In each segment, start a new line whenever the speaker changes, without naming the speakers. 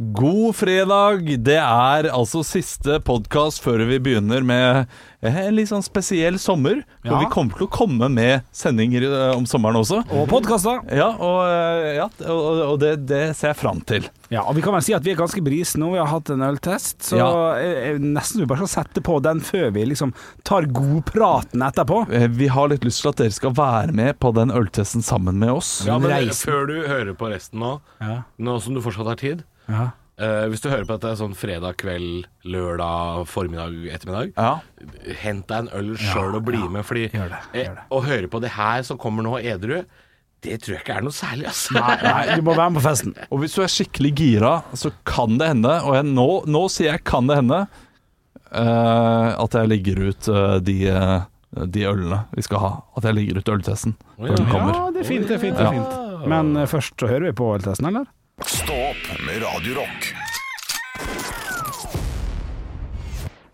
God fredag! Det er altså siste podkast før vi begynner med eh, en litt sånn spesiell sommer. For
Ja.
vi kommer til å komme med sendinger eh, om sommeren også.
Og podkaster.
Ja, og, eh, ja, og, og det, det ser jeg fram til.
Ja, og vi kan vel si at vi er ganske bris nå. Vi har hatt en øltest, så
Ja.
jeg, jeg nesten vi bare skal sette på den før vi liksom tar godpraten etterpå.
Eh, Vi har litt lyst til at dere skal være med på den øltesten sammen med oss.
Ja, men
Reisen.
før du hører på resten nå,
Ja.
nå som du fortsatt har tid
Ja.
eh, Hvis du hører på dette sånn fredag kveld, lørdag, formiddag, ettermiddag
Ja.
Hent deg en øl sjøl og bli med, fordi
Gjør det,
eh,
gjør det.
å høre på det her som kommer nå edru, det tror jeg ikke er noe særlig, altså. ass.
Nei, nei, du må være med på festen.
Og hvis du er skikkelig gira, så kan det hende, og jeg, nå, nå sier jeg kan det hende, eh, at jeg legger ut eh, de, eh, de ølene vi skal ha. At jeg legger ut øltesten når den kommer.
Ja, det er fint, det er fint. Det er fint. Men eh, først så hører vi på øltesten, eller?
Stå opp med Radio Rock.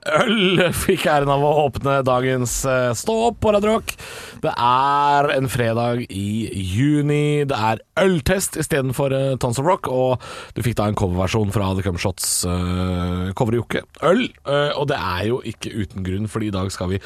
Øl fikk æren av å åpne dagens eh, Stå opp på Radio Rock. Det er en fredag i juni. Det er øltest istedenfor uh, Tons of Rock, og du fikk da en coverversjon fra The Cum Shots uh, coverjokke. Øl. eh, og det er jo ikke uten grunn, for i dag skal vi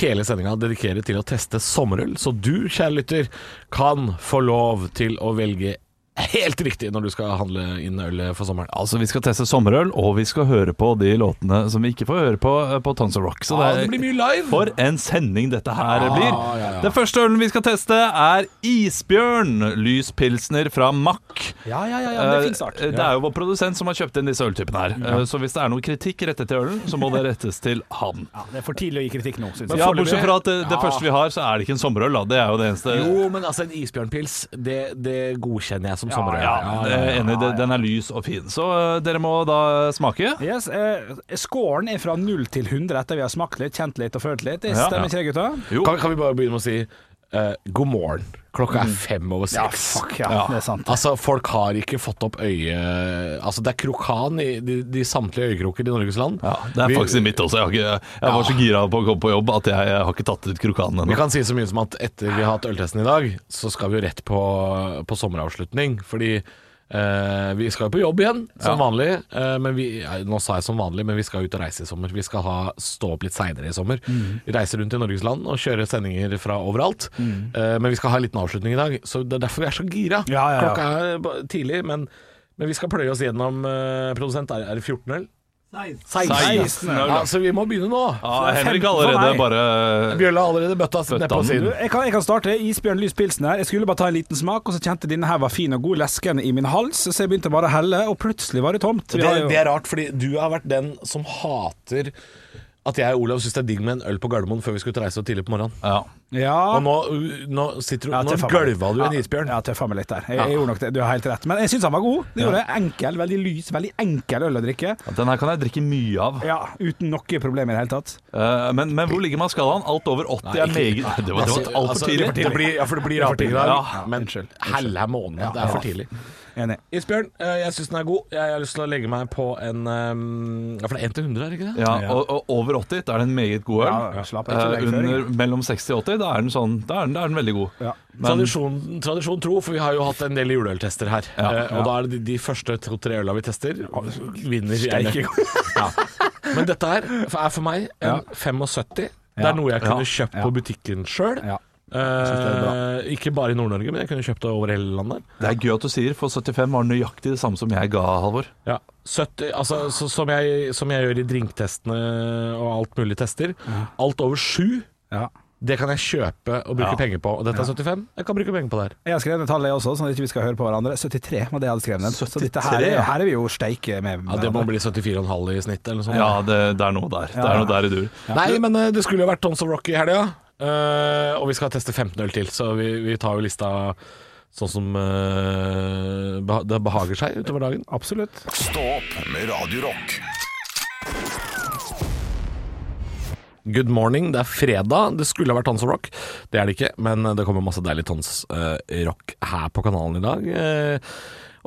hele sendinga dedikere til å teste sommerøl. Så du, kjære lytter, kan få lov til å velge helt riktig når du skal handle inn ølet for sommeren.
Altså, vi skal teste sommerøl, og vi skal høre på de låtene som vi ikke får høre på eh, på Tons of Rock. Så
Ja,
det,
Ah, det blir mye live.
For en sending dette her
Ja,
blir.
ja, ja.
Den første ølen vi skal teste, er Isbjørn lys pilsner fra Mack.
Ja, ja, ja,
Eh, Det er jo vår produsent som har kjøpt inn disse øltypene her. Eh, Så hvis det er noe kritikk rettet til ølen, så må det rettes til han.
det er for tidlig å gi kritikk nå, syns jeg.
Ja,
foreløpig-
bortsett fra at det, det
Ja.
første vi har, så er det ikke en sommerøl, da. Det er jo det eneste.
Jo, men altså en isbjørnpils, det, det godkjenner jeg som sommerøl.
Eh. Ja, det er jeg enig, i. Det- den er lys og fin. Så eh, dere må da smake.
Yes, eh, Scoren er fra 0 til 100 etter vi har smakt litt, kjent litt og følt litt. Det
Ja.
stemmer ikke det, gutta?
Eh, Jo.
Kan, kan vi bare begynne med å si eh, god morgen? Klokka
Mm.
er fem over seks.
ja, det er sant.
Altså, folk har ikke fått opp øye... Altså, det er krokan i de, de samtlige øyekroker i Norges land.
Ja, det er
vi,
faktisk i mitt også. Jeg, har ikke, jeg var så gira på å komme på jobb at jeg, jeg har ikke tatt ut krokanen
Vi
ennå.
kan si så mye som at etter vi har hatt øltesten i dag, så skal vi jo rett på, på sommeravslutning. Fordi eh, vi skal jo på jobb igjen, som vanlig. eh, men vi, eh, nå sa jeg som vanlig, men vi skal ut og reise i sommer. Vi skal ha, stå opp litt seinere i sommer.
Mhm.
Reise rundt i Norges land og kjøre sendinger fra overalt. Eh, men vi skal ha en liten avslutning i dag, så det er derfor vi er så gira.
Mhm. Ja, ja, ja.
Klokka er ba- tidlig, men, men vi skal pløye oss gjennom eh, produsent. Er, er det 14 øl? 16 øl. Ja, så vi må begynne nå.
Ja, Henrik
Femten for
allerede
meg.
bare
Bjølle har allerede bøtta nedpå
han.
siden.
Jeg kan, jeg kan starte. Isbjørn Lys Pilsen her. Jeg skulle bare ta en liten smak, og så kjente jeg denne her var fin og god, leskende i min hals, så jeg begynte bare å helle, og plutselig var det tomt. Vi
Det,
har jo-
det er rart, fordi du har vært den som hater at jeg og Olav syns det er digg med en øl på Gardermoen før vi skulle ut og reise så tidlig på morgenen.
ja.
Og
ja.
nå, nå sitter du
Ja,
Nå
tøffa meg litt.
gølva du en
Ja,
isbjørn.
Ja, tøffa meg litt der. Jeg, jeg gjorde nok det, du har helt rett. Men jeg syns han var god. Det gjorde jeg. Enkel, veldig lys, veldig enkel øl å drikke.
Den her kan jeg drikke mye av.
Ja, Uten noe problem i det hele tatt.
Eh, Men, men hvor ligger man skalaen? Alt over 80 er meget Nei, Det var, det var alt for
Altså,
tidlig.
Det blir, ja, for det blir raping i dag.
Ja,
men
unnskyld, unnskyld.
helle måned, det er for tidlig.
Enig.
Isbjørn, eh, jeg syns den er god. Jeg har lyst til å legge meg på en eh, Ja, for det er 1 til 100, er det ikke det?
Ja, og, og over 80 da er det en meget god øl.
Ja, ja, slapp av, ikke
Eh,
legg føring.
Under mellom 60 og 80 da er den, sånn, da er den, da er den veldig god.
Ja.
Men
tradisjon, tradisjon tro, for vi har jo hatt en del juleøltester her.
Ja,
Eh, og da er det de, de første to-tre øla vi tester, vinner gjerne.
Steike
ja. Men dette her er for meg en 75. Det
Ja.
er noe jeg kunne
Ja.
kjøpt på butikken sjøl.
Ja. synes det er
ikke bare i Nord-Norge, men jeg kunne kjøpt det over hele landet.
det er gøy at du sier, for 75 var nøyaktig det samme som jeg ga, Halvor.
Ja, 70, altså, så, som, jeg, som jeg gjør i drinktestene og alt mulig tester. Alt over sju,
Ja.
det kan jeg kjøpe og bruke penger på. Og dette er 75, jeg kan bruke penger på det her.
Jeg har skrevet tallet, jeg også, sånn at vi ikke skal høre på hverandre. 73 var det jeg hadde skrevet. ned. Så dette her,
73,
er-
ja.
her er vi jo steike med.
Ja, det må bli 74,5 i snitt, eller noe sånt.
Ja, det, det er noe der. Det er noe der i dur.
Nei, men eh, det skulle jo vært Tons of Rock i helga. Eh, og vi skal teste 15 øl til, så vi, vi tar jo lista sånn som eh, beha- det behager seg utover dagen.
Absolutt.
Stå opp med Radio Rock.
Good morning, det er fredag. Det skulle ha vært Tons of Rock. Det er det ikke, men det kommer masse deilig Tons eh, Rock her på kanalen i dag. Eh,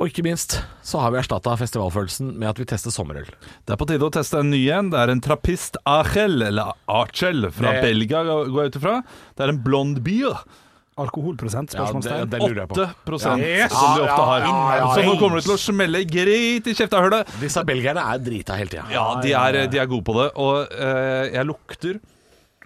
Og ikke minst så har vi erstatta festivalfølelsen med at vi tester sommerøl.
Det er på tide å teste en ny en. Det er en trappist Achel, eller Archel, fra
Det-
Belgia, går jeg ut ifra. Det er en blond bier.
Alkoholprosent?
Ja,
Spørsmålstegn.
det- det- lurer jeg på.
8
Ja.
som de ofte har.
Ja, ja, ja, ja.
Så nå kommer det til å smelle greit i kjeftehullet.
Disse belgierne er drita hele tida.
Ja, de er, de er gode på det. Og eh, jeg lukter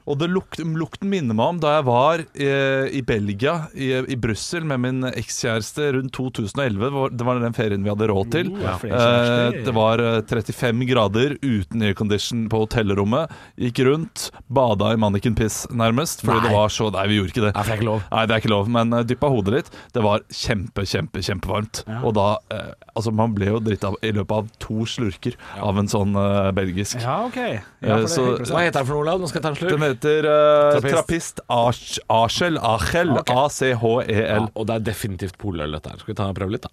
Og det lukt, lukten minner meg om da jeg var eh, i Belgia, i, i Brussel, med min ekskjæreste rundt 2011. Det var- Det var den ferien vi hadde råd til.
Ja, flere
Eh,
kjærester.
det var eh, 35 grader uten aircondition på hotellrommet. Gikk rundt, bada i mannequin-piss nærmest, fordi
Nei.
det var så Nei, vi gjorde ikke det.
Nei, for det er ikke lov.
Nei, det er ikke lov, men eh, dyppa hodet litt. Det var kjempe, kjempe, kjempevarmt. Og da eh, Altså, man ble jo dritt av i løpet av to slurker av en sånn eh, belgisk.
Ja, OK. Ja,
Eh,
for det
så-
er
Hva heter den for noe, Olav? Nå skal jeg ta en slurk.
Den heter eh,
Trappist. Ah,
Trappist Ach- Achel. Achel.
Ok. Ja,
A-c-h-e-l.
og det er definitivt poløl, dette her. Skal vi ta og prøve litt, da?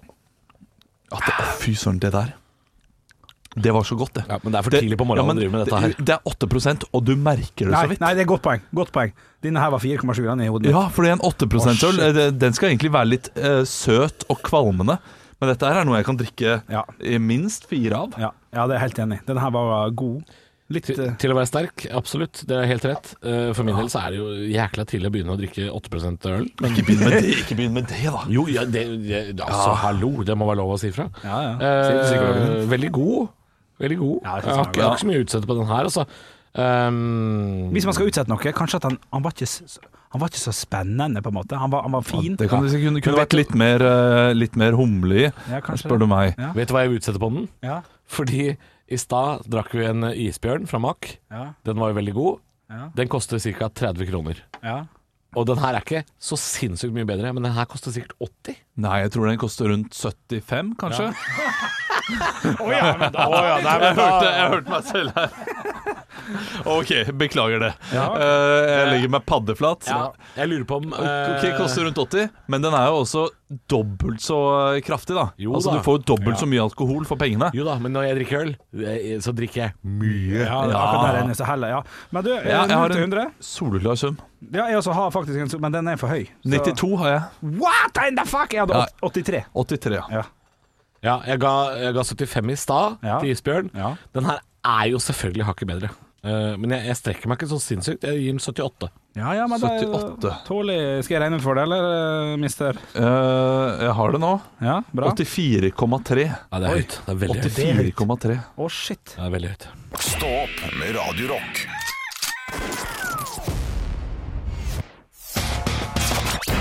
At det- å, Fy søren, det der. Det var så godt, det.
Ja, men det er for tidlig på
ja,
morgenen
men
å drive med dette her.
Det, det er 8 og du merker det så
Nei,
vidt.
nei, det er godt poeng. Godt poeng. Denne her var 4,7 den er i hodet mitt.
Ja, fordi en 8
Å,
%-øl
shit.
eh, det- den skal egentlig være litt eh, søt og kvalmende. Men dette her er noe jeg kan drikke
Ja.
eh, minst fire av.
Ja, ja det er jeg helt enig. i. Denne her var god. Litt
Til,
eh,
til å være sterk, absolutt. Det er helt rett. Eh, For min del så er det jo jækla tidlig å begynne å drikke 8 øl. Men
Ikke begynn med det, ikke begynn med det da.
jo, ja, det, det, altså hallo, det må være lov å si fra.
Ja, ja.
Eh,
Sier psykologen.
veldig god. Veldig god.
Ja, det synes
jeg,
jeg
har ikke, jeg har ikke så mye å utsette på den her, altså. Um,
Hvis man skal utsette noe, kanskje at han, han, var ikke, s- han var ikke så spennende, på en måte. Han var, han var fin.
Det kan, det kunne, kunne
Men vet
vært litt mer, eh, litt mer humle i,
Ja, kanskje
spør
det.
du meg.
Ja.
Vet du hva jeg utsetter på den?
Ja,
Fordi i stad drakk vi en isbjørn fra Mack.
ja,
Den var jo veldig god.
Ja.
Den koster ca. 30 kroner.
ja.
Og den her er ikke så sinnssykt mye bedre, men den her koster sikkert 80.
Nei, jeg tror den koster rundt 75, kanskje? jeg, hørte, jeg hørte meg selv her. Ok, beklager det. Eh, jeg legger meg paddeflat.
Ja, jeg lurer på om
Ok,
eh,
koster rundt 80, men den er jo også dobbelt så eh, kraftig, da.
Jo
altså,
da.
du får jo dobbelt så mye alkohol for pengene.
Jo da, men når jeg drikker øl, eh, så drikker jeg mye.
ja, akkurat der er den så heller, ja. Men du,
Ja, jeg har
0 til
en
100?
soleklar sum.
Ja, jeg også har faktisk en, men den er for høy. Så-
92 har jeg.
What in the fuck? Jeg hadde
Ja.
åt- 83.
83, ja.
Ja.
Ja, jeg ga, jeg ga 75 i stad
Ja.
til Isbjørn.
Ja.
Den her er jo selvfølgelig hakket bedre. Eh, men jeg, jeg strekker meg ikke så sinnssykt. Jeg gir den 78.
Ja, ja, men det er
78.
tålig. Skal jeg regne ut for det, eller, eh, mister?
Eh, jeg har det nå.
Ja, bra.
84,3.
Ja, det er høyt. Det er veldig høyt.
84,3.
Å, shit.
Det er veldig høyt.
Stå opp med Radio Rock.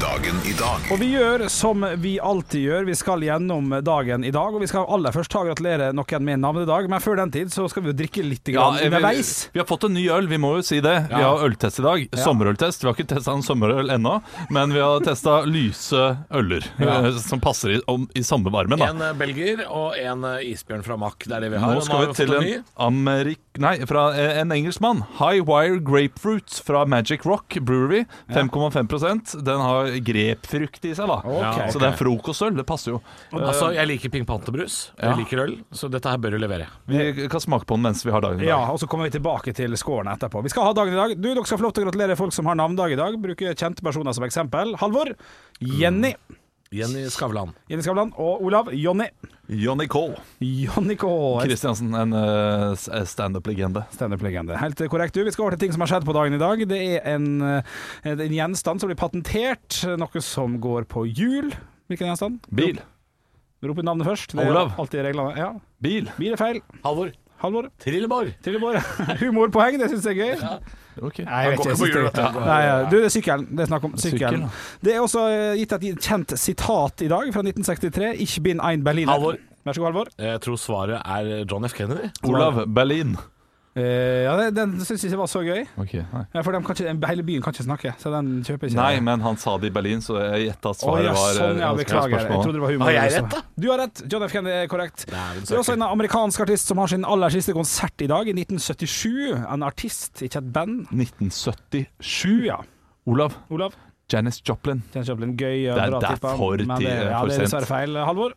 Dagen i dag.
Og vi gjør som vi alltid gjør. Vi skal gjennom dagen i dag, og vi skal aller først ta og gratulere noen med navnedag. Men før den tid så skal vi jo drikke litt grann
Ja, vi,
underveis.
vi har fått en ny øl, vi må jo si det. Vi har øltest i dag. Sommerøltest. Vi har ikke testa en sommerøl ennå, men vi har testa lyse øler eh, som passer i, om, i samme varmen. Da.
En eh, belger og en eh, isbjørn fra Mack. Det er det vi har.
Nå
Og
skal
har
vi til
fått
en, Amerik... Nei, fra eh, en engelskmann. High Wire Grapefruit fra Magic Rock Brewery. 5,5 Den har grepfrukt i seg, da.
Ok.
Så det er frokostøl. Det passer jo.
Altså, jeg liker Pink Panther-brus.
Ja.
Jeg liker øl, så dette her bør du levere.
Vi kan smake på den mens vi har dagen i dag.
Ja, og så kommer vi tilbake til skårene etterpå. Vi skal ha dagen i dag. Du, Dere skal få lov til å gratulere folk som har navnedag i dag. Bruke kjente personer som eksempel. Halvor. Jenny.
Mm.
Jenny Skavlan.
Jenny Skavlan. Og Olav. Jonny.
Johnny Cole
Jonny K.
Kristiansen, en eh, s- standup-legende.
Standup-legende. Helt korrekt. du. Vi skal over til ting som har skjedd på dagen i dag. Det er en, eh, en gjenstand som blir patentert, noe som går på hjul. Hvilken gjenstand?
Bil.
Rop ut navnet først. Det er
Olav.
alltid reglene. Ja.
Bil.
Bil er feil.
Halvor.
Halvor.
Trilleborg.
Trilleborg. Humorpoeng, det syns jeg er gøy.
Ok.
Nei, jeg vet ikke. Jeg synes det er- Nei, ja. du, det er sykkelen. Det er snakk om
Sykkel,
sykkelen.
ja.
Det er også eh, gitt et kjent sitat i dag, fra 1963. Ich bin ein Berliner.
Halvor.
Vær så god, Halvor.
Jeg tror svaret er John F. Kennedy.
Olav Berlin.
Eh, ja, det- den syns jeg ikke var så gøy.
nei.
Ja, For de kan ikke, hele byen kan ikke snakke, så den kjøper ikke jeg.
men han sa det i Berlin, så jeg gjetta
Å
svaret
ja,
var eh,
sånn, ja,
ganske
beklager. Jeg
spørsmål.
trodde det var humor.
Har jeg rett, da?
Du har rett. John F. Kennedy er korrekt. Det
Dæven
er også en amerikansk artist som har sin aller siste konsert i dag, i 1977. En artist, ikke et band.
1977.
Ja.
Olav.
Olav?
Janice Joplin.
Kjenner Gøy.
Det er- det er for
men det,
ti-
ja,
for
det er
sent.
dessverre feil. Halvor?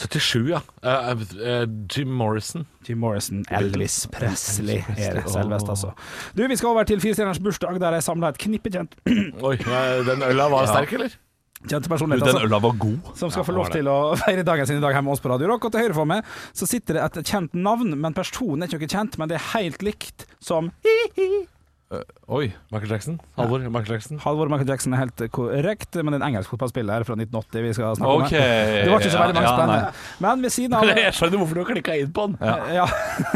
77, ja. Eh, eh, Jim Morrison.
Jim Morrison, Elvis Presley er det selveste, altså. Du, vi skal over til firestjerners bursdag, der jeg samla et knippe kjent,
Oi, eh, den øla var sterk, eller?
kjente
Du,
personligheter.
den
altså,
øla var god.
Som skal
Ja,
få
den
lov
var det.
til å feire dagen sin i dag her med oss på Radio Rock. Og til høyre for meg så sitter det et kjent navn, men personen er ikke noe kjent, men det er helt likt som
Oi.
Michael Jackson? Halvor Michael Jackson?
Halvor Michael Jackson er helt korrekt, men det er en engelsk fotballspiller fra 1980 vi skal snakke
Ok.
om. her. Det var ikke så veldig mange
Ja, ja,
spennende. Men ved siden av
Jeg skjønner hvorfor du klikka inn på den.
Eh, Ja.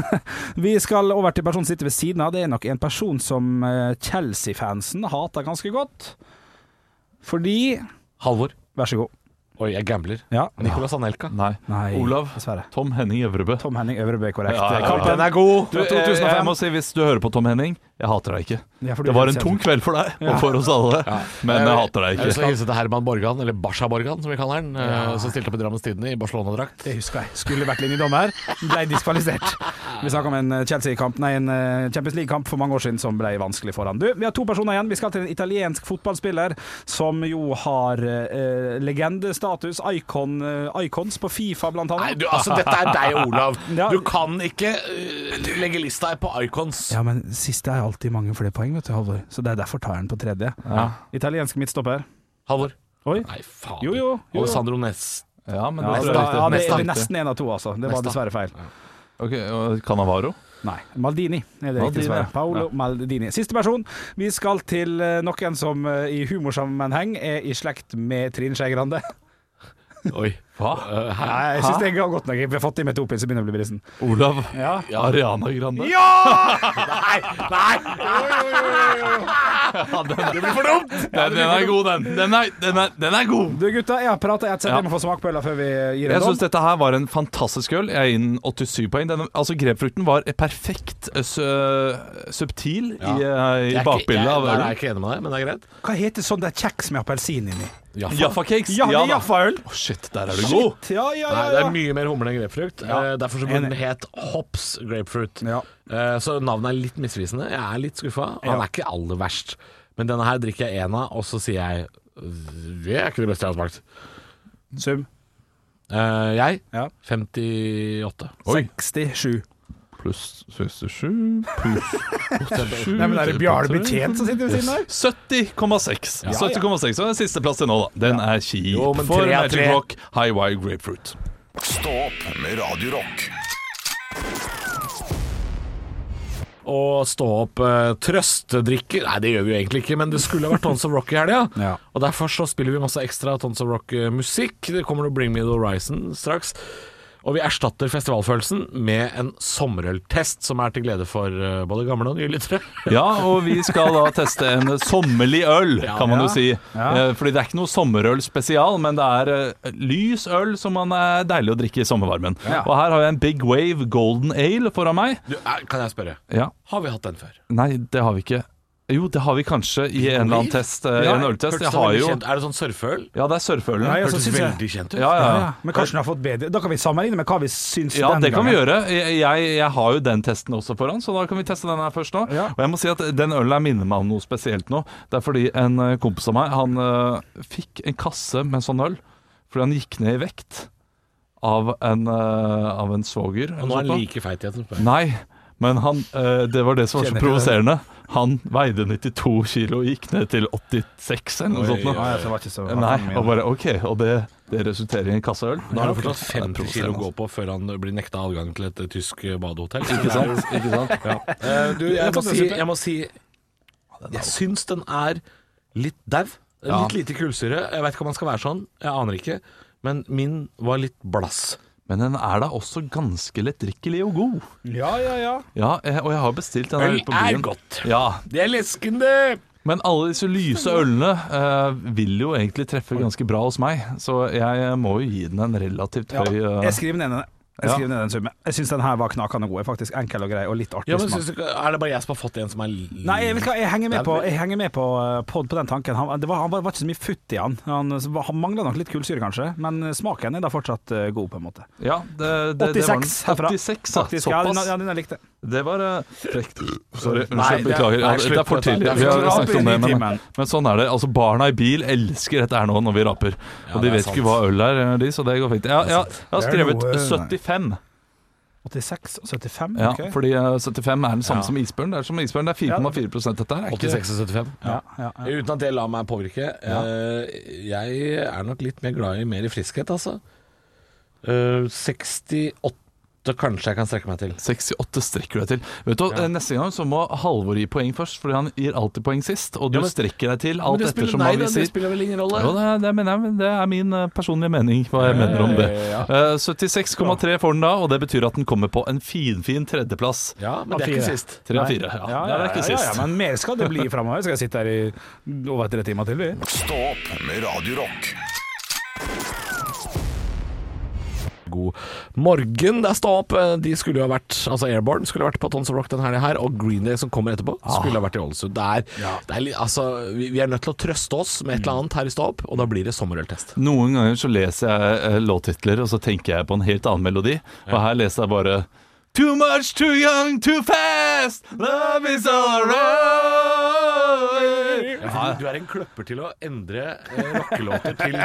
Vi skal over til personen som sitter ved siden av. Det er nok en person som eh, Chelsea-fansen hater ganske godt. Fordi
Halvor.
Vær så god.
Oi, jeg gambler.
Ja.
Nicolas Anelka.
Nei.
Nei,
Olav.
dessverre.
Tom Henning Øvrebø.
Tom Henning Øvrebø er korrekt.
Ja, ja, ja.
Kampen.
Den er god!
Du, jeg,
2005.
jeg må si, hvis du hører på Tom Henning, jeg hater deg ikke.
Ja, for du
Det var
vet
en
selv.
tung kveld for deg og for oss alle, men jeg hater deg
Jeg vil
ikke.
så hilse til Herman Borgan, eller Basha Borgan som vi kaller han, eh, som stilte opp i Drammens Tidende i Barcelona-drakt.
Det husker jeg. Skulle vært linjedommer, ble diskvalifisert. Vi snakka om en eh, Chelsea-kamp, nei, en eh, Champions League-kamp for mange år siden som ble vanskelig for han. Du, vi har to personer igjen. Vi skal til en italiensk fotballspiller som jo har eh, legendestatus, icon, eh, icons på Fifa blant
Nei,
annet.
du, altså, dette er deg, Olav.
Ja.
Du kan ikke eh, legge lista på icons.
Ja, men siste er alltid mange flere poeng, vet du, Halvor. Så det er derfor tar jeg den på tredje. Italiensk midtstopper.
Halvor.
Oi.
Nei, faen.
Jo, jo, jo.
Alessandro Nes.
Ja, men
Ja,
det
altså,
tror
da, ja,
jeg
det
er
er
riktig.
nesten én av to, altså. Det var
Nesta.
dessverre feil.
Ok, og Cannavaro?
Nei. Maldini er det
Maldini,
riktige
ja.
svaret. Paolo Maldini. Siste person. Vi skal til eh, noen som eh, i humorsammenheng er i slekt med Trine Skei Grande.
Oi.
Hva?
Eh, her.
Nei, jeg syns det er godt nok. Vi har fått i med to pils, så begynner jeg å bli brisen.
Olav
Ja.
Ariana Grande?
Nei! Nei! Det blir for dumt!
Den, den er god, den. Den er, den er, den er god.
Du gutta, jeg har prata i ett sett,
Ja.
jeg må få smake på øla før vi gir
Jeg
en
syns
dom.
dette her var en fantastisk øl. Jeg er inn 87 poeng. Den, altså Grepfrukten var perfekt eh, sø, subtil i, eh, i
Jeg er ikke-
bakbildet
jeg-
av
nei, Jeg er
ølen.
ikke enig med deg, men det er greit.
Hva heter sånn der kjeks med appelsin inni?
Jaffa Cakes.
Ja, det er
da.
Jaffa-øl.
Å, shit, der er du god.
Ja, ja, ja,
Nei, det
ja.
er mye mer humle enn grapefrukt. Eh, Derfor så burde
Enig.
den het Hops Grapefruit.
Ja.
Eh, Så navnet er litt misvisende. Jeg er litt skuffa. Han
Ja.
er ikke aller verst. Men denne her drikker jeg én av, og så sier jeg Det er ikke det beste jeg har smakt.
Sum.
Eh, Jeg
Ja.
58.
Mm.
67.
Pluss 67 pluss 87
Nei, men er det Bjarne Betjent som sitter ved siden der?
70,6. 70,6 og den siste plass til nå, da. Den er kjip
Jo, men
for
tre er
Magic
tre.
Rock High Wire Grapefruit.
Stå opp med Radio Rock.
Og stå opp eh, trøstedrikker Nei, det gjør vi jo egentlig ikke, men det skulle ha vært Tons of Rock i helga.
Ja.
Og derfor så spiller vi masse ekstra Tons of Rock-musikk. Det kommer noe Bring Me The Horizon straks. Og vi erstatter festivalfølelsen med en sommerøltest, som er til glede for eh, både gamle og nye lyttere.
Ja, og vi skal da teste en sommerlig øl, kan man jo si.
Ja.
Eh, Fordi det er ikke noe sommerøl spesial, men det er eh, lys øl som man er deilig å drikke i sommervarmen.
Ja.
Og her har jeg en Big Wave Golden Ale foran meg.
Du, eh, kan jeg spørre,
Ja.
har vi hatt den før?
Nei, det har vi ikke. Jo, det har vi kanskje i en eller annen test, eh, i en
Hørtes
øltest.
det
Jeg har
veldig
jo
kjent- Er det sånn surfeøl?
Ja, det er surfeølen.
Nei, altså,
Hørtes
synes jeg-
veldig kjent
Ja,
ut.
ja,
Ja,
ja.
ja. Men kanskje den har fått bedre Da kan vi sammenligne med hva vi syns
Ja,
den
det kan vi
gangen.
gjøre. Jeg, jeg, jeg har jo den testen også foran, så da kan vi teste den her først nå.
Ja.
Og jeg må si at den ølen her minner meg om noe spesielt nå. Det er fordi en eh, kompis av meg, han eh, fikk en kasse med sånn øl fordi han gikk ned i vekt av en, eh, av en svoger.
Og nå er han like feit igjen som før.
Nei, men han, eh, det var det som var så
Kjenner du
provoserende. Han veide 92 kilo og gikk ned til 86 eller noe sånt. nå.
Nei, altså, det var ikke så
Nei, og bare OK, og det, det resulterer i en kasse øl?
Da har du
Ja,
fortsatt
ok. Ja, det er
50 kilo å
provoserende.
gå på før han blir nekta adgang til et eh, tysk eh, badehotell.
Ikke sant? Ikke sant?
Eh, du, jeg
kan
må
du
si
sitte.
Jeg, må si, jeg syns den er litt dau.
Ja.
Litt lite kullsyre. Jeg veit ikke om man skal være sånn, jeg aner ikke. Men min var litt blass.
Men den er da også ganske lettdrikkelig og god.
Ja, ja, ja.
Ja, eh, og jeg har bestilt den her
Øl
ute på
er
byen.
godt.
Ja,
Det er leskende!
Men alle disse lyse ølene eh, vil jo egentlig treffe ganske bra hos meg, så jeg må jo gi den en relativt høy eh,
Jeg skriver ned den. Jeg
Ja.
skriver ned den summen. Jeg syns den her var knakende god. Faktisk enkel og grei, og litt artig.
Ja, men
smak.
synes du, ikke- er det bare jeg som har fått en som er li-
Nei, jeg, vet hva, jeg henger med
Det er
på,
vel-
jeg henger med på, eh, på, på den tanken. Han, det var, han var, var ikke så mye futt i han. Han, eh, han mangla nok litt kullsyre, kanskje, men eh, smaken er da fortsatt eh, god, på en måte.
Ja, det, det, det var den.
86 herfra.
86, ja.
Faktisk, ja, den,
Såpass.
ja, den jeg likte
Det var eh, frekt. Sorry, unnskyld,
Nei, det er-
beklager.
nei,
Ja, det,
slutt
er for
på dette.
tidlig.
Det er
Vi
for
har
tidlig.
snakket om det,
Raper i
men,
timen.
men sånn er det. Altså, barna i bil elsker dette her nå når vi raper.
Ja,
Og
det
de
er
vet
sant.
ikke hva øl er, eh, de, så det går fint. Ja, ja, jeg har
Det er
skrevet
noe-
75,
86 og 75.
ja,
ok.
fordi eh, 75 er den
Ja.
samme som isbjørn. Det er som isbjørn, det er 4,4 dette her. er ikke-
86 og 75?
Ja, ja, ja.
Uten at det lar meg påvirke. Eh, jeg er nok litt mer glad i mer i friskhet, altså. Eh, 68 kanskje jeg kan strekke meg til.
68 strekker du deg til. Vet du, hva, eh,
Ja.
Neste gang så må Halvor gi poeng først, Fordi han gir alltid poeng sist. Og du
Ja, men-
strekker deg til
Men
alt
det spiller,
ettersom
nei,
hva vi
da, det
sier.
spiller vel ingen rolle?
Jo, det, det, mener jeg, men det er min eh, personlige mening, hva jeg mener om det.
Ja.
Eh, 76,3 får den da, og det betyr at den kommer på en finfin fin tredjeplass.
Ja, men det er ikke sist.
Tre av fire. Ja,
Ja,
det er
ja,
ikke
ja, ja,
sist.
men mer skal det bli framover. Skal jeg sitte her i over tre timer til, vi?
Stå opp med Radio Rock.
God morgen. Det er Stå opp. Eh, De skulle jo ha vært Altså Airborne skulle ha vært på Tons of Rock den helga her, og Green Day som kommer etterpå, skulle ha vært i Ålesund. Det er, det er litt Altså, vi, vi er nødt til å trøste oss med et eller annet her i Stå opp, og da blir det sommerøltest.
Noen ganger så leser jeg eh, låttitler, og så tenker jeg på en helt annen melodi. Og her leser jeg bare Too much, too young, too fast. Love is all around.
Ja, du er en kløpper til å endre eh, rockelåter til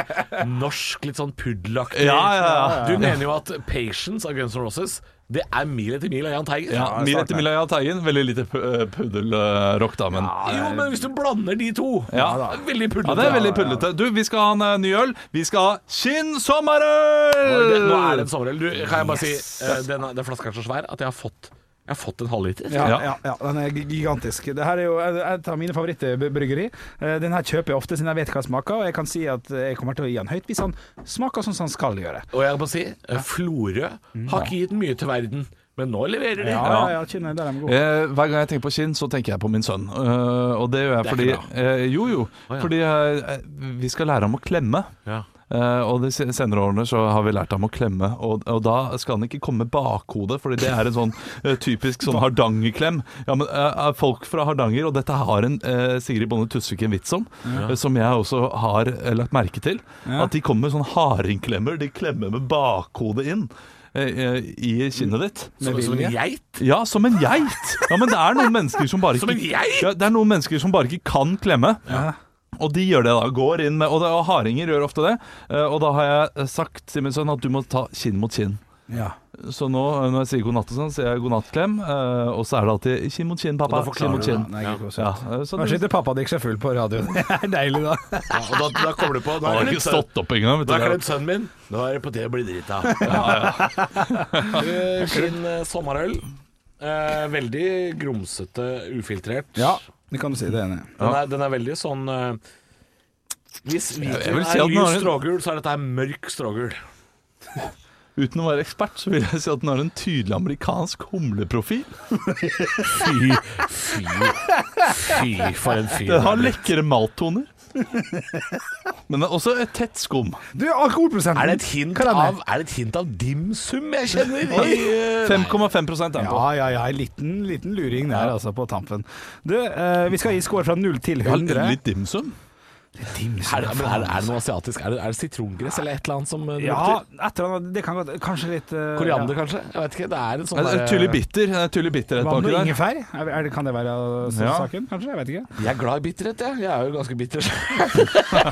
norsk, litt sånn puddelaktig.
Ja, ja, ja.
Du mener jo at 'Patience' av Guns N' Roses, det er mil etter mil av Jahn Teigen.
Ja,
jeg
Mil
starter.
etter Mila Jahn Teigen. Veldig lite eh, puddelrock, da, men
Jo, men hvis du blander de to
Ja.
det er Veldig
Ja,
puddlete.
det er veldig pullete. Du, vi skal ha en eh, ny øl. Vi skal ha Skinn sommerøl!
Det, nå er det en sommerøl. Du, kan jeg bare si eh, den, den flaska er så svær at jeg har fått, jeg har fått en halvliter.
Ja,
Ja.
ja. ja, den er gi- gigantisk. Det her er jo et av mine favorittbryggeri. Eh, Den her kjøper jeg ofte siden jeg vet hva den smaker, og jeg kan si at jeg kommer til å gi den høyt hvis han smaker sånn som han skal gjøre.
Og jeg må si, eh, Florø
Mm.
har ikke gitt mye til verden, men nå leverer de.
Ja, ja, ja, kjenner jeg, der er den god.
Eh, hver gang jeg tenker på skinn, så tenker jeg på min sønn. Eh, og det gjør jeg
Det er
fordi
ikke
eh, Jo, jo.
ja.
Fordi eh, vi skal lære ham å klemme.
Ja.
Eh, og de se- senere årene så har vi lært ham å klemme, og, og da skal han ikke komme med bakhodet, fordi det er en sånn eh, typisk sånn Hardanger-klem. Ja, men eh, folk fra Hardanger, og dette har en eh, Sigrid Bonde Tusvik en vits om, eh, som jeg også har eh, lagt merke til, at de kommer med sånne hardingklemmer. De klemmer med bakhodet inn eh, eh, i kinnet ditt.
Som, som en geit.
Ja, som en geit. Ja, men det er noen mennesker som bare ikke
Som en geit?
Ja, det er noen mennesker som bare ikke kan klemme. Og de gjør det da, går inn med Og, det, og hardinger gjør ofte det. Eh, Og da har jeg sagt til min sønn at du må ta kinn mot kinn.
Ja.
Så nå eh, når jeg sier god natt og sånn, sier jeg god natt-klem. eh, Og så er det alltid kinn mot kinn, pappa.
Og da forklarer
Kinn mot
du
kinn.
Nei, gud, så
Ja,
søtt.
eh, så
Nå
det,
sitter pappa og drikker seg full på radioen. Det er deilig, da.
Ja, og da, da kommer du på Nå
han har
har jeg
ikke
klemt sønnen-
stått opp engang.
nå har jeg
Vet
klemt
du.
sønnen min. Nå er det på tide å bli drita. Ja, ja. Skinn eh, sommerøl. Eh, veldig grumsete, ufiltrert.
Ja, det kan du si. Det er enig.
Den, er, den er veldig sånn eh, Hvis
jeg
hvitvin
vil si
er
at den har
lys
en-
strågul, så er dette her mørk strågul.
Uten å være ekspert så vil jeg si at den har en tydelig amerikansk humleprofil.
Fy, fy, fy for en fyr.
Den har lekre malttoner. Men det er også et tett skum.
Du, alkoholprosenten
Er det et hint
Hva er det?
av, er det et hint av dimsum jeg kjenner? I, eh,
5,5 er den på.
Ja, ja, ja. En liten, liten luring der, altså, på tampen. Du, eh, vi skal gi score fra 0 til 100.
Litt dimsum?
er, det, men er, det- er det noe asiatisk? Er det, er det sitrongress eller et eller annet som eh, det
Ja,
lukter?
et eller annet. Det kan godt Kanskje litt eh,
Koriander, kanskje? Jeg vet ikke. Det er en sånn
Det er
der-
Tydelig bitter. Det er Tydelig bitter
ja.
et
Vann
baki
og
der.
ingefær? Er, er, det- kan det være eh,
Ja.
saken, kanskje? Jeg vet ikke.
Jeg er glad i bitterhet, jeg. Jeg er jo ganske bitter.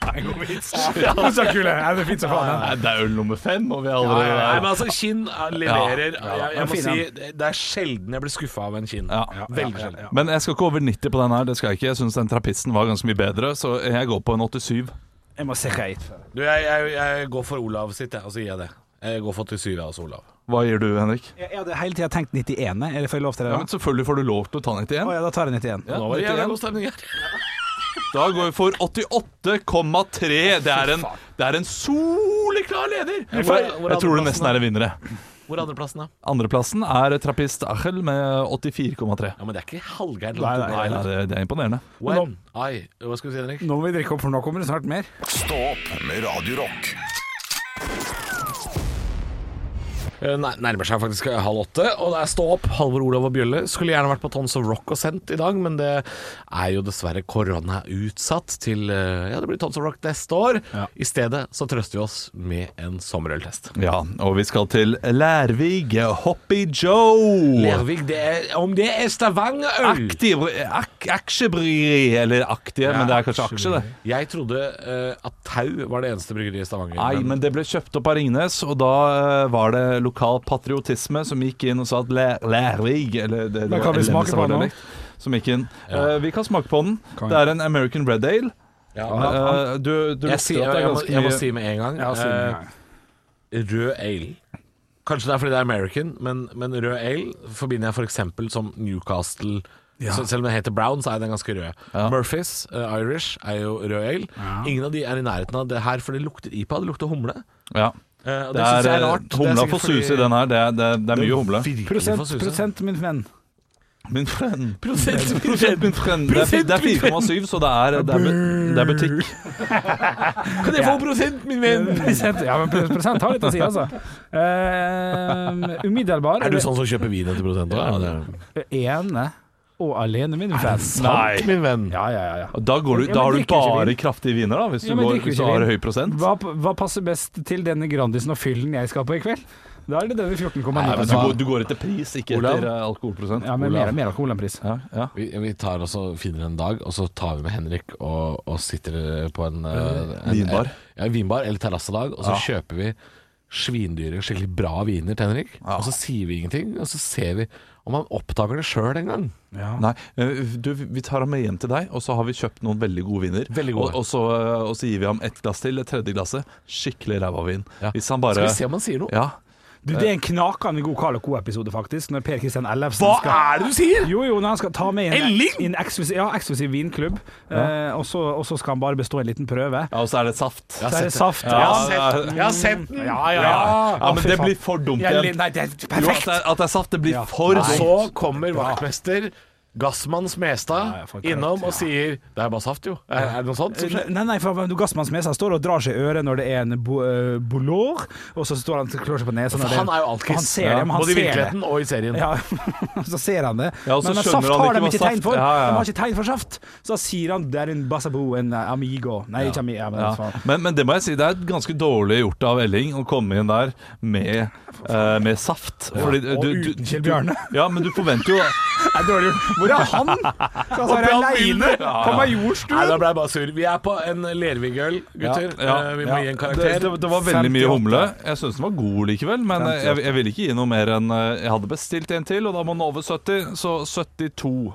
Ja. Så kul, jeg. er det fint som faen.
Nei, det er øl nummer fem, og vi er
Nei,
allerede
men altså, Kinn eh, leverer. Jeg, jeg
Men
må
fin,
si, det er sjelden jeg blir skuffa av en Kinn.
Ja.
Veldig sjelden.
Men jeg skal ikke over 90 på den her. Det skal jeg ikke. Jeg syns den trapisten var ganske mye bedre, så jeg går på en 87.
Jeg må se hva jeg gitt for.
Du, jeg, jeg, jeg går for Olav sitt, jeg, og så gir jeg det. Jeg går for 87 av oss, Olav.
Hva gir du, Henrik?
Jeg, jeg hadde hele tida tenkt 91, er det får jeg lov til det?
Ja,
da?
men Selvfølgelig får du lov til å ta den
Å
igjen.
ja, da tar jeg 91.
Ja,
Nå var det
91.
jævla god stemning her.
Da går vi for 88,3. Det er en, det er en soleklar leder!
hvor er- hvor er
Jeg tror
andreplassen
det nesten
da?
er en vinner, jeg.
Hvor er andreplassen, da?
Andreplassen er trapist Achel med 84,3.
Ja, men det er ikke halvgærent
Nei,
langt
nei,
unna.
Nei, nei,
eller?
det det er imponerende.
When I Hva skal vi si, Henrik?
Nå må vi drikke opp, for nå kommer det snart mer.
Stå opp med Radio Rock.
Eh, nei- Nærmer seg faktisk halv åtte, og det er stå opp. Halvor Olav og Bjølle skulle gjerne vært på Tons of Rock og sendt i dag, men det er jo dessverre koronautsatt til eh, Ja, det blir Tons of Rock neste år. I stedet så trøster vi oss med en sommerøltest.
Ja, og vi skal til Lærvig. Hoppy Joe.
Lervig, det er, om det er Stavangerøl
Aktiv, ak, aksjebryggeri, eller aktie, men det er kanskje aksje, det.
Jeg trodde eh, at Tau var det eneste bryggeriet i Stavanger.
Nei, men det ble kjøpt opp av Ringnes, og da eh, var det lokal patriotisme som gikk inn og sa at Læ- Lærvig eller det, det
Men
var
kan vi
LM
smake
som
på
var
den nå?
dialekt, Som gikk inn. Eh, vi kan smake på den.
Kan
Det er en American Red Ale.
ja,
Eh, du du
jeg,
lukter
sier,
at det er
jeg, må,
ganske
jeg må
mye-
si med en gang
Ja,
eh,
siden,
rød ale. Kanskje det er fordi det er American, men, men rød ale forbinder jeg f.eks. som Newcastle. Så selv om den heter Brown, så er den ganske rød. Murphys eh, Irish er jo rød ale. Ingen av de er i nærheten av det her, for det lukter IPA, det lukter humle.
Ja.
Eh, og
Det
synes
er,
jeg
eh,
rart. Det er
humla
sikkert
får
fordi-
suse i den her. Det er, det er, det er mye humle.
Virkelig
Prosent,
får suse.
prosent, min venn.
Min friend.
Prosent,
Prosent, min friend. Det er, fi- det er 4,7, så det er, det, er, bu- det er butikk.
Kan jeg få prosent, min venn?
Prosent, ja, men prosent har litt å si, altså. Eh, umiddelbar
Er du sånn som kjøper vin etter prosent òg?
ene og alene, min venn.
Sant, min venn.
Ja, ja, ja. ja.
Da, går du,
Ja, men
da har du
drikker ikke
bare
vin.
kraftige viner, da, hvis du,
Ja, men
går,
drikker
hvis
ikke
du har
vin.
høy prosent.
Hva, hva passer best til denne Grandisen og fyllen jeg skal på i kveld? Da er det denne 14,9
Nei, men du, går, du går etter pris, ikke
Olav?
etter eh, alkoholprosent.
Ja, men mer, mer alkohol enn pris.
Ja, ja.
Vi, vi tar og så finner en dag, og så tar vi med Henrik og, og sitter på en, eh, en
vinbar.
Ja, vinbar eller terrassedag, og så kjøper vi svindyre, skikkelig bra viner til Henrik. Og så sier vi ingenting, og så ser vi om han oppdager det sjøl en gang.
Nei, eh, du, vi tar ham med hjem til deg, og så har vi kjøpt noen veldig gode viner.
Veldig gode.
Og, og, så, eh, og så gir vi ham ett glass til, et tredje glasset. Skikkelig ræva vin.
Ja.
Hvis han bare
Skal vi se om han sier noe?
Ja.
Du, det er en knakende god Carl Co-episode, faktisk, når Per Kristian Ellefsen
Hva
skal
er det du sier?!
jo, jo, når han skal ta med i en,
Elling?
i en eksklusiv, ja, eksklusiv vinklubb, eh, og, så, og så skal han bare bestå en liten prøve.
ja, og så er det saft.
Så er det saft.
Ja,
Ja,
ja,
Jeg har sett den!
ja, ja.
ja, men
fy
det
faen.
blir for dumt
Ja, li-
igjen.
Nei, det er
Jo, at
perfekt!
det, er- at det er saft, det blir for
Og
så
så kommer vaktmester Gassmann Smestad
Ja, ja, for korrekt,
innom og sier 'Det er bare saft, jo'. Er, er det noe sånt som skjer?
Nei, nei, for du Gassmann Smesa står og drar seg i øret når det er en bo, eh, bolor, og så står han og klør seg på nesa. når det
Han er jo alkis.
Han ser det, men han
Både i
ser det.
virkeligheten og i serien.
Ja, så ser han det.
Ja, og så
men, men
skjønner
saft
han ikke
har de
hva
ikke
saft-
tegn for.
Ja, ja, ja.
De har ikke tegn for saft. Så da sier han 'det er en basabo, en eh, amigo'. Nei, ikke amigo. Ja, men,
ja.
faen.
men, men det må jeg si, det er ganske dårlig gjort av Elling å komme inn der med, eh, med saft. Fordi, eh,
Og
du-
uten
du-
Kjell
du-
Bjarne.
Ja, men du forventer jo
Nei, dårlig gjort. Hvor er han? Så altså, han er
han
aleine
begynner.
på
Nei,
Majorstuen.
da ble jeg bare sur. Vi er på en Lervig-øl, gutter.
Ja, ja,
Eh, vi må
ja.
gi en
Det,
karakter.
det, det var veldig mye
58.
humle. Jeg syns den var god likevel, men eh, jeg, jeg ville ikke gi noe mer enn eh, Jeg hadde bestilt en til, og da må den over 70, så 72.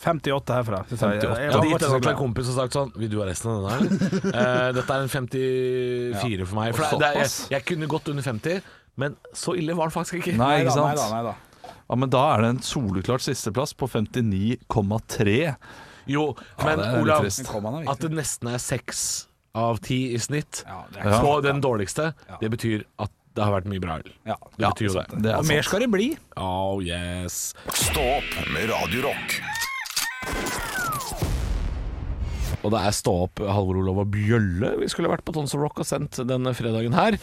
58 herfra. synes jeg. Jeg-
Jeg
jeg var
hadde gitt
ikke
den
så
opp til
glad.
en kompis og sagt sånn Vil du ha resten av denne? her? Eh, dette er en 54 for meg. For det, det, er- jeg, jeg kunne gått under 50, men så ille var det faktisk ikke.
Nei,
Neida,
ikke sant?
neida, neida.
Ja, Men da er det en soleklart sisteplass på 59,3.
Jo, men
det er litt
Olav,
trist.
Men kom han da, virkelig?
at det nesten er seks av ti i snitt
Ja, det er
Ja.
på den dårligste, det betyr at det har vært mye bra øl.
Ja.
Det betyr jo det.
Det er
Og mer skal det bli.
Oh yes.
Stå opp med Radio Rock.
Og det er stå opp Halvor Olav og Bjølle vi skulle vært på Tons of Rock og sendt denne fredagen her.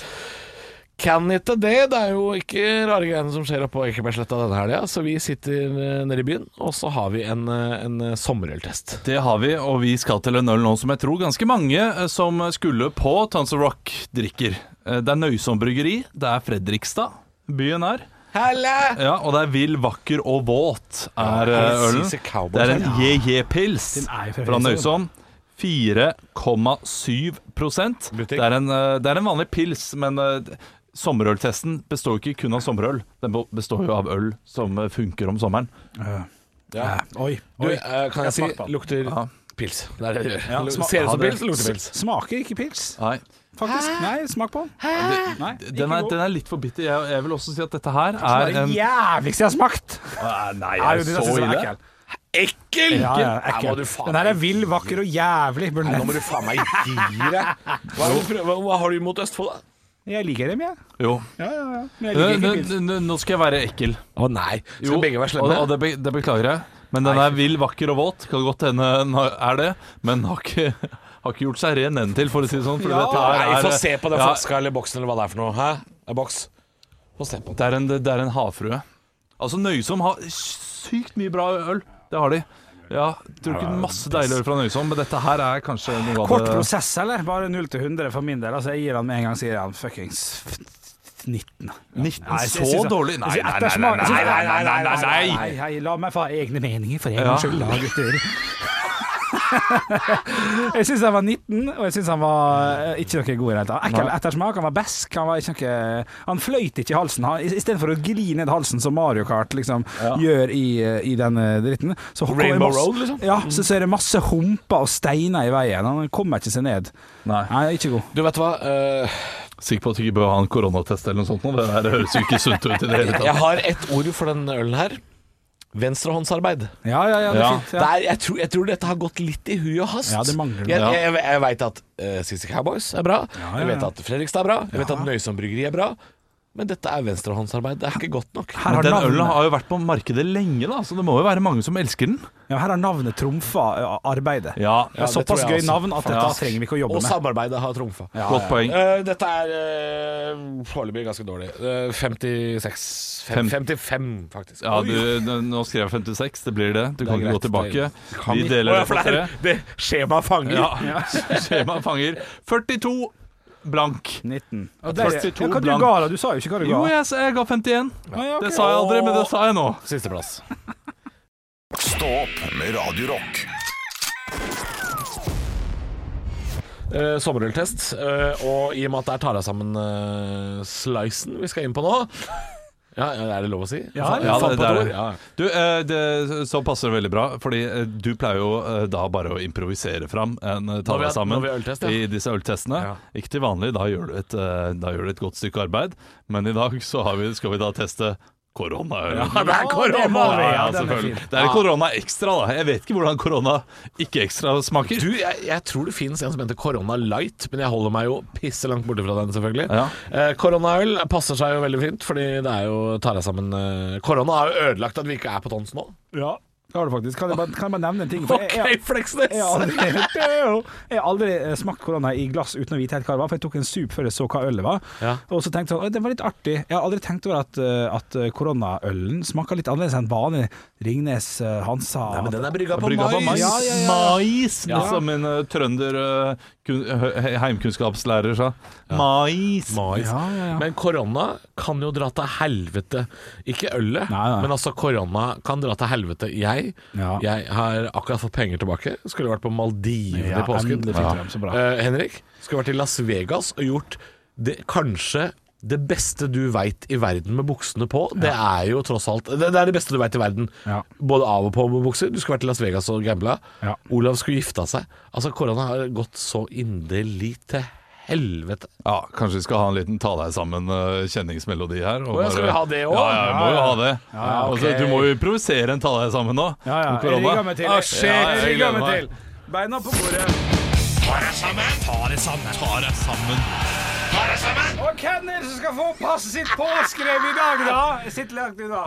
Kan ikke det. Det er jo ikke rare greiene som skjer oppe på Ekebergsletta denne helga. Så vi sitter eh, nede i byen, og så har vi en, eh, en eh, sommerøltest.
Det har vi, og vi skal til en øl nå som jeg tror ganske mange eh, som skulle på Tons of Rock, drikker. Eh, Det er Nøysom bryggeri, det er Fredrikstad byen her.
Helle!
Ja, og det er Vill, vakker og våt er
Ja,
eh, ølen.
CC Cowboys,
Det er en
ja.
JJ-pils
Den er jo fra
fra
Fredrikstad,
Nøysom. 4,7
Butikk.
det er, en, eh, det er en vanlig pils, men eh, d- sommerøltesten består jo ikke kun av sommerøl. Den be- består jo av øl som eh, funker om sommeren.
Ja. Oi.
Du,
oi.
eh, kan jeg si
smaker på den.
lukter
Ja.
pils. Det er det det gjør.
Ja, smak-
Ser ut
Ja,
som
det-
pils, lukter pils.
Smaker ikke pils,
Nei.
faktisk. Nei, smak på den. Nei, ikke
Den, er,
god.
den er litt for bitter. Jeg, jeg vil også si at dette her
Det
er
er
en
det jævligste jeg har smakt.
Nei,
Ja, jo, det synes jeg var ekkel.
Ekkel!
Ja, ja,
Her må
ekkel.
du faen
Den her er vill, vakker og jævlig. burde
Nei,
den
Nå må du faen meg gi deg. Hva, er det du prøver- hva- hva har du imot Østfold, da?
Jeg liker dem, jeg.
Jo.
Ja, ja, ja.
Nå,
Men jeg liker ikke pils.
nå- nå- nå skal jeg være ekkel.
Å nei. Skal
Jo,
begge være slemme?
Og, og det, be, det beklager jeg. Men den er vill, vakker og våt. Kan godt hende den har- er det, men har ikke, har ikke gjort seg ren ennå til, for å si det sånn. For dette her
Nei,
er,
få se på den
ja,
flaska eller boksen eller hva det er for noe. Hæ? Det er boks. Få se på den.
Det er en, det er en havfrue. Altså, Nøysom har sykt mye bra øl. Det har de. Ja, Drukket masse deilig øl fra Nøysom, men dette her er kanskje noe av
Kort
det
prosess, eller? Bare 0 til 100 for min del. Altså, jeg gir han med en gang, sier jeg han fuckings 19.
19,
Nei, jeg
så
synes- jeg-
dårlig? Nei, nei, nei,
jeg synes
nei,
ettersmak-
nei, nei, nei, nei, nei, nei,
Nei, hei, la meg få ha egne meninger for en
Ja.
gangs skyld, da, gutter. jeg syns han var 19, og jeg syns han var eh, ikke noe god i det hele tatt. Ekkel ettersmak, han var besk, han var ikke noe Han fløyt ikke i halsen. Han, i- Istedenfor å gli ned halsen, som Mario Kart liksom gjør i, eh, i denne dritten. Så kommer
Rainbow
masse-
Road, liksom?
Ja,
Mm.
så, så er det masse humper og steiner i veien. Han kommer ikke seg ned.
nei.
Nei, ikke god.
Du, vet du hva? Eh,
Sikker på at du ikke bør ha en koronatest eller noe sånt? nå? Det der høres jo ikke sunt ut i det hele tatt.
jeg har ett ord for den ølen her. Venstrehåndsarbeid.
Ja, ja, ja, det er
Ja.
fint.
Det
Ja.
er, jeg, tror, jeg tror dette har gått litt i hui og hast.
Ja, det mangler det.
jeg
Ja.
jeg, jeg, jeg veit at uh, CC Cowboys er bra.
ja,
Jeg vet
ja.
at Fredrikstad er bra. Jeg vet at Nøysom bryggeri er bra. Men dette er venstrehåndsarbeid. Det er ikke godt nok.
Her
Men
har
den
navnet-
ølen har jo vært på markedet lenge, da, så det må jo være mange som elsker den.
Ja, her har navnet trumfa eh, arbeidet.
Ja,
det er
det
såpass
tror
gøy
jeg også.
navn at dette
Ja.
trenger vi ikke å jobbe
Og
med.
samarbeidet har trumfa.
Godt poeng.
Eh, dette er eh, foreløpig ganske dårlig. Eh, 56 fem, 55, faktisk.
Ja,
Oi.
du, nå skrev jeg 56, det blir det. Du
er
kan ikke gå
greit.
tilbake.
Det kan
Vi
vi- Å,
deler
ja,
det
for
på
det
tre.
er- Det skjemaet fanger.
Ja, skjema fanger. 42 blank.
19.
Og
Der, ja,
42
hva du
blank.
ga da? Du sa jo ikke hva du ga.
Jo, jeg, sa- jeg ga 51. Det sa jeg aldri, men det sa jeg nå.
Sisteplass.
Stå opp med Radio Rock.
Eh, sommerøltest. eh, og i og med at der tar jeg sammen eh, slicen vi skal inn på nå Ja, Er det lov å si?
Ja,
Fa-
ja,
faen
det-
på
det er
et
det.
ord,
Du, eh, det, så passer det veldig bra, fordi eh, du pleier jo eh, da bare å improvisere fram en eh,
Når vi
tale
har-
sammen
når vi har øltest, ja.
i disse øltestene.
Ja.
Ikke til vanlig, da gjør, du et, eh, da gjør du et godt stykke arbeid, men i dag så har vi, skal vi da teste koronaølen.
Ja, det er
det må
korona!
vi.
Ja, ja,
den er
selvfølgelig.
fin.
Det er korona ekstra, da. Jeg vet ikke hvordan korona ikke ekstra smaker.
Du, jeg, jeg tror det finnes en som heter Corona Light, men jeg holder meg jo pisse langt borte fra den, selvfølgelig.
Ja.
Eh, Coronaøl passer seg jo veldig fint, fordi det er jo tar jeg sammen eh, Korona har jo ødelagt at vi ikke er på tons nå.
Ja, det har du faktisk. Kan jeg bare, kan jeg bare nevne en ting? For
OK,
jeg, jeg,
Fleksnes!
jeg har aldri, jeg har aldri eh, smakt korona i glass uten å vite helt hva det var, for jeg tok en sup før jeg så hva ølet var.
Ja.
Og så tenkte jeg sånn, «Å, den var litt artig. Jeg har aldri tenkt over at, eh, at koronaølen smaker litt annerledes enn vanlig Ringnes eh, Hansa.
Nei, men den er brygga på
Brygga
mais.
på mais.
Ja, ja, ja.
Mais,
Ja.
som en eh, trønder eh, kun, he- heimkunnskapslærer sa. Mais.
Mais.
Ja, ja, ja.
Men korona kan jo dra til helvete. Ikke ølet,
Nei, nei.
men altså korona kan dra til helvete. Jeg,
Ja.
jeg har akkurat fått penger tilbake. Skulle vært på Maldivene
Ja,
i påsken.
endelig fikk du dem, så bra.
Eh, Henrik skulle vært i Las Vegas og gjort det, kanskje det beste du veit i verden med buksene på. Det er jo tross alt Det, det er det beste du veit i verden.
Ja.
Både av og på med bukser. Du skulle vært i Las Vegas og gambla.
Ja.
Olav skulle gifta seg. Altså, korona har gått så inderlig til helvete.
Ja, kanskje vi skal ha en liten ta deg sammen eh, kjenningsmelodi her. og
Å, ja, skal vi ha det også?
Ja, ja, vi må jo ha det.
ja, ok.
Altså, du må jo improvisere en ta deg sammen nå.
Ja, ja.
om
Jeg
korona.
rigger meg til.
Ah, shit,
jeg
jeg
rigger
gleder
meg
meg.
til. Beina på bordet.
Ta deg sammen.
Og hvem er det som skal få passet sitt påskrevet i dag, da? Jeg sitter langt unna.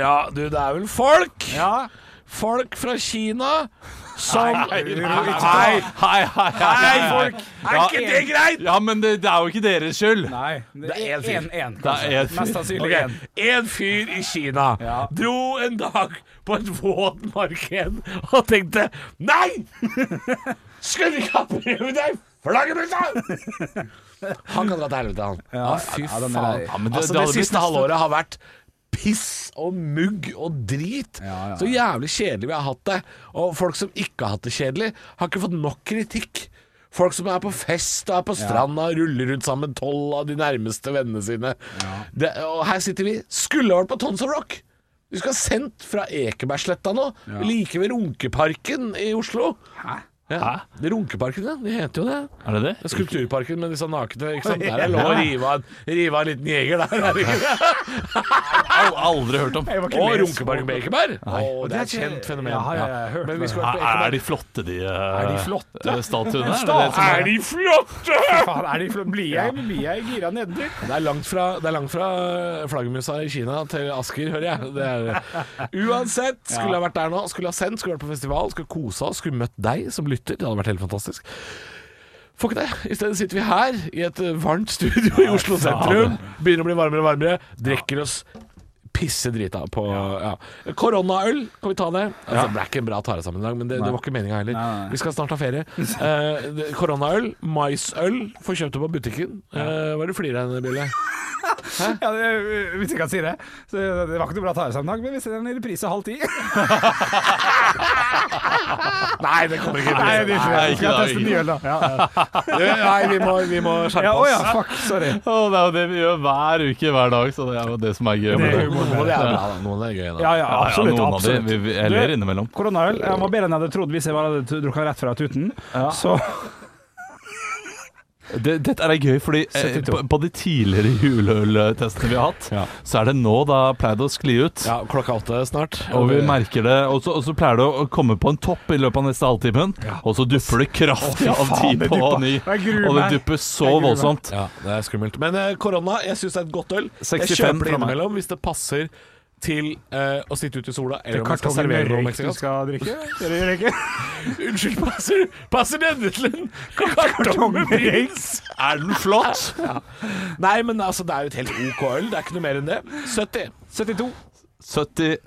Ja, du, det er vel folk
Ja.
Folk fra Kina som Hei,
Hei, hei, hei,
folk! Er ikke det greit?
Ja, men det, det er jo ikke deres skyld.
Nei, det
er
er
en fyr.
én, én.
Det er en fyr.
Mest sannsynlig
Ok,
én.
En fyr i Kina
Ja.
dro en dag på et våt marked og tenkte Nei! Skulle vi ikke ha prøvd flaggermusa? Han kan dra til helvete, han. Ja, fy
ja, den er
faen.
lei.
Ja, men det-
altså,
det
det,
hadde blitt
siste halvåret har vært piss og mugg og drit. Så jævlig kjedelig vi har hatt det. Og folk som ikke har hatt det kjedelig, har ikke fått nok kritikk. Folk som er på fest og er på stranda og ruller rundt sammen tolv av de nærmeste vennene sine. Det, og her sitter vi. Skulle vært på Tons of Rock! Vi skulle ha sendt fra Ekebergsletta nå, like ved Runkeparken i Oslo.
Hæ?
Ja. Runkeparken, ja. Det heter jo det.
Er det det?
Det er Skulpturparken med disse nakne. Ikke sant? Der er det lov å rive av, rive av en liten jeger. Der, er det ikke?
Al aldri hørt om.
Jeg var ikke
Og
med.
Runkeparken med Ekeberg. Å, Det er et
Det er ikke-
kjent fenomen.
Ja, ja, jeg har hørt
Men
det.
vi skulle vært på
Er
Ekeberg.
de flotte, de,
Er de flotte?
eh, statuene? Er det
Sta-
det som
Er de flotte?!
Faen, er de fl- blir jeg, blir jeg gira nedentil?
Det er langt fra, det er langt fra eh, flaggermusa i Kina til Asker, hører jeg. Det er, uansett, skulle jeg vært der nå, skulle jeg ha sendt, skulle vært på festival, skulle kose oss, skulle møtt deg som lytter. Det hadde vært helt fantastisk. Får ikke det. I stedet sitter vi her i et eh, varmt studio i Oslo sentrum. Begynner å bli varmere og varmere. Drikker oss pissedrita på ja. Koronaøl, kan vi ta det? Altså, Det er ikke en bra tare sammen i dag, men det, det var ikke meninga heller.
Nei, nei, nei.
Vi skal snart ha ferie. Eh, det- Koronaøl, maisøl, får kjøpt det på butikken. Eh, hva er det du flirer av, Bjelle?
Ja, det- hvis jeg kan si det. Så det var ikke noe bra taresammenheng, men vi ser den i reprise halv ti.
Nei, det kommer ikke.
Nei, det er ikke det.
Nei, ikke
Vi skal
da,
teste
ikke
ny øl, da. Ja, ja.
Nei, vi må, vi må skjerpe
Ja, å
oss.
ja, fuck, sorry.
det er jo det vi gjør hver uke, hver dag, så det er jo det som er gøy. med
Det er
det.
jo
Noen av de er bra, da. Noen av de er gøy, da.
Ja, ja,
Ja, ja,
absolutt.
noen
absolutt.
av de. Vi, jeg ler innimellom.
Koronaøl jeg var bedre enn jeg hadde trodd hvis jeg bare hadde t- drukket rett fra tuten. Så
Det, dette er gøy, fordi eh,
72.
på, på de tidligere juleøltestene vi har hatt,
Ja.
så er det nå det har pleid å skli ut.
Ja, klokka åtte snart. Eh,
Og vi
det-
merker det, og så, og så pleier det å komme på en topp i løpet av neste halvtimen, og så dupper det kraftig av ti
det
på
dupper.
ny.
Jeg gruer
Og det
meg.
dupper så
gruer meg.
voldsomt.
Ja, det er skummelt. Men eh, korona, jeg syns det er et godt øl. Jeg
65
kjøper det
fra meg.
innimellom hvis det passer til eh, å sitte ute i sola, eller om jeg skal
kartongen
servere
med
noe
røyk du
meksikansk.
skal drikke. Eller røyke.
Unnskyld, passer, passer denne til en kartong med brins?
Er den flott?
Nei, men altså, det er jo et helt OK øl. Det er ikke noe mer enn det. 70.
72.
70,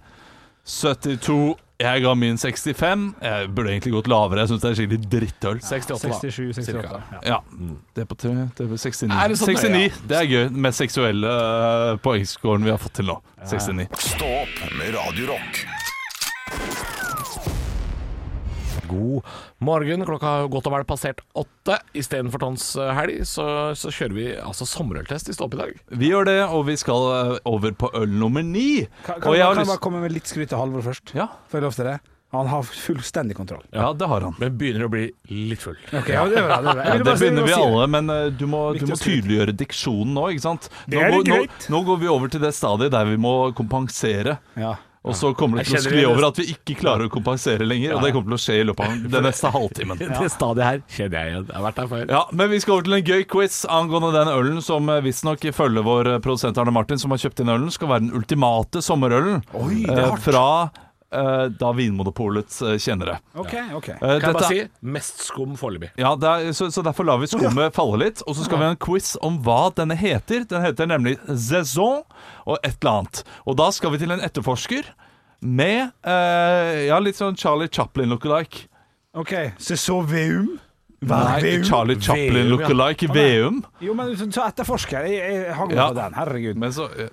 72. Jeg ga min 65. Jeg burde egentlig gått lavere, jeg syns det er skikkelig drittøl.
68, da.
67-68.
Cirka.
Ja. Mm. Det er på tre, det er på 69.
Er det sånn, ja?
69, det er gøy. Den mest seksuelle eh, poengscoren vi har fått til nå. 69.
Stå opp med Radio Rock.
God morgen. Klokka har jo godt og vel passert åtte. Istedenfor Tons eh, helg, så, så kjører vi altså sommerøltest i Ståp i dag.
Vi gjør det, og vi skal eh, over på øl nummer ni.
Kan, kan,
Og jeg
jeg
har
kan jeg bare
lyst
komme med litt skryt til Halvor først?
ja,
Får jeg lov til det? Han har fullstendig kontroll.
ja, det har han.
Men begynner å bli litt full.
Ok, ja, det er bra, det er bra. Jeg
Ja,
ville
det
bare si-
begynner vi
jeg ville bare si det.
alle, men eh, du må, du
Viktig
må
å skryte.
tydeliggjøre diksjonen nå, ikke sant? Nå,
er
går-
litt
nå,
greit.
nå går vi over til det stadiet der vi må kompensere.
Ja.
Og så kommer det
Jeg
til å
kjenner
skli
det.
over at vi ikke klarer å kompensere lenger, og det kommer til å skje i løpet av den neste halvtimen.
Det stadiet her kjenner jeg igjen. Jeg har vært der før.
Ja, men vi skal over til en gøy quiz angående den ølen som eh, visstnok ifølge vår eh, produsent Arne Martin, som har kjøpt inn ølen, skal være den ultimate sommerølen
Oi, det er
eh,
hardt.
fra eh, da Vinmonopolets eh, kjennere.
Ok, ok.
Eh,
Kan jeg
dette-
bare si mest skum foreløpig.
Ja, det er, så, så derfor lar vi skummet falle litt. Og så skal vi ha en quiz om hva denne heter. Den heter nemlig Saison og et eller annet. Og da skal vi til en etterforsker med eh, Ja, litt sånn Charlie Chaplin-lookalike.
Ok, så så Veum?
Nei, Charlie
Veum, ja.
Chaplin-lookalike i Veum.
Jo, men så etterforsker. Jeg, jeg hang
Ja.
på den, herregud.
Men så, eh,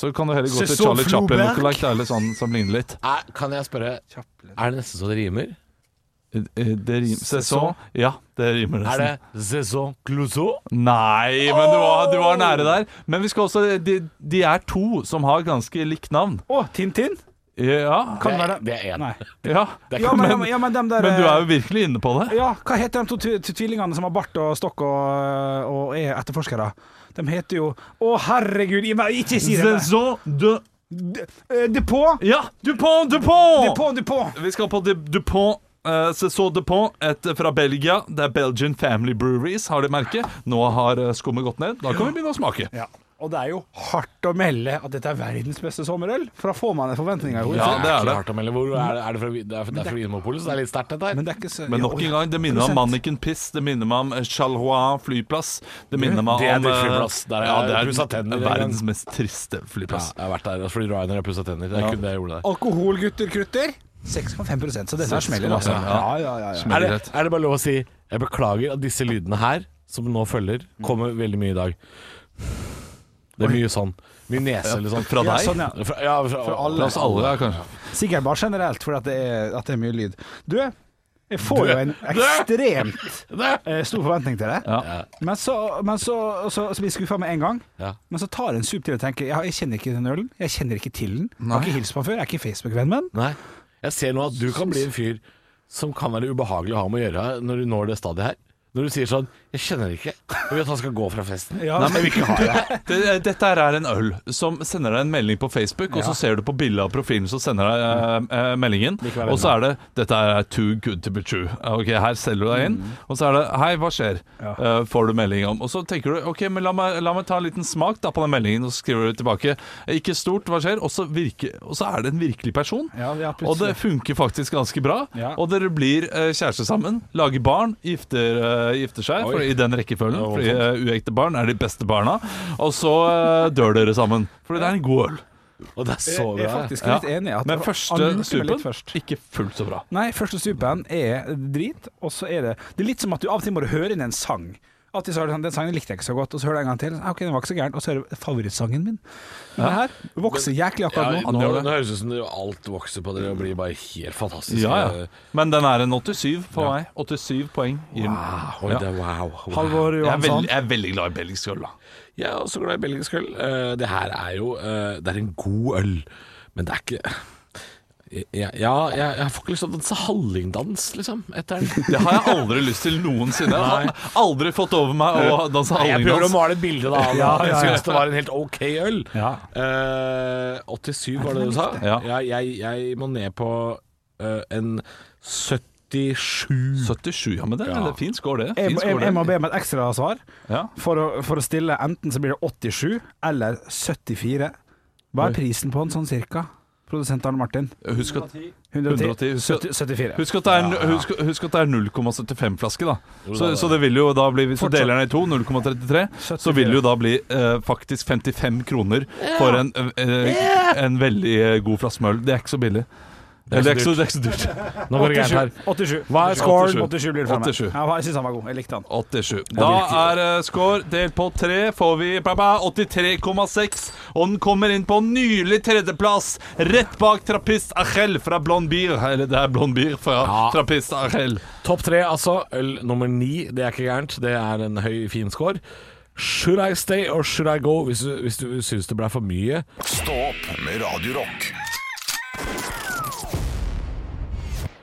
så kan du heller gå til
Saison
Charlie
Floberg.
Chaplin-lookalike. Det er litt sånn som ligner litt.
Er, kan jeg spørre Er det nesten så det rimer?
Eh, eh, Det rim, Saison Ja, det rimer nesten.
Er det saison clouseau?
Nei, men du var, du var nære der. Men vi skal også De, de er to som har ganske likt navn.
Å, Tintin?
Ja.
Kan det være
Det-
det?
det er en.
Nei.
Ja,
Ja, men, ja, men- ja, men dem der
men du er jo virkelig inne på det.
Ja, hva heter de to tv- tv- tvillingene som har bart og stokk og, og er etterforskere? De heter jo Å, herregud, gi meg- ikke si det!
Saison de
Eh, Dupont!
Ja, Dupont, Dupont!
Dupont, Dupont!
Vi skal på de, Dupont. eh, Saison Dupont, et fra Belgia. Det er Belgian Family Breweries, har de merke. Nå har eh, skummet gått ned. Da kan vi begynne å smake.
Ja. Og det er jo hardt å melde at dette er verdens beste sommerøl, for da får man en forventning. jo.
Ja, det er det.
Klart å melde hvor. Er, det- er det fra, det er, det er fra Vinmonopolet, så det er litt sterkt, dette her.
Men det er ikke så
Men nok en gang, det minner meg om Manniken Piss, det minner meg om eh, Charleroi flyplass. Det minner meg om
Mm. Det er
eh,
drittflyplass. Der er
ja,
jeg
det
pusset tenner i
er verdens mest triste
ja,
flyplass.
jeg har vært der altså, fordi Ryanair har pussa tenner. Det er kun det jeg gjorde der.
Alkohol, gutter, krutter. 6,5 så dette er smeller, altså.
Ja.
ja, ja, ja.
Men
Er det,
greit.
er det bare lov å si Jeg beklager at disse lydene her, som nå følger, kommer veldig mye i dag. Det er mye sånn. Mye nese eller sånn.
Fra
Ja,
deg?
sånn, ja.
Fra, ja, fra,
Fra oss alle, ja, altså. kanskje.
Sikkert bare generelt, fordi at det er, at det er mye lyd. Du, jeg får
Du-
jo en
Du-
ekstremt
Det-
eh, stor forventning til det.
Ja.
Men så, men så, så, så blir jeg skuffa med en gang.
Ja.
Men så tar jeg en sup til og tenker ja, jeg kjenner ikke den ølen. Jeg kjenner ikke til den. Jeg har ikke hilst på den før. Jeg er ikke Facebook-venn med den.
Nei. Jeg ser nå at du kan bli en fyr som kan være ubehagelig å ha med å gjøre når du når det stadiet her. Når du sier sånn 'Jeg kjenner det ikke'. Jeg vet han skal gå fra festen.
Ja.
Nei, men vi ikke ha det.
Det, eh, dette her er en øl som sender deg en melding på Facebook, og så ser du på bildet av profilen som sender deg eh, eh, meldingen, og så er det 'Dette er too good to be true'. Eh, Ok, her selger du deg inn,
Mm.
og så er det 'Hei, hva skjer?' Eh, får du melding om. Og så tenker du 'OK, men la meg, la meg ta en liten smak da på den meldingen', og så skriver du tilbake 'Ikke stort, hva skjer?' Og så, virker, og så er det en virkelig person.
Ja, ja, plutselig.
og det funker faktisk ganske bra.
Ja.
Og dere blir eh, kjærester sammen, lager barn, gifter eh, eh, gifter seg,
Oi.
for, i den rekkefølgen.
Det var
Fordi eh, uekte barn er de beste barna. Og så eh, dør dere sammen. Fordi det er en god øl.
Og det er så
Jeg er
bra.
faktisk
Ja.
litt enig. i At
Men
han
første
lurte meg
supen
litt først.
ikke fullt så bra.
Nei, første stupen er drit, og så er det Det er litt som at du av og til må du høre inn en sang. Alltid så er det sånn, Den sangen likte jeg ikke så godt, og så hører jeg en gang til. Ah, Ok, den var ikke så gæren Og så er det favorittsangen min. Den her vokser jæklig
Ja,
akkurat
nå,
nå.
nå
gjør det.
høres det ut som det- alt vokser på dere og blir bare helt fantastisk.
Ja, ja. Men den er en 87 på meg. 87 poeng. Gir den.
Wow,
Ja.
det, wow, wow.
Halvor
Jeg er,
Johansson.
veldig, jeg er veldig glad i belgisk øl, da.
Jeg er også glad i belgisk øl. Eh, Det her er jo eh, Det er en god øl, men det er ikke ja, ja, jeg, jeg får ikke lyst til å danse hallingdans, liksom, etter den.
Det har jeg aldri lyst til noensinne. Jeg har aldri fått over meg å danse
Nei, jeg prøver å
hallingdans.
male et bilde,
Ja,
da. Ja,
ja, ja.
Jeg syns det var en helt ok øl.
Ja.
Eh, 87 var det du sa?
Ja.
Jeg, jeg, jeg må ned på eh, en 77.
77, ja, men det
Ja.
det er fin score, det.
Jeg,
Fin
må- jeg,
score,
jeg må
det.
be om et ekstrasvar.
Ja.
For, å- for å stille enten så blir det 87 eller 74. Hva
Oi.
er prisen på den sånn cirka? Produsent Arne Martin.
Husk at
110?
110, husk at-
70, 74.
Husk at det er, husk, husk at det er 0,75 flaske, da. Så,
det-
så det vil jo da bli Hvis du
Fortsatt.
deler den i to, 0,33, så vil det jo da bli eh, faktisk 55 kroner for en, eh, en veldig eh, god flaske med øl. Det er ikke så billig.
er
Eller det er ikke
så
så, det er ikke så dyrt.
Nå går det gærent her.
87.
Hva er scoren?
87 blir det for meg.
87.
Ja, jeg syns han var god. Jeg likte han.
87. Da er eh, score delt på tre, får vi bla, bla, 83,6. Og den kommer inn på nylig tredjeplass, rett bak Trappist Achel fra Blond Bier. Eller det er Blond Bier fra
Ja.
Trappist Achel.
Topp tre, altså. Øl nummer ni, det er ikke gærent. Det er en høy, fin score. Should I stay or should I go? Hvis du, hvis du syns det ble for mye.
Stå opp med Radio Rock.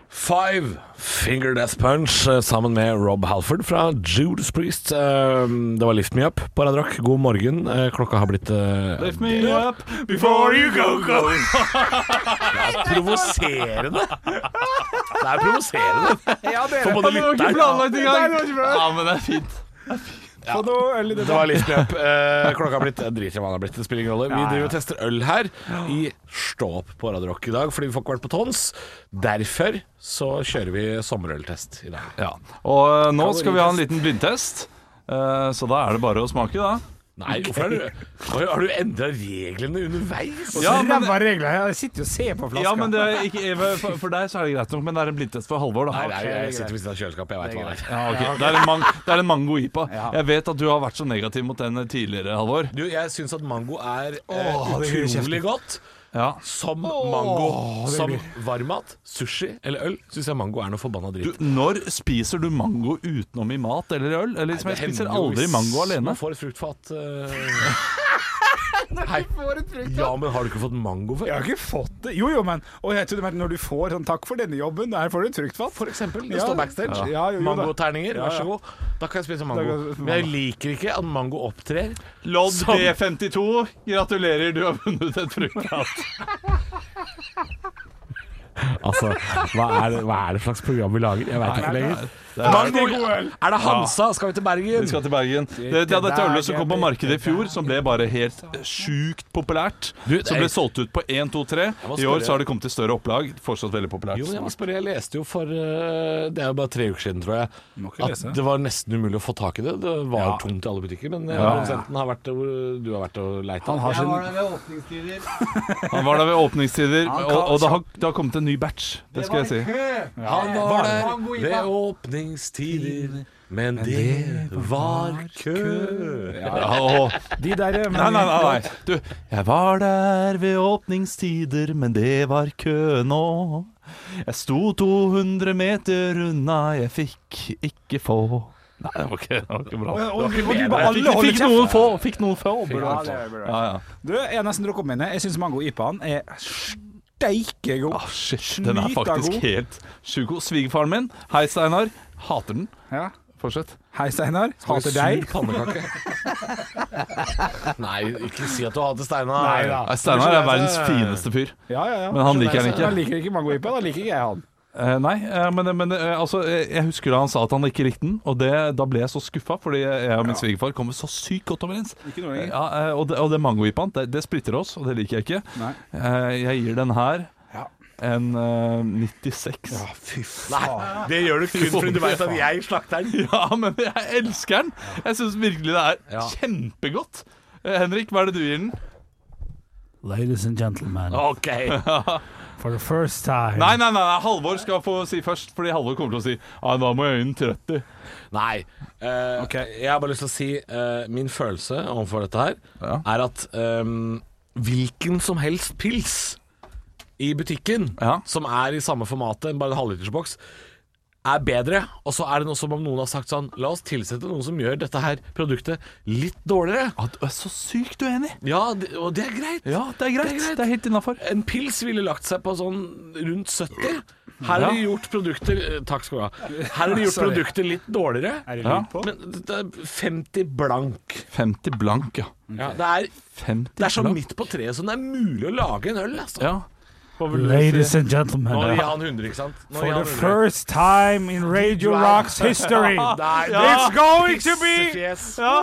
Five Finger Death Punch eh, sammen med Rob Halford fra Judas Priest. Eh, Det var Lift Me Up på Radio Rock. God morgen. Eh, Klokka har blitt eh,
Lift me up before you go going.
provoserende. Det er provoserende.
Ja, det
For både lytteren
Nei, det var ikke bra.
Ja, men det er fint.
Få noe øl i det.
Det var litt løp. Eh, klokka har blitt eh, Drit i hva den har blitt, det spiller ingen rolle. Vi
Ja, ja.
driver og tester øl her i Stå opp på Radio Rock i dag, fordi vi får ikke vært på Tons. Derfor så kjører vi sommerøltest i dag.
Ja. Og eh, nå skal vi ha en liten blindtest. Eh, Så da er det bare å smake, da.
Nei, hvorfor har du, Oi, har du endra reglene underveis?
Ja,
men,
men,
Ræva regler. Jeg sitter jo og ser på flaska.
ja, men det er ikke, eh, for, for deg så er det greit nok, men det er en blindtest for Halvor, da.
Nei, nei, jeg sitter ved siden av kjøleskapet, jeg veit hva det er.
Ja, ok. Det, er en mang, det er en mango ipa.
Ja.
Jeg vet at du har vært så negativ mot den tidligere, Halvor.
Du, jeg syns at mango er eh,
Åh, det gjør
utrolig godt.
Ja.
Som mango. som varmmat, sushi eller øl syns jeg mango er noe forbanna
Du,
dritt.
når spiser du mango utenom i mat eller øl? Eller, liksom, jeg
Det
spiser
hender jo
aldri
hvis
mango alene.
Man får et fruktfat eh. Hei. Ja, men har du ikke fått mango før?
Jeg har ikke fått det. Jo, jo, men Og jeg trodde men når du får sånn 'takk for denne jobben', her får du et fruktfat.
For eksempel. Det
Ja.
står backstage.
Ja, jo, jo da.
Mangoterninger,
Ja,
vær så
ja.
god. Da kan jeg spise
Da
mango.
kan jeg spise
Men jeg
mango.
liker ikke at mango opptrer.
Lodd
Som-
D52, gratulerer, du har vunnet et fruktfat.
Altså, hva er, det, hva er det slags program vi lager? Jeg veit ikke lenger.
Det er-
Mango! Er det Hansa? Skal vi til Bergen?
Vi skal til Bergen. Det, de hadde et øl som kom på markedet i fjor, som ble bare helt sjukt populært.
Du, det er-
Som ble solgt ut på 1, 2, 3.
må
I år
spørre-
så har det kommet i større opplag. Fortsatt veldig
Jo, men jeg må
populært.
spørre, jeg leste jo for eh, Det er jo bare tre uker siden, tror jeg.
ikke
At
lese.
det var nesten umulig å få tak i det. Det var tomt i alle butikker, men eh, produsenten har vært hvor du har vært og leita.
Han har sin
Han var der ved åpningstider,
Han
og,
kan-
og det, har, det har kommet en ny batch. Det skal jeg si.
Han var der ved åpningstider, men det var kø.
Ja, og,
De der men,
nei, nei, nei, nei. Du, jeg var der ved åpningstider, men det var kø nå. Jeg sto 200 meter unna, jeg fikk ikke få. Nei, det var ikke, det var ikke bra.
Og, og, og du bare
Jeg
alle
fikk,
holder
fikk
kjeft.
noen få. Fikk noen få
Ja,
burde det
det
vært.
er bra.
ja, ja.
Du, jeg har nesten drukket opp mine. Jeg syns mango-ipaen er steike god.
Ah, shit, den er
Snyta
faktisk
god.
helt sjuk. Og Svigerfaren min, hei Steinar, hater den.
Ja.
Fortsett.
Hei, Steinar. Hater deg.
pannekake. Nei, ikke si at du hater Steinar. altså.
Nei, Steinar er verdens fineste fyr,
Ja, ja, ja.
men han liker den
Da
ikke.
liker ikke mango-ipa, da liker ikke jeg han.
Eh, nei, eh, men, men eh, altså, eh, jeg husker da han sa at han ikke likte den, og det, da ble jeg så skuffa, fordi jeg og min svigerfar kommer så sykt godt overens.
Ikke noe lenger.
Ja, eh, og det, og det mangovipaen, det, det splitter oss, og det liker jeg ikke.
Nei.
Eh, jeg gir den her
Ja.
enn eh, 96. Ja.
Fy faen.
Det gjør du kun fordi du veit at jeg slakter den.
men jeg elsker den! Jeg syns virkelig det er
Ja.
kjempegodt. Eh, Henrik, hva er det du gir den?
Ladies and gentlemen,
Ok.
for the first time
Nei, nei, nei, nei, Halvor skal få si først, fordi Halvor kommer til å si Ja, da må jeg gi den 30.
Nei. eh,
Ok.
Jeg har bare lyst til å si eh, min følelse overfor dette her
Ja.
er at ehm, hvilken som helst pils i butikken
Ja.
som er i samme formatet, bare en halvlitersboks, er bedre. Og så er det noe som om noen har sagt sånn La oss tilsette noe som gjør dette her produktet litt dårligere.
Ja, du er så sykt uenig.
Ja, det, og det er greit.
Ja, det er greit.
Det er greit.
Det er helt innafor.
En pils ville lagt seg på sånn rundt 70. Her har de gjort produkter eh, Takk skal du ha. Her har de gjort
Sorry.
produkter litt dårligere.
Er det
Ja.
lyd på?
Men det er 50 blank.
50 blank, ja.
Ja, det, er,
50
det er så
Mm. blank.
midt på treet som det er mulig å lage en øl. Altså.
Ja.
Ladies and gentlemen,
Nå gir han 100, ikke sant? Nå
for
gir han
the
100.
first time in Radio Rocks history
Nei,
It's going to be
Pissefjes.
100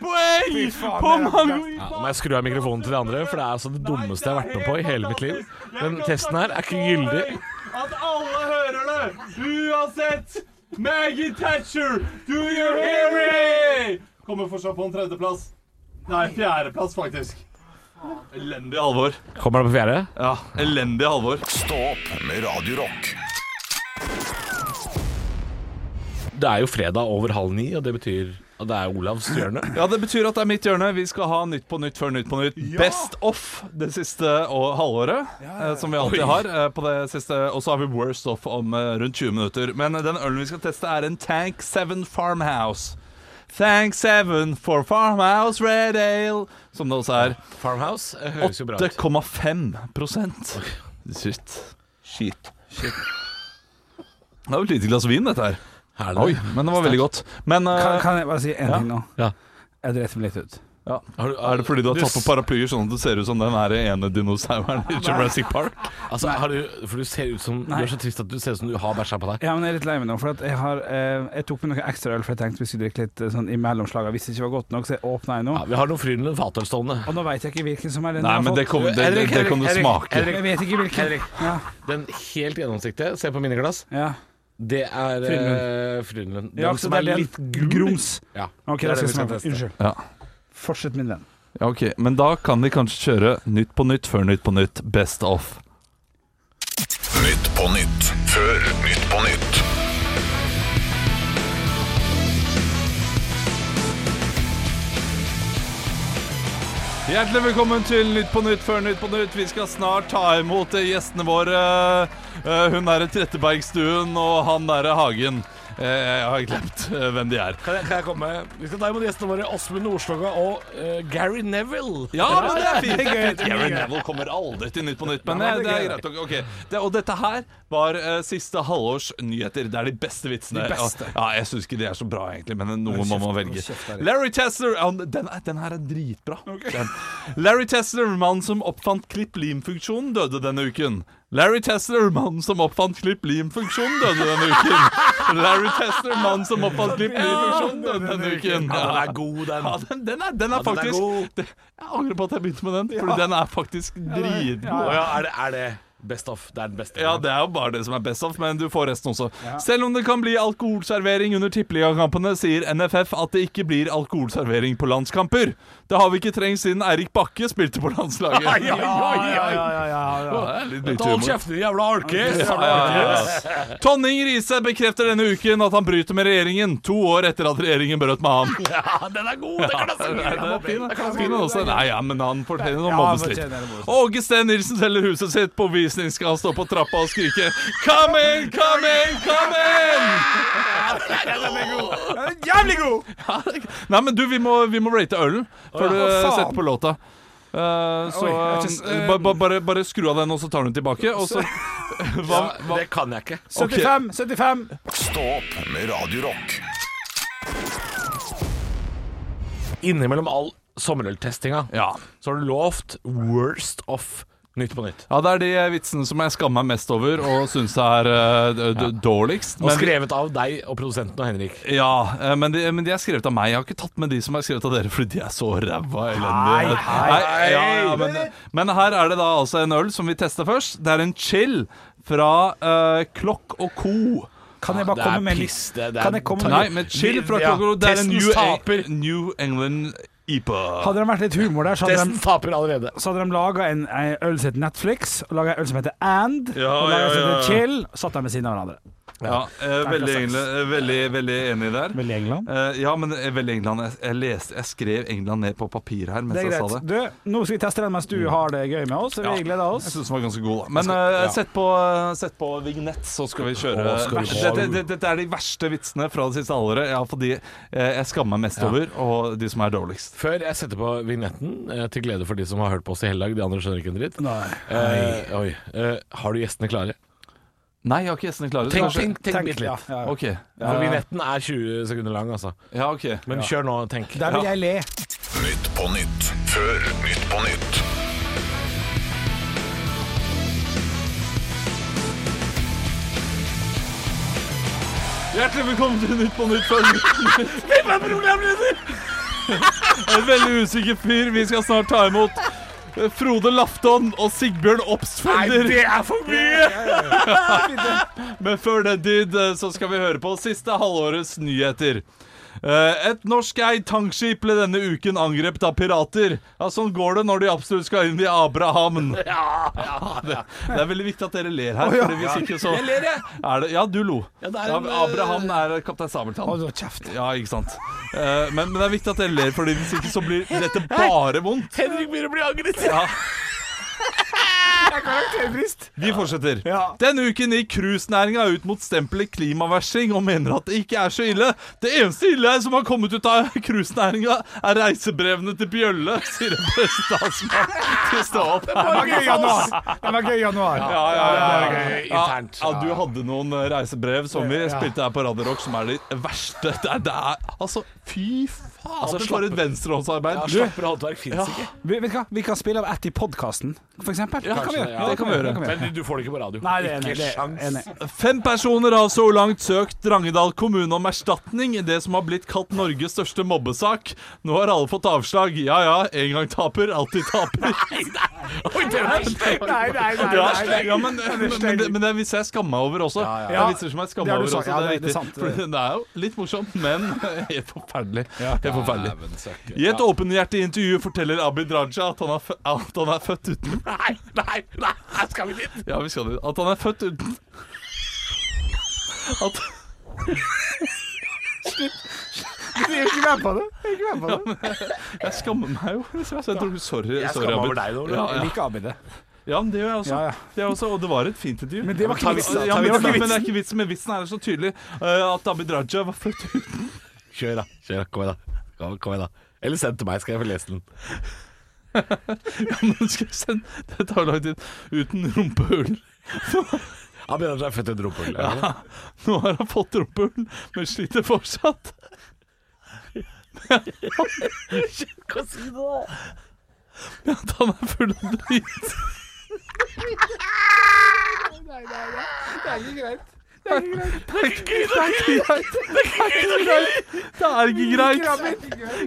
poeng! 100 poeng på mange
Ja, nå må jeg skru av mikrofonen til de andre, for det er altså det dummeste jeg har vært med på i hele mitt liv. Den testen her er ikke gyldig.
At alle hører det! Uansett! Maggie Thatcher, do you hear me? Kommer fortsatt på en tredjeplass. Nei, fjerdeplass, faktisk. Elendig Halvor.
Kommer det på fjerde?
Ja, elendig Halvor.
Stå opp med Radio Rock.
Det er jo fredag over halv ni, og det betyr at det er Olavs hjørne.
Ja, det betyr at det er mitt hjørne. Vi skal ha Nytt på nytt før Nytt på nytt. Best off det siste og halvåret, eh, som vi alltid har. eh, på det siste Og så har vi worst off om eh, rundt 20 minutter. Men eh, den ølen vi skal teste, er en Tank 7 Farmhouse. Tank 7 for Farmhouse Red Ale, som det også er.
Farmhouse eh, høres jo bra ut.
8,5 prosent. Shit. Shit. Det er jo et lite glass vin, dette her.
Er det
Oi,
det?
men det var veldig godt. Men eh,
kan, kan jeg bare si en ting nå?
Ja.
Jeg dreit meg litt ut
ja.
Har du-
Er det fordi du har tatt på
s-
paraplyer sånn at du ser ut som den her ene dinosauren i Jurassic Park?
Altså, har du, for du ser ut som Du er så trist at du ser ut som du har bæsja på deg.
Ja, men jeg er litt lei meg nå, for at jeg, har, eh, jeg tok med noe ekstra øl, for jeg tenkte vi skulle drikke litt eh, sånn i mellomslagene. Hvis det ikke var godt nok, så jeg åpna jeg nå.
Ja, vi har noen Frydenlund Fatøl stående.
Og nå veit jeg ikke hvilken som er den.
Nei,
jeg har
men det
fått.
kom, det, det, det kan du
Henrik,
smake.
Henrik,
Jeg vet ikke hvilken.
Henrik.
Ja,
Den helt gjennomsiktige, se på mine glass,
ja.
det er eh, Frydenlund. Den
ja så
som
det er
er
den.
litt grums.
grums.
Ja,
Ok,
det
da skal jeg
er det vi skal
smake.
teste.
Unnskyld.
Ja.
Fortsett min venn.
Ja, ok, Men da kan vi kanskje kjøre Nytt på nytt før Nytt på nytt. Best off.
Nytt på nytt før Nytt på nytt.
Hjertelig velkommen til Nytt på nytt før Nytt på nytt. Vi skal snart ta imot eh, gjestene våre. Eh, Hun derre Trettebergstuen og han derre Hagen. Eh, Jeg har glemt eh, hvem de er.
Kan jeg, kan jeg komme? Vi skal ta imot gjestene våre Åsmund Nordstoga og eh, Gary Neville.
Ja, men det er fint. Det er fint. Gary Neville kommer aldri til Nytt på Nytt, men det, det er greit. nok. Ok, det, Og dette her var eh, siste halvårs nyheter. Det er de beste vitsene.
De beste.
Ja, jeg syns ikke de er så bra, egentlig, men noe må
Hold kjeft,
man
hold
velge.
kjeft der, ja.
Larry Tesler ja, den, er- den her er dritbra. Den. Larry Tesler, mannen som oppfant klipp-lim-funksjonen, døde denne uken. Larry Tesler, mannen som oppfant klipp-lim-funksjonen, døde denne uken. Larry Tesler, mannen som oppfant klipp-lim-funksjonen, døde denne uken.
Ja, den er god, den.
Ja, den, den er, den er
Ja, den er
faktisk
god.
det- Jeg angrer på at jeg begynte med den, Fordi den er faktisk
Å
dritgod.
ja, er det, er det best of? Det er den beste.
Ja, det er jo bare det som er best av, men du får resten også. Selv om det kan bli alkoholservering under tippeligakampene, sier NFF at det ikke blir alkoholservering på landskamper. Det har vi ikke trengt siden Eirik Bakke spilte på landslaget.
Ai, ai, ai,
Ja,
ai.
ja, ja, ja, ja.
Det er litt lite
Hold
humor.
kjeften, din jævla alkis!
Tonning Riise bekrefter denne uken at han bryter med regjeringen, to år etter at regjeringen brøt med ham.
Ja, den er god! Det kan jeg si.
Nei, den er fin, den. Fin den også. Nei, ja, men han fortjener å
Ja,
mobbes
han
litt.
fortjener å mobbes litt.
Åge Steen Nilsen selger huset sitt. På visning skal han stå på trappa og skrike 'Come in, come in, come in'!
Jævlig god!
Ja, Nei, men du, vi må, vi må rate ølen før du
Å, faen.
setter på låta. Eh, så
Oi, jeg har ikke s-
eh, ba, ba, bare, bare skru av den, og så tar du den tilbake. Og så
Ja, det kan jeg ikke.
75, 75.
Stå opp med Radio Rock.
Innimellom all sommerøltestinga
Ja.
så har du lovt worst of Nytt på nytt.
Ja, det er de vitsene som jeg skammer meg mest over og syns er eh, d- d- dårligst.
Og
men-
skrevet av deg og produsenten og Henrik.
Ja, eh, men de, men de er skrevet av meg. Jeg har ikke tatt med de som er skrevet av dere, fordi de er så ræva og elendige. Nei, ja, ja, men, men her er det da altså en øl som vi tester først. Det er en chill fra eh, Klokk og Co.
Kan
Ah,
jeg bare
det er
komme med en
piss,
litt-
det- det er-
Kan jeg komme
Nei,
med
men chill fra
Ja,
Klokk og Co. Det er en New,
testens taper.
Eng- New England IPA.
Hadde det vært litt humor der, så hadde
Testen
de
taper allerede.
så hadde de laga en, en øl som heter Netflix, og laga en øl som heter And,
Ja,
og laget en som
ja,
heter
ja, ja.
Chill, og satt dem ved siden av hverandre.
Ja, eh, veldig, egentlig, eh, veldig, veldig enig der.
Veldig England.
Eh, ja, men eh, veldig England. Jeg, jeg, leste, jeg skrev England ned på papir her mens
Det er
jeg sa
greit.
det. Mm.
Du, nå skal vi teste den mens du har det gøy med oss, så vi gleder
Jeg
oss.
synes den var ganske god, da. Men eh, sett, på, sett på vignett, så skal vi kjøre
Å, skal vi
Dette
kjøre?
det, det, dette er de verste vitsene fra det siste halvåret. Ja, fordi eh, jeg skammer meg mest over, og de som er dårligst.
Før jeg setter på vignetten, eh, til glede for de som har hørt på oss i hele dag, de andre skjønner ikke en dritt
Nei.
Eh, oi. Eh, har du gjestene klare?
Nei, jeg har ikke gjestene klare.
Tenk,
Kanskje-
tenk, tenk,
Tenk-
bitte litt.
ja, ja, ja.
Ok.
For vignetten er 20 sekunder lang, altså.
Ja, ok.
Men kjør nå, tenk.
Der vil jeg le.
Nytt på nytt før Nytt på nytt.
Hjertelig velkommen til Nytt på Nytt før Nytt på Nytt. En veldig usikker fyr vi skal snart ta imot. eh, Frode Lafton og Sigbjørn Obstfelder.
er for mye!
Men før den tid eh, så skal vi høre på siste halvårets nyheter. Eh, Et norskeid tankskip ble denne uken angrepet av pirater. Ja, Sånn går det når de absolutt skal inn i Abrahamn. Det, det er veldig viktig at dere ler her. Fordi hvis ikke så Jeg ler, jeg. Er det, ja, du lo.
Ja,
Ja,
det er en,
Abraham er kaptein Sabeltann.
Hold Altså, kjeft.
Ja, ikke sant. Eh, Men, men det er viktig at dere ler, Fordi hvis ikke så blir dette bare vondt.
Henrik begynner å bli angret.
Ja.
Karakterbrist.
Vi fortsetter.
Ja.
Denne uken gikk cruisenæringa ut mot stempelet klimaversing og mener at det ikke er så ille. Det eneste ille som har kommet ut av cruisenæringa, er reisebrevene til Bjølle, sier en prestasmann til stå opp.
Den var gøy i januar. Den var gøy i januar.
Ja, ja, ja, ja.
Det er gøy
Ja,
internt.
ja, du hadde noen eh, reisebrev som vi spilte her på Radio Rock, som er de verste. Det er, det er altså Fy faen,
Altså,
for et
slapp-
venstrehåndsarbeid.
Ja,
Du,
slapper av håndverk fins ikke.
Vi, vet du hva? vi kan spille av ett i podkasten, for eksempel.
Ja,
det kan vi
kanskje
gjøre.
det, ja.
Det kan vi gjøre. Det kan vi gjøre.
Men du, du får det ikke på radio.
Nei, det er enig.
ikke
Det er
sjans.
enig.
Fem personer har så langt søkt Drangedal kommune om erstatning i det som har blitt kalt Norges største mobbesak. Nå har alle fått avslag. Ja ja, en gang taper, alltid taper.
Oi, det er slekt.
Nei, nei, nei,
Ja,
nei, nei.
ja, men, men, men, det- men det er visse jeg skammer meg over også.
ja.
Det er visse som jeg skammer
Ja,
meg
det har
over
du
også.
sagt. Ja,
Det er,
det er
viktig.
sant, det.
For det er jo litt morsomt, men helt forferdelig. Helt forferdelig. I et åpenhjertig intervju forteller Abid Raja at han er, fø- at han er født uten
Nei, nei, nei, her skal vi dit.
Ja, vi skal dit. At han er født uten At
Jeg er ikke med på det. Jeg er ikke med på det.
Jeg skammer meg jo. Så jeg tror, sorry,
Jeg
sorry,
skammer
Abid.
meg over deg nå.
Ja,
Olav.
Jeg
ja.
liker Abid det.
ja, men det gjør jeg også.
Ja, ja.
Det er også. Og det var et fint intervju.
Men det var ikke
Ta
vitsen.
vitsen,
ja,
ta
men,
vitsen,
det
da.
er- men det er ikke vitsen, men vitsen er så tydelig eh, at Abid Raja var født ut
Kjør, da. Kjør, da. Kom igjen, da. Kom, kom igjen, da. Eller send til meg, skal jeg få lese den.
Ja, men skal jeg sende Det tar lang tid. Uten rumpehull.
Abid Raja er født i et rumpehull. er det det?
Nå har han fått rumpehull, men sliter fortsatt. Men at han er full av drit. Det er ikke greit. Det er ikke greit.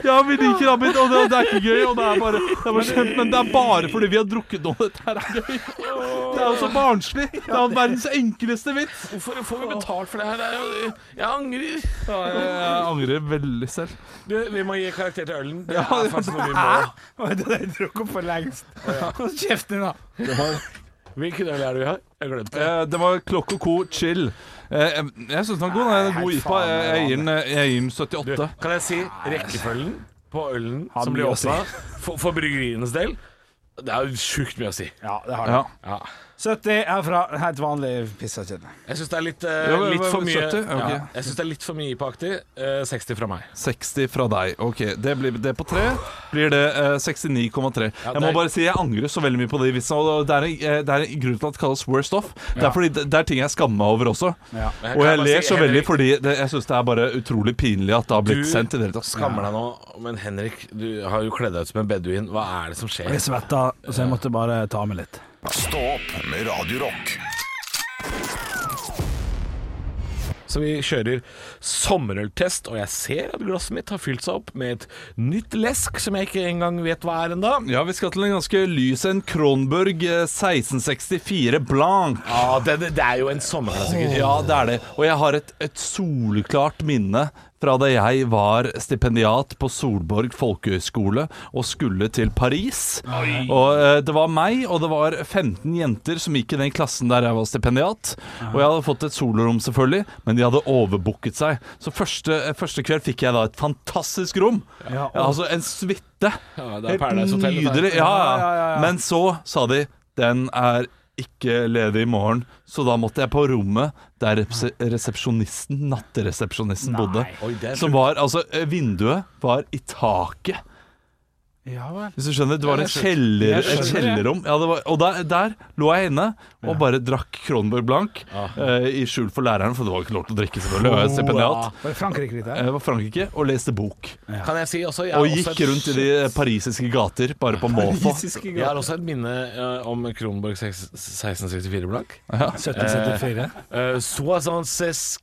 Ja, vi liker Abid, og det, det er ikke gøy. Og det er bare, det er bare slemt, men det er bare fordi vi har drukket nå. Dette her er gøy. Det er jo så barnslig. Det er jo verdens enkleste vits.
Hvorfor får vi betalt for det her? Det er jo- Jeg angrer.
Ja, jeg, jeg angrer veldig selv.
Du, vi må gi karakter til ølen. Det
Ja,
er Ah!
det-
faktisk noe vi må.
Oi, Det der drukket opp for lengst. Hold kjeften din, da.
Hvilken øl er det vi har? Jeg glemte det.
Eh, det var Klokk og Co. Chill. Eh, jeg jeg syns den er god. Den er en god IPA. Jeg, jeg, gir den- eh, jeg gir den
Du,
78.
kan jeg si rekkefølgen på ølen
Har
som
mye
blir
å si.
åpna for, for bryggerienes del? Det er jo sjukt mye å si.
Ja, det har du.
Ja.
70 er fra helt vanlig pissakjede.
Jeg syns det er litt, eh,
Ja, men-
litt for
men-
mye
70? Ja, ok.
ja, Jeg synes det er litt for mye IPA-aktig. Eh, 60 fra meg.
60 fra deg. Ok, Det blir det på tre. Blir det eh, 69,3. Jeg
Ja, det er-
må bare si jeg angrer så veldig mye på de vitsene. Og det er, en- eh, det er en grunn til at det kalles worst off. Det er fordi det, det er ting jeg skammer meg over også.
Ja.
Men
Og
kan
jeg
bare
ler
si,
så veldig
Henrik,
fordi det, jeg syns det er bare utrolig pinlig at det har blitt
Du
sendt i det hele tatt.
Skammer deg nå, men Henrik, du har jo kledd deg ut som en beduin. Hva er det som skjer?
Jeg svetta, så jeg måtte bare ta med litt.
Stå opp med Radio Rock.
Så vi kjører sommerøltest, og jeg ser at glasset mitt har fylt seg opp med et nytt lesk som jeg ikke engang vet hva er ennå.
Ja, vi skal til en ganske lys en. Kronburg eh, 1664 Blanc.
Ja, det, det, det er jo en sommerklassiker.
Ja, det er det. Og jeg har et, et solklart minne fra da jeg var stipendiat på Solborg folkehøgskole og skulle til Paris. Og eh, Det var meg og det var 15 jenter som gikk i den klassen der jeg var stipendiat. Og jeg hadde fått et solorom, selvfølgelig, men de hadde overbooket seg. Så første, eh, første kveld fikk jeg da et fantastisk rom.
Ja, og-
altså en suite.
Ja, det er
Helt
Paradise Hotel, dette her.
nydelig. Ja,
Ja, ja, ja,
ja.
ja.
Men så sa de den er ikke ledig i morgen, så da måtte jeg på rommet der repse- resepsjonisten, natteresepsjonisten, bodde.
Oi, det er
Som var altså eh, Vinduet var i taket.
Ja vel.
Hvis du skjønner, det var en
Jeg
kjeller,
Jeg
et
skjønner det.
kjellerrom. Ja, det var, og der, der lå jeg inne og bare drakk Kronborg Blank eh, i skjul for læreren, for det var ikke lov til å drikke, selvfølgelig. og Jeg er stipendiat.
Var det Frankrike dette her?
Jeg var i Frankrike og leste bok.
Kan jeg si også jeg
Og
har også
gikk
et-
rundt i de parisiske gater bare på måfå.
Fysiske
Jeg har også et minne eh, om Kronborg 6- 1664 blank.
1774.
Uh, Soissons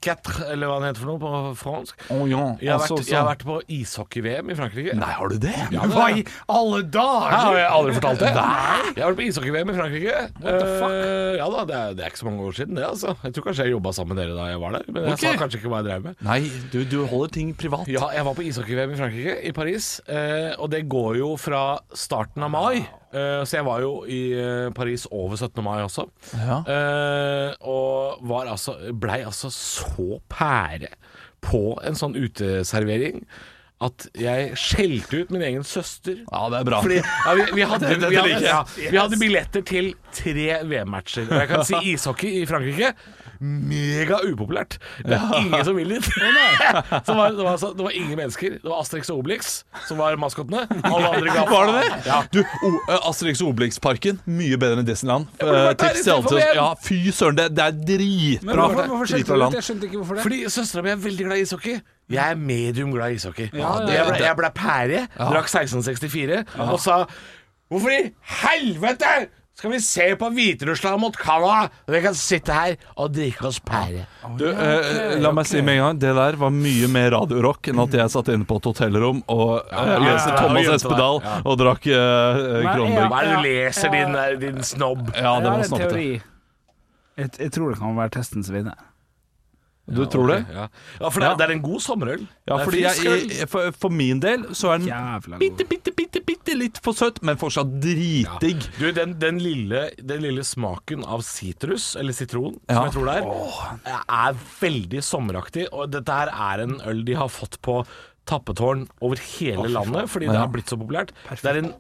quatre, eller hva den heter for noe på fransk.
Oh, ja.
Jeg har
Altså,
vært, jeg har vært på ishockey-VM i Frankrike.
Nei, har du det?
Hva i alle dager?!
Hæ, har jeg aldri fortalt det? Jeg har vært på ishockey-VM i Frankrike. Eh, ja da, det er, det er ikke så mange år siden, det. altså Jeg tror kanskje jeg jobba sammen med dere da jeg var der. Men jeg
Ok.
sa kanskje ikke hva jeg drev med.
Nei, du, du holder ting privat.
Ja, jeg var på ishockey-VM i Frankrike, i Paris. eh, og det går jo fra starten av mai. eh, så jeg var jo i eh, Paris over 17. mai også.
Ja.
Eh, og var altså blei altså så pære på en sånn uteservering at jeg skjelte ut min egen søster.
Ja, det er bra.
Fordi, ja, vi, vi, hadde,
Det- dette
vi, hadde,
liker jeg.
ja, vi hadde billetter til tre VM-matcher. Og jeg kan si ishockey i Frankrike mega upopulært. Det er ingen som vil dit. Så det, var, det, var, altså- det var ingen mennesker. Det var Asterix og Obelix som var maskotene. Alle andre ga
Var det det?
Ja.
Du, o, ø, Asterix og Obelix-parken, mye bedre enn Disneyland.
burde
Eh,
vært der
tips til alle til
istedenfor VM.
Ja, fy søren, det, det er
Men
dritbra.
hvorfor, hvorfor skjønte
Dritbra
du
land.
det? Jeg skjønte ikke hvorfor det.
Fordi søstera mi er veldig glad i ishockey. Jeg er medium glad i ishockey.
Ja, ja,
Jeg,
ja.
ble, jeg ble pære, drakk 1664 og sa Hvorfor i helvete skal vi se på Hviterussland mot Canada? Og vi kan sitte her og drikke oss pære.
Du, eh, la meg si med en gang, det der var mye mer radiorock enn at jeg satt inne på et hotellrom og eh,
ja, ja,
leste
ja,
Thomas
ja, ja.
Espedal
Ja.
og drakk eh,
Nei,
Kronborg.
Hva er
Ja,
det du leser,
ja.
din, eh, din snobb?
Ja, det var
Jeg har en teori.
snappete.
Jeg, jeg tror det kan være testens vinner.
Du tror det?
Ja, ja for det,
Ja.
er- det er en god sommerøl.
Ja,
Det er
fordi jeg,
frisk øl.
jeg, jeg- for, for min del så er den
Jævla god.
bitte, bitte, bitte, bitte litt for søt, men fortsatt dritdigg.
Du, den, den, lille, den lille smaken av sitrus, eller sitron,
Ja.
som jeg tror det er, er veldig sommeraktig. Og dette her er en øl de har fått på tappetårn over hele landet, fordi det
Ja.
har blitt så populært. Det er en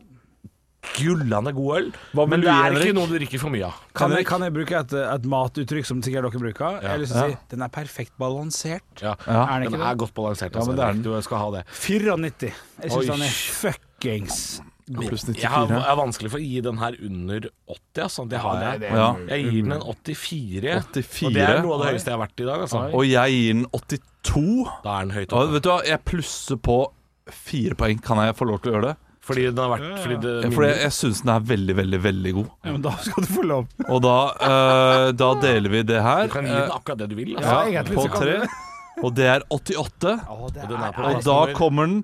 gullende god øl,
Hva med
men det
Louis,
er
Henrik?
ikke noe du drikker for mye av.
Kan jeg,
Henrik?
kan jeg bruke et, et matuttrykk som sikkert dere bruker? Jeg har lyst til å si den er perfekt balansert.
Ja.
Er den
Den
ikke
er
det?
godt balansert.
men
Altså,
det er
Henrik. du skal ha det.
94. Jeg
Oi.
syns den er fuckings
Pluss
Jeg har, er vanskelig for å gi den her under 80. Altså. Jeg, har det.
Ja.
jeg gir den en 84,
84.
og det er noe av det høyeste jeg har vært i dag. Altså.
Og jeg gir den 82.
Da er den høyt
Ja,
oppe.
vet du hva, jeg plusser på fire poeng. Kan jeg få lov til å gjøre det?
Fordi den har vært fordi det,
For jeg, jeg syns den er veldig, veldig veldig god.
Ja, men da skal du få lov.
Og da, eh, da deler vi det her.
Du kan gi
eh,
den akkurat det du vil. Altså.
ja,
egentlig
på
så kan
tre.
sånn-
Og det er 88.
Og den er på
Og
plass
da
nummer-
kommer den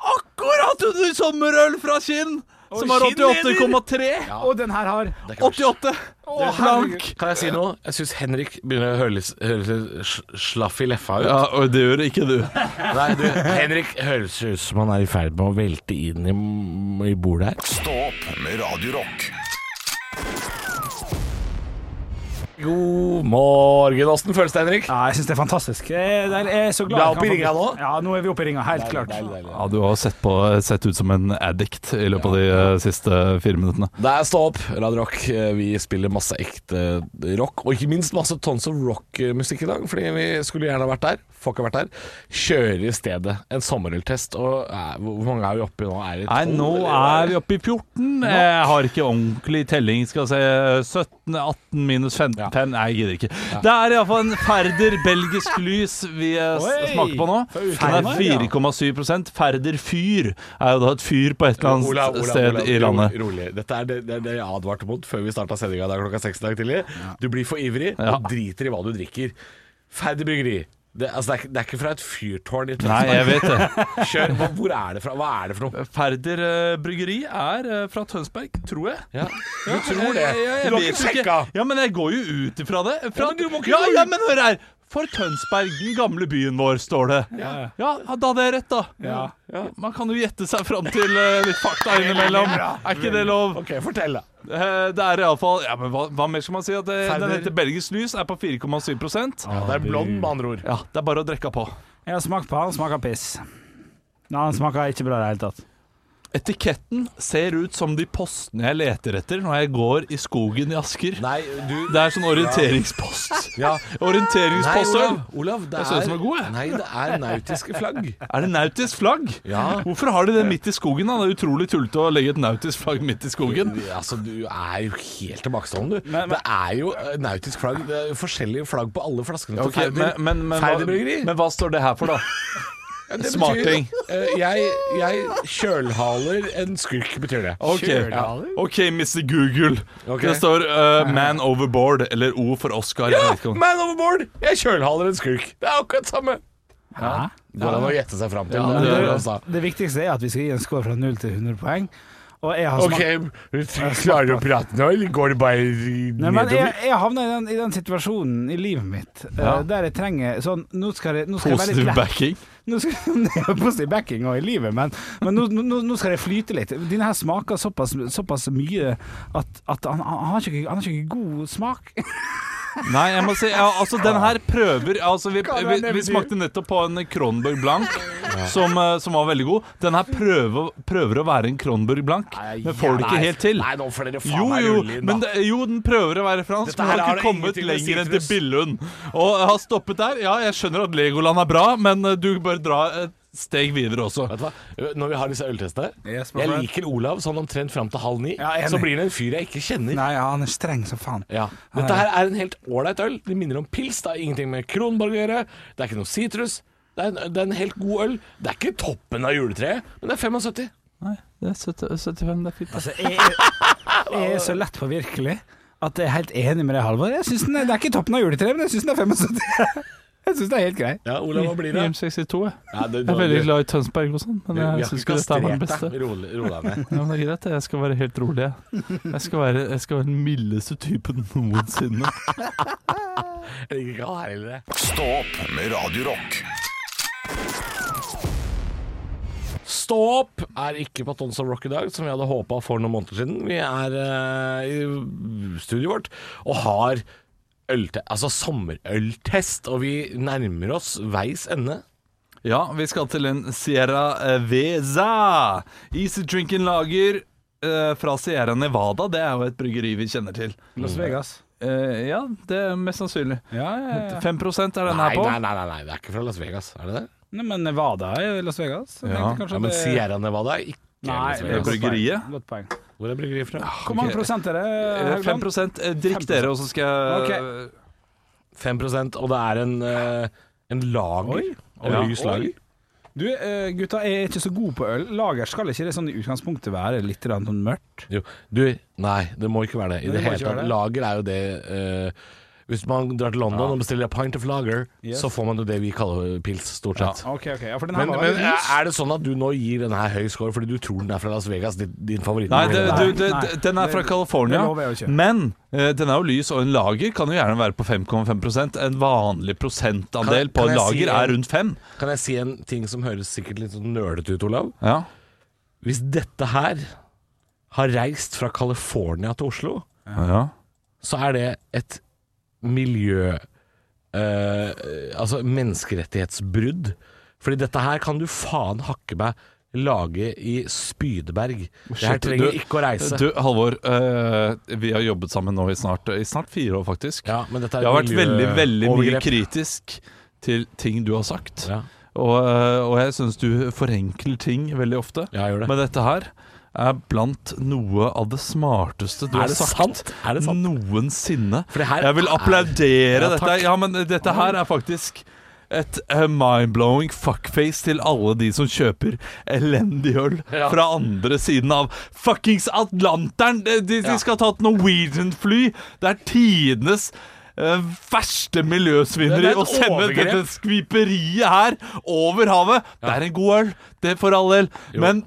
akkurat under sommerøl fra Kinn! Som har 88,3.
Og den her har
Det er ikke verst.
88! Blank!
Kan jeg si noe? Jeg syns Henrik begynner å høres, høres litt sl- slaff i leffa ut.
Ja, og det gjør ikke du.
Nei, du, Henrik høres ut som han er i ferd med å velte inn i, i bordet her.
Stå opp med Radio Rock.
God morgen, åssen føles det, Henrik?
Ja, jeg syns det er fantastisk. Jeg, der er jeg så glad
Du er
jeg kan
oppe i
få-
ringa nå?
Ja, nå er vi oppe i ringa, helt klart.
Ja, Du har sett, på, sett ut som en addict i løpet av de eh, siste fire minuttene.
Det er Stå opp, Radio Rock. Eh, Vi spiller masse ekte eh, rock, og ikke minst masse Tons of Rock-musikk i dag, fordi vi skulle gjerne ha vært der. Får ikke vært der. Kjører i stedet en sommerøltest, og eh, hvor hvor mange er vi oppe i nå? Er det
Nei, nå er Eh, vi oppe i 14. Jeg har ikke ordentlig telling. Skal se 17, 18 minus 15, Pen, nei, jeg gidder ikke. Det er iallfall en Færder belgisk lys vi eh, s-
Oi!
smaker på nå.
Fra
Den
utlandet,
er 4,7 Færder fyr er jo da et fyr på et eller annet
Olav, Olav,
sted
Olav,
i
ro-
landet.
Rolig. Dette er det, det, er det jeg advarte mot før vi starta sendinga klokka seks i dag tidlig. Du blir for ivrig
Ja.
og driter i hva du drikker. Ferdig bryggeri. Det, altså, det, er, ikke- det er ikke fra et fyrtårn i
Nei,
Tønsberg.
jeg vet det.
Kjør. Hva, hvor er det fra? Hva er det for noe?
Færder eh, bryggeri er eh, fra Tønsberg, tror jeg.
Ja. Du tror det?
Jeg, jeg, jeg
du har
vet
ikke sjekka?
Ja, men jeg går jo ut ifra det. Fra,
Ja, men du må ikke
ja,
gå
ja,
ut.
men hør her! For Tønsberg, den gamle byen vår, står det. Ja, ja da hadde jeg rett, da.
Ja.
Man kan jo gjette seg fram til eh, litt fakta innimellom. Er ikke det lov?
Ok, fortell, da.
Eh, Det er iallfall ja, men hva, hva mer skal man si? At det, den
Ferder.
heter Belgisk lys, er på 4,7
Ja, det er blond, med andre ord.
Ja, det er bare å drikke på.
Jeg har smakt på han, smaker piss. Nei, han smaker ikke bra i det hele tatt.
Etiketten ser ut som de postene jeg leter etter når jeg går i skogen i Asker.
Nei, du
Det er sånn orienteringspost.
Ja. Nei,
Orienteringspostøl.
Olav, Olav det,
Jeg synes den var god, jeg.
nei, det er nautiske flagg.
Er det nautisk flagg?
Ja.
Hvorfor har de det midt i skogen? da? Det er utrolig tullete å legge et nautisk flagg midt i skogen.
Altså, Du er jo helt tilbakestående, du.
Men- men-
det er jo eh, nautisk flagg. Det er jo forskjellige flagg på alle flaskene til
Ok,
Færder.
men, men, men,
Færder
hva,
bryggeri.
men hva står det her for, da?
Ja, det betyr-
smaking.
Eh, jeg, jeg kjølhaler en skurk, betyr det.
Ok, Ok, Mr. Google.
Ok.
Det står eh, 'Man Overboard', eller O for Oscar.
Ja,
jeg vet ikke om-
man overboard! Jeg kjølhaler en skurk. Det er akkurat samme.
Hæ?
Går an å gjette seg fram til.
Ja,
det,
det
er
gjør
det, altså.
det.
han sa.
Det viktigste er at vi skal gi en score fra 0 til 100 poeng. Og jeg har smakt
Ok, du klarer du å prate nå, eller går det bare
Nei, men jeg,
nedover?
jeg havna i den, i den situasjonen i livet mitt eh, der jeg trenger sånn Nå skal det, nå skal det være
Positiv
litt lett.
backing.
Nå skal, jeg har positiv backing og i livet, men, men nå, nå, nå skal det flyte litt. Denne her smaker såpass, såpass mye at, at han, han, har ikke, han har ikke god smak.
Nei, jeg må si ja, Altså, den her prøver altså, vi,
Hva er
vi,
det
vi
du-
smakte nettopp på en Kronborg Blank som, eh, som var veldig god. Den her prøver, prøver å være en Kronborg Blank, men får det ikke helt til.
Nei, nå får dere faen
Jo,
meg
jo,
rulle inn, da.
men det, jo, den prøver å være fransk,
Dette
men
her
har
har
ikke
det
kommet
ingenting med
lenger enn til
sitrus.
Billund. Og jeg har stoppet der. Ja, jeg skjønner at Legoland er bra, men eh, du bør dra et steg videre også.
Vet du hva? Når vi har disse øltestene
Yes, my
Jeg
friend.
liker Olav sånn omtrent fram til halv ni.
Ja, jeg er
så
enig.
blir det en fyr jeg ikke kjenner.
Nei, ja, han er streng som faen.
Ja. Dette her er en helt ålreit øl. Det minner om pils. Det har ingenting med Kronborg å gjøre. Det er ikke noe sitrus. Det, er en- det er en helt god øl. Det er ikke toppen av juletreet, men det er 75.
Nei, det er 75, det er fint.
Altså, jeg, er- jeg er så lett påvirkelig at jeg er helt enig med deg, Halvor. Jeg synes den er, Det er ikke toppen av juletreet, men jeg syns den er 75. Jeg syns det er helt grei.
Ja, Olav, hva blir det?
M62, jeg.
Ja, det,
Jeg er veldig glad i Tønsberg og sånn, men
Vi har
jeg syns
ikke
ikke dette er den
kastrert
beste.
deg. Rolig- Ro deg ned.
Ja, men det er greit, jeg skal være helt rolig. Jeg, jeg, skal, være, jeg skal være den mildeste typen noensinne.
Jeg liker ikke han her heller.
Stå opp med Radio Rock.
Stå opp er ikke på Tons of Rock i dag, som vi hadde håpa for noen måneder siden. Vi er eh, i studioet vårt og har ølte, altså sommerøltest, og vi nærmer oss veis ende.
Ja, vi skal til en Sierra eh, Veza. Easy Drinking Lager eh, fra Sierra Nevada. Det er jo et bryggeri vi kjenner til.
Las Vegas.
Eh, ja, det er mest sannsynlig.
Ja, ja, ja.
5 er den
Nei,
her på.
nei, nei, nei, nei, det er ikke fra Las Vegas, er det det?
Nei, men Nevada er jo Las Vegas. så jeg
Ja.
tenkte kanskje
Ja, men
Sånn det-
Sierra Nevada er ikke
Nei,
Las
det er
Vegas.
godt poeng.
Bryggeriet?
Godt poeng.
Hvor er bryggeriet fra?
Hvor mange prosent er det?
Eh,
Haugland?
5 eh, Drikk
5%.
dere, og så skal jeg
5 og det er en, eh, en lager.
Oi.
En
Ja.
lys lager.
Du, eh, gutta, jeg er ikke så god på øl. Lager skal ikke det sånn i utgangspunktet være litt grann sånn mørkt?
Jo, du, nei, det må ikke være det. I
Nei,
det
det må
hele
ikke være
tatt.
det.
Lager er jo det eh, Hvis man drar til London og bestiller pint of lager,
Yes.
så får man jo det vi kaller pils, stort sett.
OK, OK. Ja, for den her
Men,
var
men
veldig lys.
er det sånn at du nå gir denne her høy score fordi du tror den er fra Las Vegas, din, din favoritt?
Nei, det,
Nei,
du, det,
nei.
det- den er fra
Det-
California.
det lover jeg jo ikke.
Men eh, den er jo lys, og en lager kan jo gjerne være på 5,5 En vanlig prosentandel
Kan-
på
kan
en
jeg si
lager
en-
er rundt 5.
Kan jeg si en ting som høres sikkert litt sånn nølete ut, Olav?
Ja.
Hvis dette her har reist fra California til Oslo,
Ja.
så er det et miljø eh, Altså menneskerettighetsbrudd. Fordi dette her kan du faen hakke meg lage i Spydeberg. Det her
Shit,
trenger
du-
ikke å reise.
Du, Halvor, eh, vi har jobbet sammen nå i snart, i snart fire år, faktisk.
ja, men dette er
jeg har
et
vært veldig, veldig mye
miljøovergrep.
kritisk til ting du har sagt.
Ja,
Og, eh, og jeg syns du forenkler ting veldig ofte
ja, jeg gjør det.
med dette her. er blant noe av det smarteste du
Er
har
det
sagt
sant? Er det sant?
noensinne.
For det her
Jeg vil
er-
applaudere
Ja,
dette.
takk.
Ja, men dette her er faktisk et eh, mind-blowing fuckface til alle de som kjøper elendig øl
Ja.
fra andre siden av fuckings Atlanteren! De, de,
Ja.
de skal ta et Norwegian-fly! Det er tidenes eh, verste
Det er
miljøsvineri
et
å sende
overgrep.
dette skviperiet her over havet. Det er en god øl, det for all del, men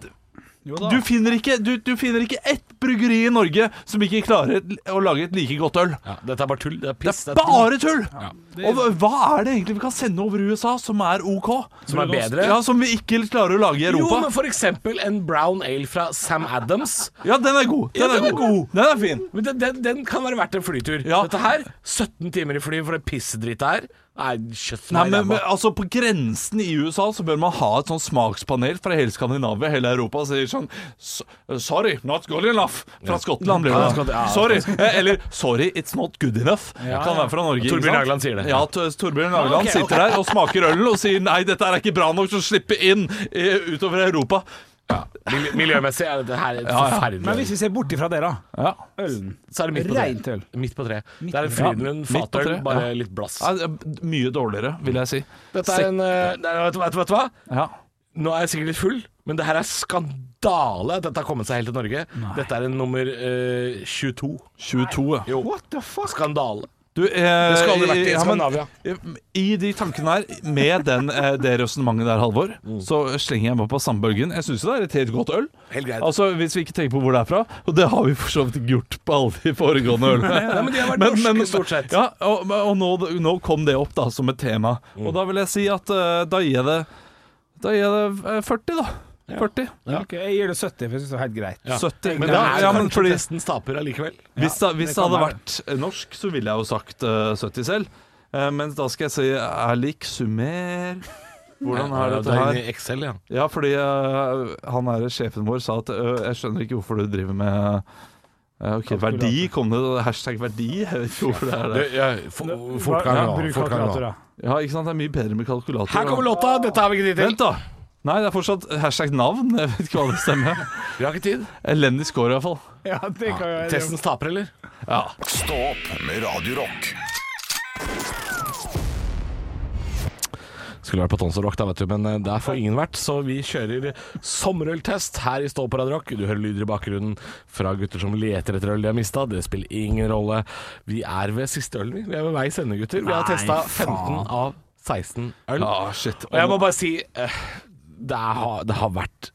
du finner, ikke, du, du finner ikke ett bryggeri i Norge som ikke klarer å lage et like godt øl.
Ja, dette er bare tull. Det er
Det
piss.
er
tull.
bare tull!
Ja.
Og hva er det egentlig vi kan sende over USA som er OK?
Som er bedre?
Ja, Som vi ikke klarer å lage i
Jo,
Europa?
men for eksempel en brown ale fra Sam Adams.
Ja, den er god. Den,
Ja,
er, god. Den er fin.
Men den, den, den kan være verdt en flytur.
Ja.
Dette her, 17 timer i fly for det pissedrittet her Nei, kjøtt
Nei,
meg i
men, men
ræva.
altså På grensen i USA så bør man ha et sånn smakspanel fra hele Skandinavia, hele Europa, og sier sånn "S- Sorry, not good enough. Fra Skottland blir
Ja,
det.
Skott- ja,
Sorry. eh, Eller Sorry, it's not good enough. Kan være fra Norge. ikke
Torbjørn
sant?
Jagland sier det.
Ja, T- Torbjørn Jagland
ok,
sitter der og smaker ølen og sier nei, dette er ikke bra nok til å slippe inn eh, utover Europa.
Mil- Miljømessig er dette her et
Ja, ja.
forferdelig.
Men hvis vi ser bort ifra det, da.
Ja.
Ølen.
så er det midt på
Rent
tre.
øl.
Midt på tre. Det er en
tre.
Frydenlund
Ja, midt på
fatøl,
tre,
bare
ja.
litt blass.
Ja, det er Mye dårligere, vil jeg si.
Dette er en eh, nei, vet, du- vet, du- vet du hva?
Ja.
Nå er jeg sikkert litt full, men det her er skandale at dette har kommet seg helt til Norge. Dette er en nummer eh, 22.
22, ja.
Jo.
What the fuck?
Skandale.
Du, eh,
Det skal aldri vært i
ja, men-
Skandinavia.
I de tankene her, med den, eh, det resonnementet der, Halvor,
Mm.
så slenger jeg meg på samme bølgen. Jeg syns jo det er et helt godt øl.
Helt greit.
Altså, Hvis vi ikke tenker på hvor det er fra, og det har vi for så vidt ikke gjort på alle de foregående ølene.
Nei, men de har vært norske, stort sett.
Ja, og, og nå, nå kom det opp da som et tema.
Mm.
Og da vil jeg si at eh, da gir jeg det Da gir jeg det eh, 40, da. 40.
Ok, jeg gir det 70, for jeg syns det er helt greit.
70.
Men det
Ja,
er
ja, men
kanskje
fordi,
testens taper allikevel.
hvis det, hvis
det
det hadde
kan
vært eh, norsk, så ville jeg jo sagt eh, 70 selv. Eh, men da skal jeg si er lik summer Hvordan er
Ja,
dette her?
inne i Excel, ja.
Ja, fordi øh, han er sjefen vår sa at øh, jeg skjønner ikke hvorfor du driver med øh, Ok, verdi kom det hashtag verdi. Jeg vet ikke hvorfor det er det.
Det- ja, fo- Fortgang
Ja,
nå.
bruk
fortgang nå.
kalkulator, da.
Ja, ikke sant? Det er mye bedre med kalkulator.
Her kommer låta. Dette har vi ikke tid til.
Vent, da! Nei, det er fortsatt hashtag navn. Jeg vet ikke hva det stemmer.
Vi har ikke tid.
Elendig score, iallfall.
Ja, det kan jeg gjøre.
Testens taper, eller?
Ja.
Stå opp med Radio Rock.
Skulle vært på Tons og Rock, da, vet du, men eh, der får ingen vært. Så vi kjører sommerøltest her i Stå på Radio Rock. Du hører lyder i bakgrunnen fra gutter som leter etter øl de har mista. Det spiller ingen rolle. Vi er ved siste ølen, vi. Vi er ved veis ende, gutter. Vi har testa 15 av 16 øl.
Ah, shit.
Og jeg må bare si eh, det, har, det har vært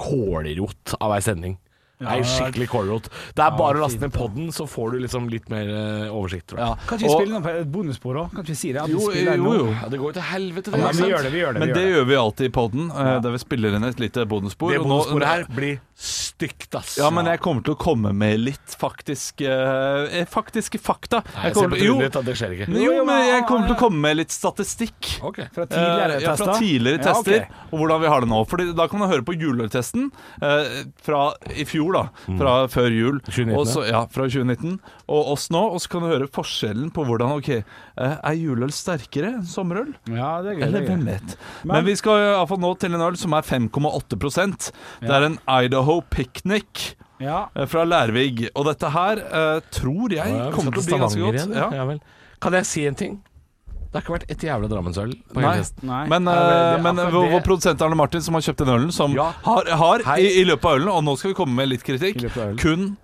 kålrot av ei sending. Ei skikkelig kålrot. Det er bare å laste ned podden, så får du liksom litt mer eh, oversikt. Tror jeg.
Kan ikke vi spille noe på et bonusspor òg? Kan ikke vi si det? At vi
Jo,
spiller
jo,
noe?
jo.
Ja, det går jo til helvete,
Ja,
det.
men vi gjør det, vi gjør det.
Men
vi
det
gjør
gjør vi alltid i poden, der vi spiller inn et lite bonusspor.
Det
og nå-
bonussporet her blir stygt, ass.
Ja, men jeg kommer til å komme med litt faktisk, eh, faktiske fakta.
Nei, jeg ser
kommer
på
til- jo,
trynet ditt at det skjer ikke.
Jo, men jeg kommer til å komme med litt statistikk.
Ok.
Fra tidligere
Eh, ja, fra
tester?
tidligere
Ja, ok.
tester, og hvordan vi har det nå. Fordi Da kan man høre på juleøltesten eh, fra i fjor, da. Fra før jul.
2019,
Og så- ja, fra 2019. Og oss nå. Og så kan du høre forskjellen på hvordan Ok, eh, er juleøl sterkere enn sommerøl?
Ja, det er gøy.
Eller
det er
hvem
gøy.
vet.
Men-
Men vi skal i hvert fall nå til en øl som er 5,8 Det er en Idaho Picnic.
Ja.
eh, Fra Lærvig. Og dette her eh, tror jeg
Ja, vi
kommer til å
skal
bli ganske
Stavanger
godt.
igjen,
Ja.
ja. vel. Kan jeg si en ting? Det har ikke vært et jævla Drammensøl på hele
Nei.
festen.
Nei.
Men,
Nei, det-
eh, men
akkurat
vår,
det-
vår produsent Arne Martin, som har kjøpt den ølen, som
Ja.
har, har
Hei.
i, i løpet av ølen, og nå skal vi komme med litt kritikk,
I løpet av ølen.
kun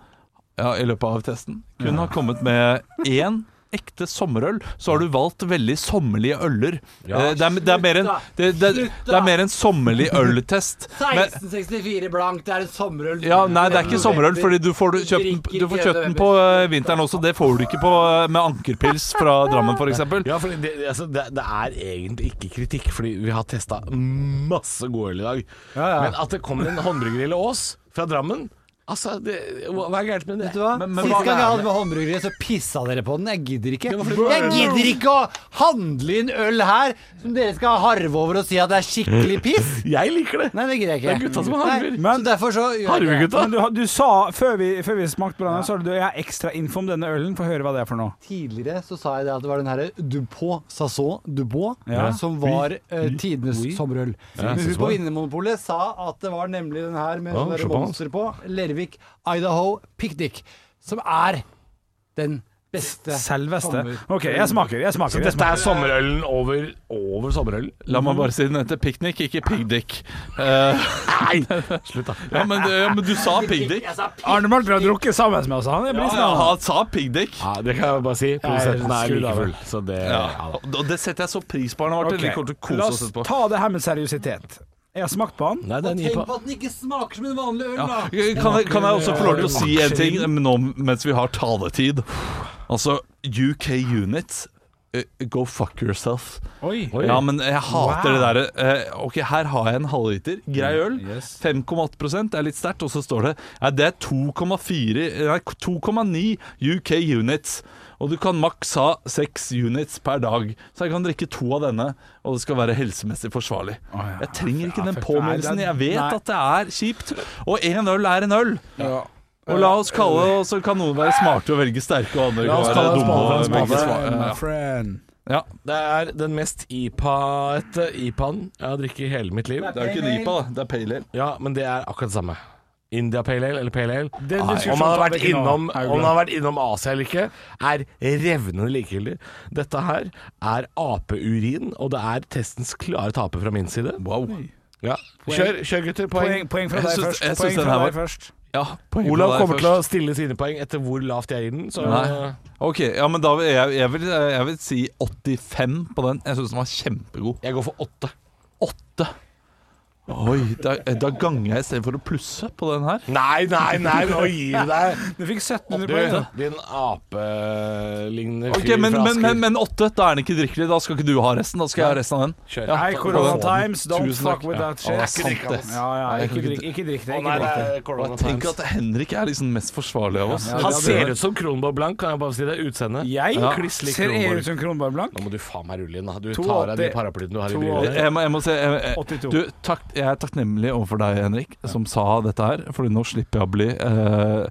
ja, i løpet av testen, kun har kommet med én ekte sommerøl, så har du valgt veldig sommerlige øler.
Ja,
Eh, det, er, det, er mer en, det, det, det er mer en sommerlig øltest. Men-
1664 blank, det er en sommerøl.
ja, nei, det er ikke sommerøl, fordi du får, du kjøpt, den- du får kjøpt den på eh, vinteren også. Det får du ikke på, eh, med ankerpils fra Drammen, f.eks.
Ja, for det, altså, det, det er egentlig ikke kritikk, fordi vi har testa masse god øl i dag. Men at det kommer en håndbryggerill Ås fra Drammen Altså, det, hva hva er gærent med det?
Vet du hva?
Men- men hva
Sist gang jeg
er
hadde med håndbryggeriet, så pissa dere på den. Jeg gidder ikke. Jeg gidder ikke å handle inn øl her som dere skal harve over og si at det er skikkelig piss.
Jeg liker det.
Nei, det gidder jeg
Det
ikke.
er gutta som harver.
Nei,
Men-
så derfor så gjør jeg ikke det.
Harvegutta.
Men du, har- du sa, før vi, før vi smakte på denne, så sa du jeg har ekstra info om denne ølen. Få høre hva det er for noe.
Tidligere så sa jeg det at det var den herre Dupont Sasson Dupont
Ja.
som var eh, tidenes sommerøl. Men hun
synes
på
det.
Vinmonopolet sa at det var nemlig den her med
Ja,
sånn der
Chopin,
monster på. Lervik Idaho Picnic. Som er den beste
Selveste.
Sommer.
OK, jeg smaker. Jeg smaker. Jeg
Dette
smaker.
er sommerølen over, over sommerølen.
La meg bare si den heter Picnic, ikke Pigdick. Eh,
Nei! Slutt, da.
ja, men, ja, men du sa Pigdick.
Arne Malt har drukket sammen med oss, han. Jeg
Ja,
blir snart.
han sa Pigdick.
Ja, det kan jeg bare si. Produsenten er
skrudd
like
av.
full, så det ja, da.
Og og det setter jeg så pris på, Arne Martin. Vi kommer til å
La
kose oss
oss
etterpå.
ta det her med seriøsitet. Jeg har smakt på den.
Nei, det er en
Tenk
IPA.
på at den ikke smaker som en vanlig øl,
Ja.
da!
Kan, jeg, kan jeg også få lov til å si en ting nå mens vi har taletid? Altså, UK Unit eh, Go fuck yourself.
Oi.
Ja, men jeg hater det derre eh, Ok, her har jeg en halvliter. Grei øl.
Mm,
5,8 er litt sterkt. Og så står det Nei, det er 2,4 Nei, 2,9 UK units. Og du kan maks ha seks units per dag. Så jeg kan drikke to av denne, og det skal være helsemessig forsvarlig. Jeg trenger ikke den påminnelsen. Jeg vet at det er kjipt. Og én øl er en øl. Og la oss kalle det, og så kan noen være smarte og velge sterke, og andre
La oss
kan
kalle
være dumme
det spade for
og
en
velge
spade.
sva- ja. Ja,
Det er den mest IPA-ete IPA-en jeg har drukket i hele mitt liv.
det er jo ikke en IPA, da. Det er pale ale.
Ja, men det er akkurat det samme. India Pale Ale eller Pale Ale.
Den
Nei,
diskusjonen
Om man har
tar vi
vært
ikke nå,
innom,
Haugland.
om man har vært innom Asia eller ikke, er revnende likegyldig. Dette her er apeurin, og det er testens klare taper fra min side.
Wow.
Ja. Kjør, kjør gutter.
Poeng,
Poeng.
poeng fra
Jeg
deg
syns-
først.
jeg syns
Poeng
den
fra
her
deg
var-
først.
Ja, poeng på
Olav
deg
kommer
først.
til å stille sine poeng etter hvor lavt jeg gir den. Så
Nei. Ok, ja, men da vil jeg, jeg, vil, jeg vil si 85 på den. Jeg syns den var kjempegod.
jeg går for åtte.
Åtte. Oi, da, da ganger jeg istedenfor å plusse på den her.
Nei, nei, nei, nå gir du deg.
Du fikk 1700
Du,
poeng. da.
din apelignende
Ok,
fyr
Men,
fra
men,
Asker.
men, men åtte, da er den ikke drikkelig. Da skal ikke du ha resten. Da skal jeg ha resten av den.
Kjør.
Nei, Corona Times, don't
Tusen
fuck
takk.
with
Ja,
that shit.
det er sant, det.
Ja, ja,
Nei, jeg
ikke
kan
drikk, ikke drikk det.
Å,
Ikke
nei, det
drikk det.
er
Og
Corona
tenk
Times.
at Henrik er liksom mest forsvarlig av oss.
Ja,
Han
det er
ser
det.
ut som Kronborg Blank, kan jeg bare si det. Utseendet.
Jeg
Ja. Kliss lik
ser
Kronborg.
ut som Kronborg Blank.
Nå må du faen meg rulle inn, da. Du
82.
tar av de paraplyene du har i
82.
brillene.
Jeg må, jeg må si jeg, jeg,
82.
du, takk, jeg er takknemlig overfor deg, Henrik, som sa dette her. Fordi nå slipper jeg å bli, eh,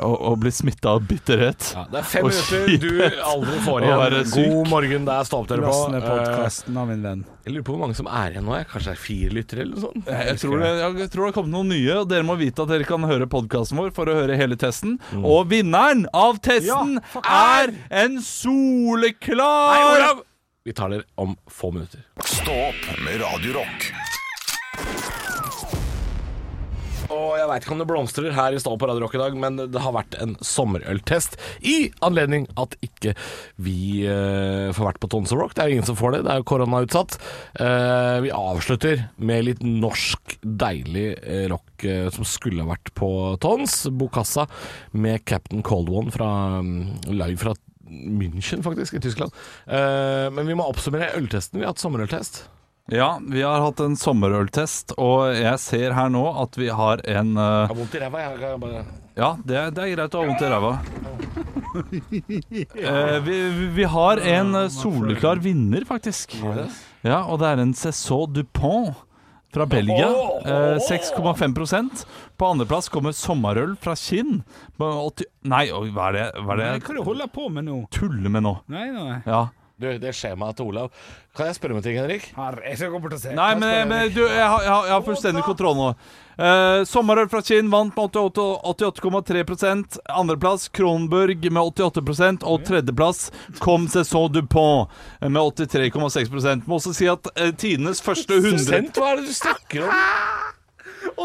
å, å bli smitta av bitterhet.
Ja, det er fem
Og
minutter du aldri
Å
får igjen.
være syk.
God morgen, der stå opp dere på.
Last ned
Eh,
podkasten av min venn.
Jeg lurer på hvor mange som er igjen nå. jeg. Kanskje det er fire lyttere eller noe sånt?
Jeg tror, det, jeg tror det har kommet noen nye, og dere må vite at dere kan høre podkasten vår for å høre hele testen. Og vinneren av testen er en soleklar
Vi tar dere om få minutter.
Stå opp med Radio Rock.
Og jeg veit ikke om det blomstrer her i Stå på Radio Rock i dag, men det har vært en sommerøltest i anledning at ikke vi eh, får vært på Tons Rock. Det er jo ingen som får det, det er jo koronautsatt. Eh, vi avslutter med litt norsk, deilig eh, rock eh, som skulle ha vært på Tons. Bokassa med Captain Cold One fra, mm, live fra München, faktisk, i Tyskland. Eh, men vi må oppsummere øltesten. Vi har hatt sommerøltest.
Ja, vi har hatt en sommerøltest, og jeg ser her nå at vi har en eh,
Jeg har vondt i ræva, jeg kan bare
Ja, det, det er greit å ha vondt i ræva. Eh, vi, vi- vi har en eh, soleklar vinner, faktisk. Ja, og det er en Cessau Dupont fra Belgia. Eh, 6,5 På andreplass kommer sommerøl fra Kinn. På 80 Nei, oi, hva er det, hva er det
Hva
jeg
er det du holder på med nå?
tuller med nå?
Nei, nei.
Ja.
Du, det skjemaet til Olav. Kan jeg spørre om en ting, Henrik?
Herre, jeg skal gå bort og se.
Nei, men, men du, jeg har, jeg har, jeg har fullstendig kontroll nå. Eh, sommerøl fra Kinn vant med 88,3 Andreplass Kronburg med 88 og tredjeplass Comme Cessau Dupont eh, med 83,6 Må også si at eh, tidenes første 100
Prosent? Hva er det du snakker om?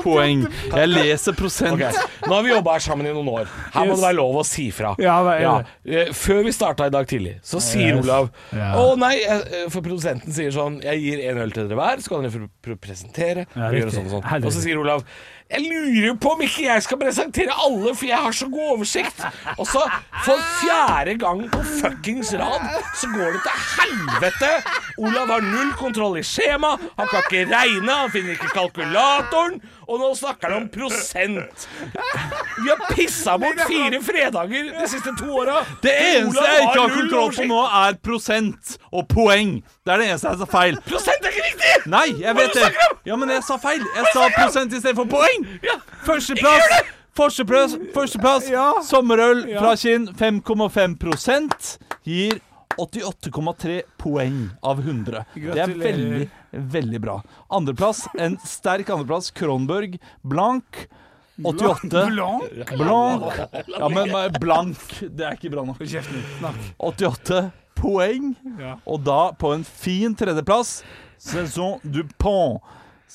poeng Jeg leser prosent.
Ok, Nå har vi jobba her sammen i noen år. Her må det være lov å si fra.
Ja, det er
Eh, Før vi starta i dag tidlig, så sier Olav Å nei, eh, for produsenten sier sånn Jeg gir en øl til dere hver, så kan dere pr- pr- presentere.
Ja,
og,
riktig.
gjøre sånn, og sånn.
Helt
og
riktig.
så sier Olav Jeg lurer på om ikke jeg skal presentere alle, for jeg har så god oversikt. Og så, for fjerde gang på fuckings rad, så går det til helvete! Olav har null kontroll i skjema, han kan ikke regne, han finner ikke kalkulatoren, og nå snakker han om prosent. Vi har pissa bort fire fredager de siste to åra!
Det eneste jeg ikke har kontroll på nå, er prosent og poeng. Det er det eneste jeg sa feil.
Prosent er ikke riktig!
Nei, jeg vet
Hva er det du
det.
snakker om?
Ja, men jeg sa feil. Jeg sa prosent istedenfor poeng.
Ja.
Førsteplass. Førsteplass, førsteplass.
Ja.
Sommerøl fra Kinn. 5,5 prosent gir 88,3 poeng av 100. Det er veldig,
Gratulerer.
veldig bra. Andreplass, en sterk andreplass, Kronborg. Blank. 88.
Blanc?
Blank. Ja, men eh, blank, det er ikke bra nok.
Kjeften din. Snakk.
88 poeng.
Ja.
Og da på en fin tredjeplass Saison du Pont.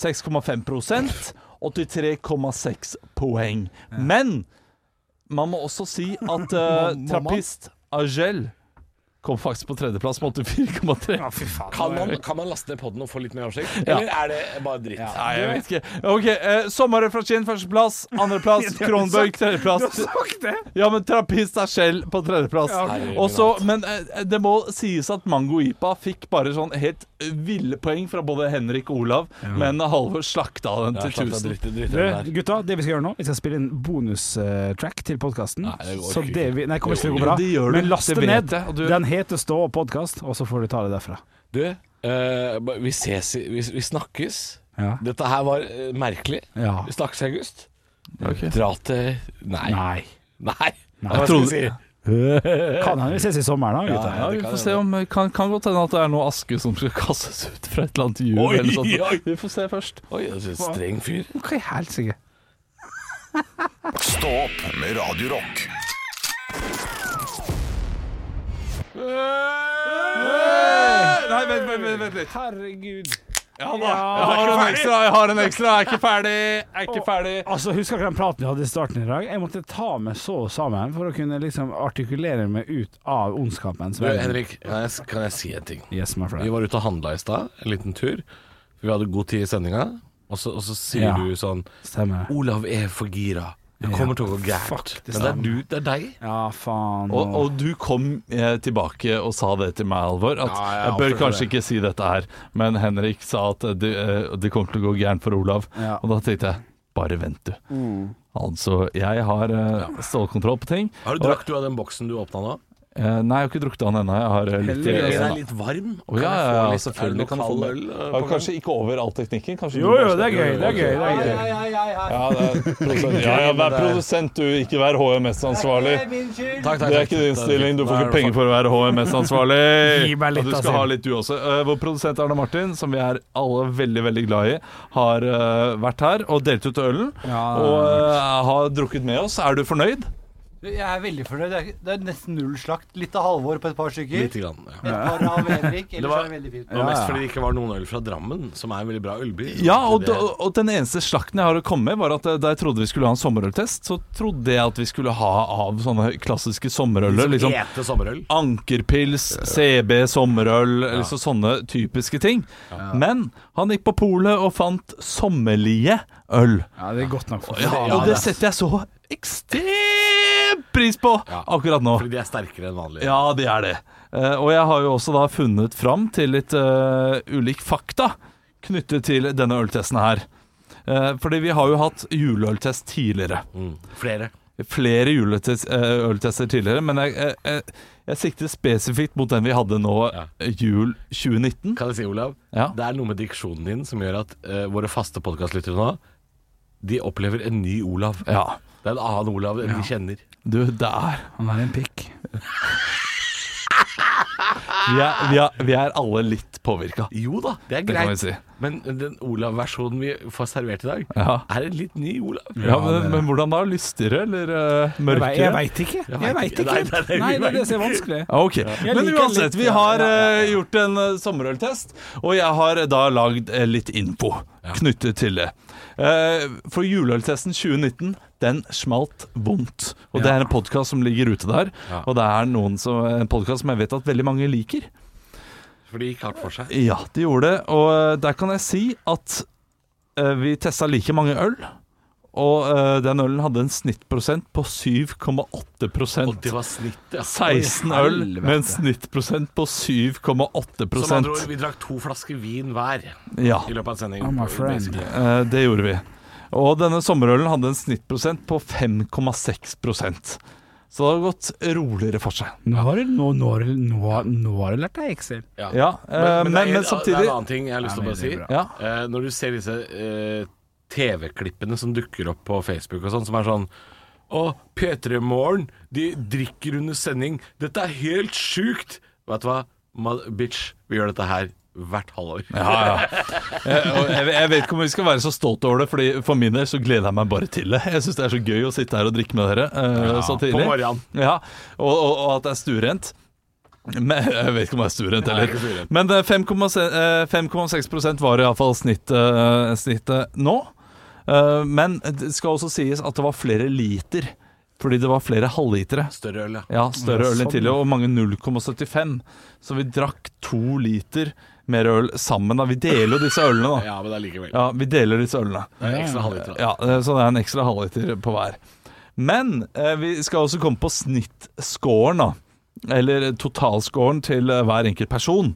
6,5 prosent, 83,6 poeng. Men man må også si at uh, Trappist Agel kom faktisk på tredjeplass med 84,3.
Ja, fy faen.
Kan man, kan man laste ned podden og få litt mer oversikt,
Ja.
eller er det bare dritt?
Nei, jeg vet ikke. OK. Uh, Sommerøl fra Kinn førsteplass. Andreplass.
har du
Kronborg
Du har
tredjeplass.
sagt det!
Ja, men Trappist er selv på tredjeplass.
Ja, ok.
Herregud,
Også, men eh, det må sies at Mango Ipa fikk bare sånn helt ville poeng fra både Henrik og Olav, men eh, Halvor slakta den
Ja, slapp
til
av,
tusen.
dritt- dritt-
Du,
den der.
gutta, det vi skal gjøre nå Vi skal spille en bonustrack til podkasten.
Nei, det går
Så
ikke.
det vi Nei, kommer ikke til
Jo,
å gå bra.
det gjør det.
Men last
Det
det
vet
ned.
jeg, og du-
Den heter Stå opp podkast, og så får du ta det derfra.
Du, eh, ba- vi ses i- vi, vi snakkes.
Ja.
Dette her var eh, merkelig.
ja.
Vi snakkes i august.
Ok.
Dra til Nei.
Nei.
Nei.
Jeg trodde,
Kan hende vi ses i sommer, da, gutta.
ja, vi får se om eh, Kan, kan godt hende at det er noe aske som skal kastes ut fra et eller annet hjul.
Oi,
eller sånt.
oi.
Vi får se først.
Oi, det er en streng fyr.
Hva i helsike?
Stå opp med Radio Rock.
Nei, vent, vent, vent, vent litt.
Herregud.
Ja, da. Jeg har en ekstra, jeg har en ekstra. Jeg er ikke ferdig. Jeg er ikke ferdig.
Altså, Husker dere den praten vi hadde i starten i dag? Jeg måtte ta meg så sammen for å kunne liksom artikulere meg ut av ondskapens
Du,
verden.
Henrik, kan jeg, kan jeg si en ting?
Yes, my friend.
Vi var ute og handla i stad, en liten tur. Vi hadde god tid i sendinga, og, så- og så sier
Ja.
du sånn
Stemmer. det.
Olav er for gira. Det kommer til å gå gærent.
fuck, det
Men det er
stemmer.
du, det er deg.
Ja, faen. altså.
Og, og du kom eh, tilbake og sa det til meg, Alvor. At
Ja, jeg
jeg bør
avslører
kanskje
det.
ikke si dette her, men Henrik sa at eh, det, eh, det kommer til å gå gærent for Olav.
Ja.
Og da tenkte jeg bare vent, du. Altså, jeg har eh, stålkontroll på ting.
Har du drakk du av den boksen du åpna nå?
Eh, nei, jeg har ikke drukket den ennå. Jeg har eh, litt i
Den
Heldigvis.
er
øyet.
litt varm.
Å, ja,
jeg få
ja, ja,
litt-
selvfølgelig
er det noe
kan du få
kald
det.
øl, eh,
Ja,
på gang?
Kanskje ikke over all teknikken. Kanskje
Jo,
du
jo,
bare
det er gøy.
skal-
Det er gøy. Det er gøy.
Hei, hei, hei, hei.
Ja, det er produsent. ja, ja, vær produsent, du. Ikke vær HMS-ansvarlig.
Det er min skyld.
Takk, takk,
Det er
takk.
ikke din
Det er
stilling. Du
fint.
får
Da er
ikke
det
penger for å være HMS-ansvarlig.
Gi meg litt,
Og du
altså. da,
skal ha
Siv.
litt, du også. Eh, Vår produsent Arne Martin, som vi er alle veldig veldig glad i, har eh, vært her og delt ut ølen.
Ja.
og eh, har drukket med oss. Er du fornøyd?
Jeg er veldig fornøyd. Det er- Det er nesten null slakt. Litt av Halvor på et par stykker.
Lite grann. Ja.
Et par av Henrik. Ellers
var-
er det veldig fint.
Det var mest fordi det ikke var noen øl fra Drammen, som er en veldig bra ølby.
Ja, og,
Det-
og, og den eneste slakten jeg har å komme med, var at eh, da jeg trodde vi skulle ha en sommerøltest, så trodde jeg at vi skulle ha av sånne klassiske sommerøler.
Som
Liksom
ete sommerøl.
Ankerpils, CB, sommerøl, liksom sånne typiske ting. Men han gikk på polet og fant sommerlige øl.
Ja, det er godt nok. For.
Ja,
Ja,
og det
det-
setter jeg så ekstremt pris på
Ja.
akkurat nå.
Fordi de er sterkere enn vanlig.
Ja, det er det. Eh, og jeg har jo også da funnet fram til litt eh, ulik fakta knyttet til denne øltesten her. Eh, fordi vi har jo hatt juleøltest tidligere.
Mm. Flere.
Flere juleøltester tidligere, men jeg, jeg, jeg, jeg sikter spesifikt mot den vi hadde nå
Ja.
eh, jul 2019.
Kan jeg si, Olav?
Ja.
Det er noe med diksjonen din som gjør at eh, våre faste podkastlyttere nå De opplever en ny Olav.
Ja.
Det er en annen Olav enn de kjenner.
Du, det er
Han er en pikk.
Vi er, vi er, vi er alle litt påvirka.
Jo da, det er
Det kan
greit.
vi si.
Men den Olav-versjonen vi får servert i dag,
Ja.
er en litt ny Olav.
Ja, men, men hvordan da? Lystigere eller eh, mørkere?
Jeg veit ikke. Jeg vet
Nei, det
ikke.
er det vi
Nei, det er det
vet.
som er vanskelig.
Ja, Ok, Men
liker
uansett,
litt-
vi
ja,
har
ja, ja,
eh, gjort en eh, sommerøltest, og jeg har eh, da lagd eh, litt info knyttet til det. Eh, for juleøltesten 2019, den smalt vondt. Og det
Ja.
er en podkast som ligger ute der,
Ja.
og det er noen som, eh, en podkast som jeg vet at veldig mange liker.
For det gikk hardt for seg.
Ja, de gjorde det, og eh, der kan jeg si at eh, vi testa like mange øl. Og eh, den ølen hadde en snittprosent på 7,8
Og det var snittet, ja.
16
Oi,
øl
helvete.
med en snittprosent på 7,8
Som andre ord, vi drakk to flasker vin hver
Ja,
i løpet av sendingen.
Oh, my friend.
Basically.
eh, det gjorde vi. Og denne sommerølen hadde en snittprosent på 5,6 Så det har gått roligere for seg.
Nå har du, nå, nå, har du- nå, har- nå har du lært deg Excel.
Ja, eh, men-
det er en-
men
Det er
samtidig-
en annen ting jeg har lyst til å bare si.
Ja.
Eh, når du ser disse eh, TV-klippene som dukker opp på Facebook og sånn, som er sånn Å, P3 Morgen, de drikker under sending. Dette er helt sjukt! Vet du hva, Ma- bitch, vi gjør dette her hvert halvår.
Eh, og Jeg, jeg vet ikke om vi skal være så stolte over det, Fordi for min del så gleder jeg meg bare til det. Jeg syns det er så gøy å sitte her og drikke med dere eh, så tidlig.
på morgenen.
Ja, og, og, og at det er stuerent. Men, jeg vet ikke om det er stuerent
ikke
heller.
stuerent.
Men eh, det er 5,6 prosent var iallfall snittet, eh, snittet nå. Eh, Men det skal også sies at det var flere liter, fordi det var flere halvlitere.
Større øl, ja.
Ja, større øl enn
sånn,
tidligere, og mange 0,75. Så vi drakk to liter mer øl sammen. da Vi deler jo disse ølene, da.
Ja, men allikevel.
Ja, vi deler disse ølene.
Det er ekstra halvliter. da.
Ja, eh, Så det er en ekstra halvliter på hver. Men eh, vi skal også komme på snittscoren, da. Eller totalscoren til eh, hver enkelt person.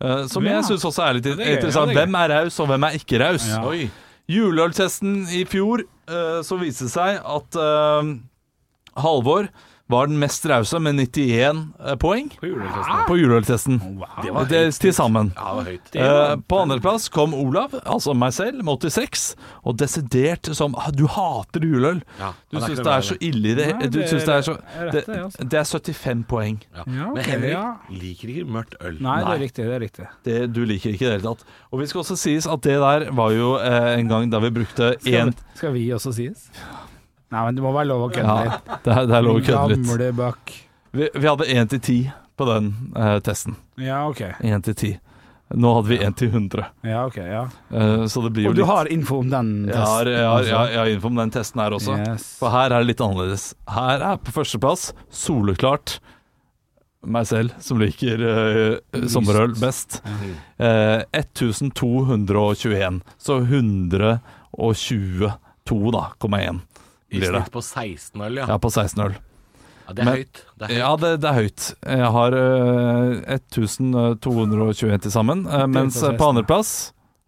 Eh, som
Mm. Ja.
jeg syns også er litt
er gøy,
interessant.
ja, det er gøy.
hvem er raus, og hvem er ikke raus?
Ja.
Oi.
Juleøltesten i fjor eh, så viste det seg at eh, Halvor var den mest rause med 91 poeng
På juleøltesten.
Ah!
på juleøltesten.
Det var
Og Det til sammen.
Ja, det var høyt.
Eh, på andreplass kom Olav, altså meg selv, med 86. Og desidert som ah, Du hater juleøl!
Ja,
Du
han er
syns
ikke
det
noe
er så ille i det
Nei,
Du
det
syns det er så
er rett
Det,
det, altså.
det er 75 poeng.
Ja.
Ja,
Men
ok,
Henrik
ja.
liker ikke mørkt øl.
Nei, det er riktig. det er riktig
Det du liker ikke i det hele tatt. Og vi skal også sies at det der var jo eh, en gang da vi brukte
Skal,
én
skal vi også sies? Nei, men det må være lov å kødde
Ja,
litt.
det er, det er lov å kødde litt.
Gamle bøkk.
Vi, vi hadde 1 til 10 på den eh, testen.
Ja, OK.
1 til 10. Nå hadde vi 1 til 100,
Ja, ok, ja
eh, så det blir jo
Og du
litt
har info om den
jeg
testen?
har, jeg, har, jeg, har, jeg har info om den testen her også.
Yes.
For her er det litt annerledes. Her er på førsteplass soleklart meg selv, som liker eh, sommerøl best. Eh, 1221. Så 122, da, komma én
I
blir det.
snitt på 16 øl, ja.
Ja, på 16 øl.
ja det er
Men-
høyt. Det er høyt.
Ja, det, det er høyt. Jeg har eh, 1221 til sammen. eh, mens
på 16.
på andreplass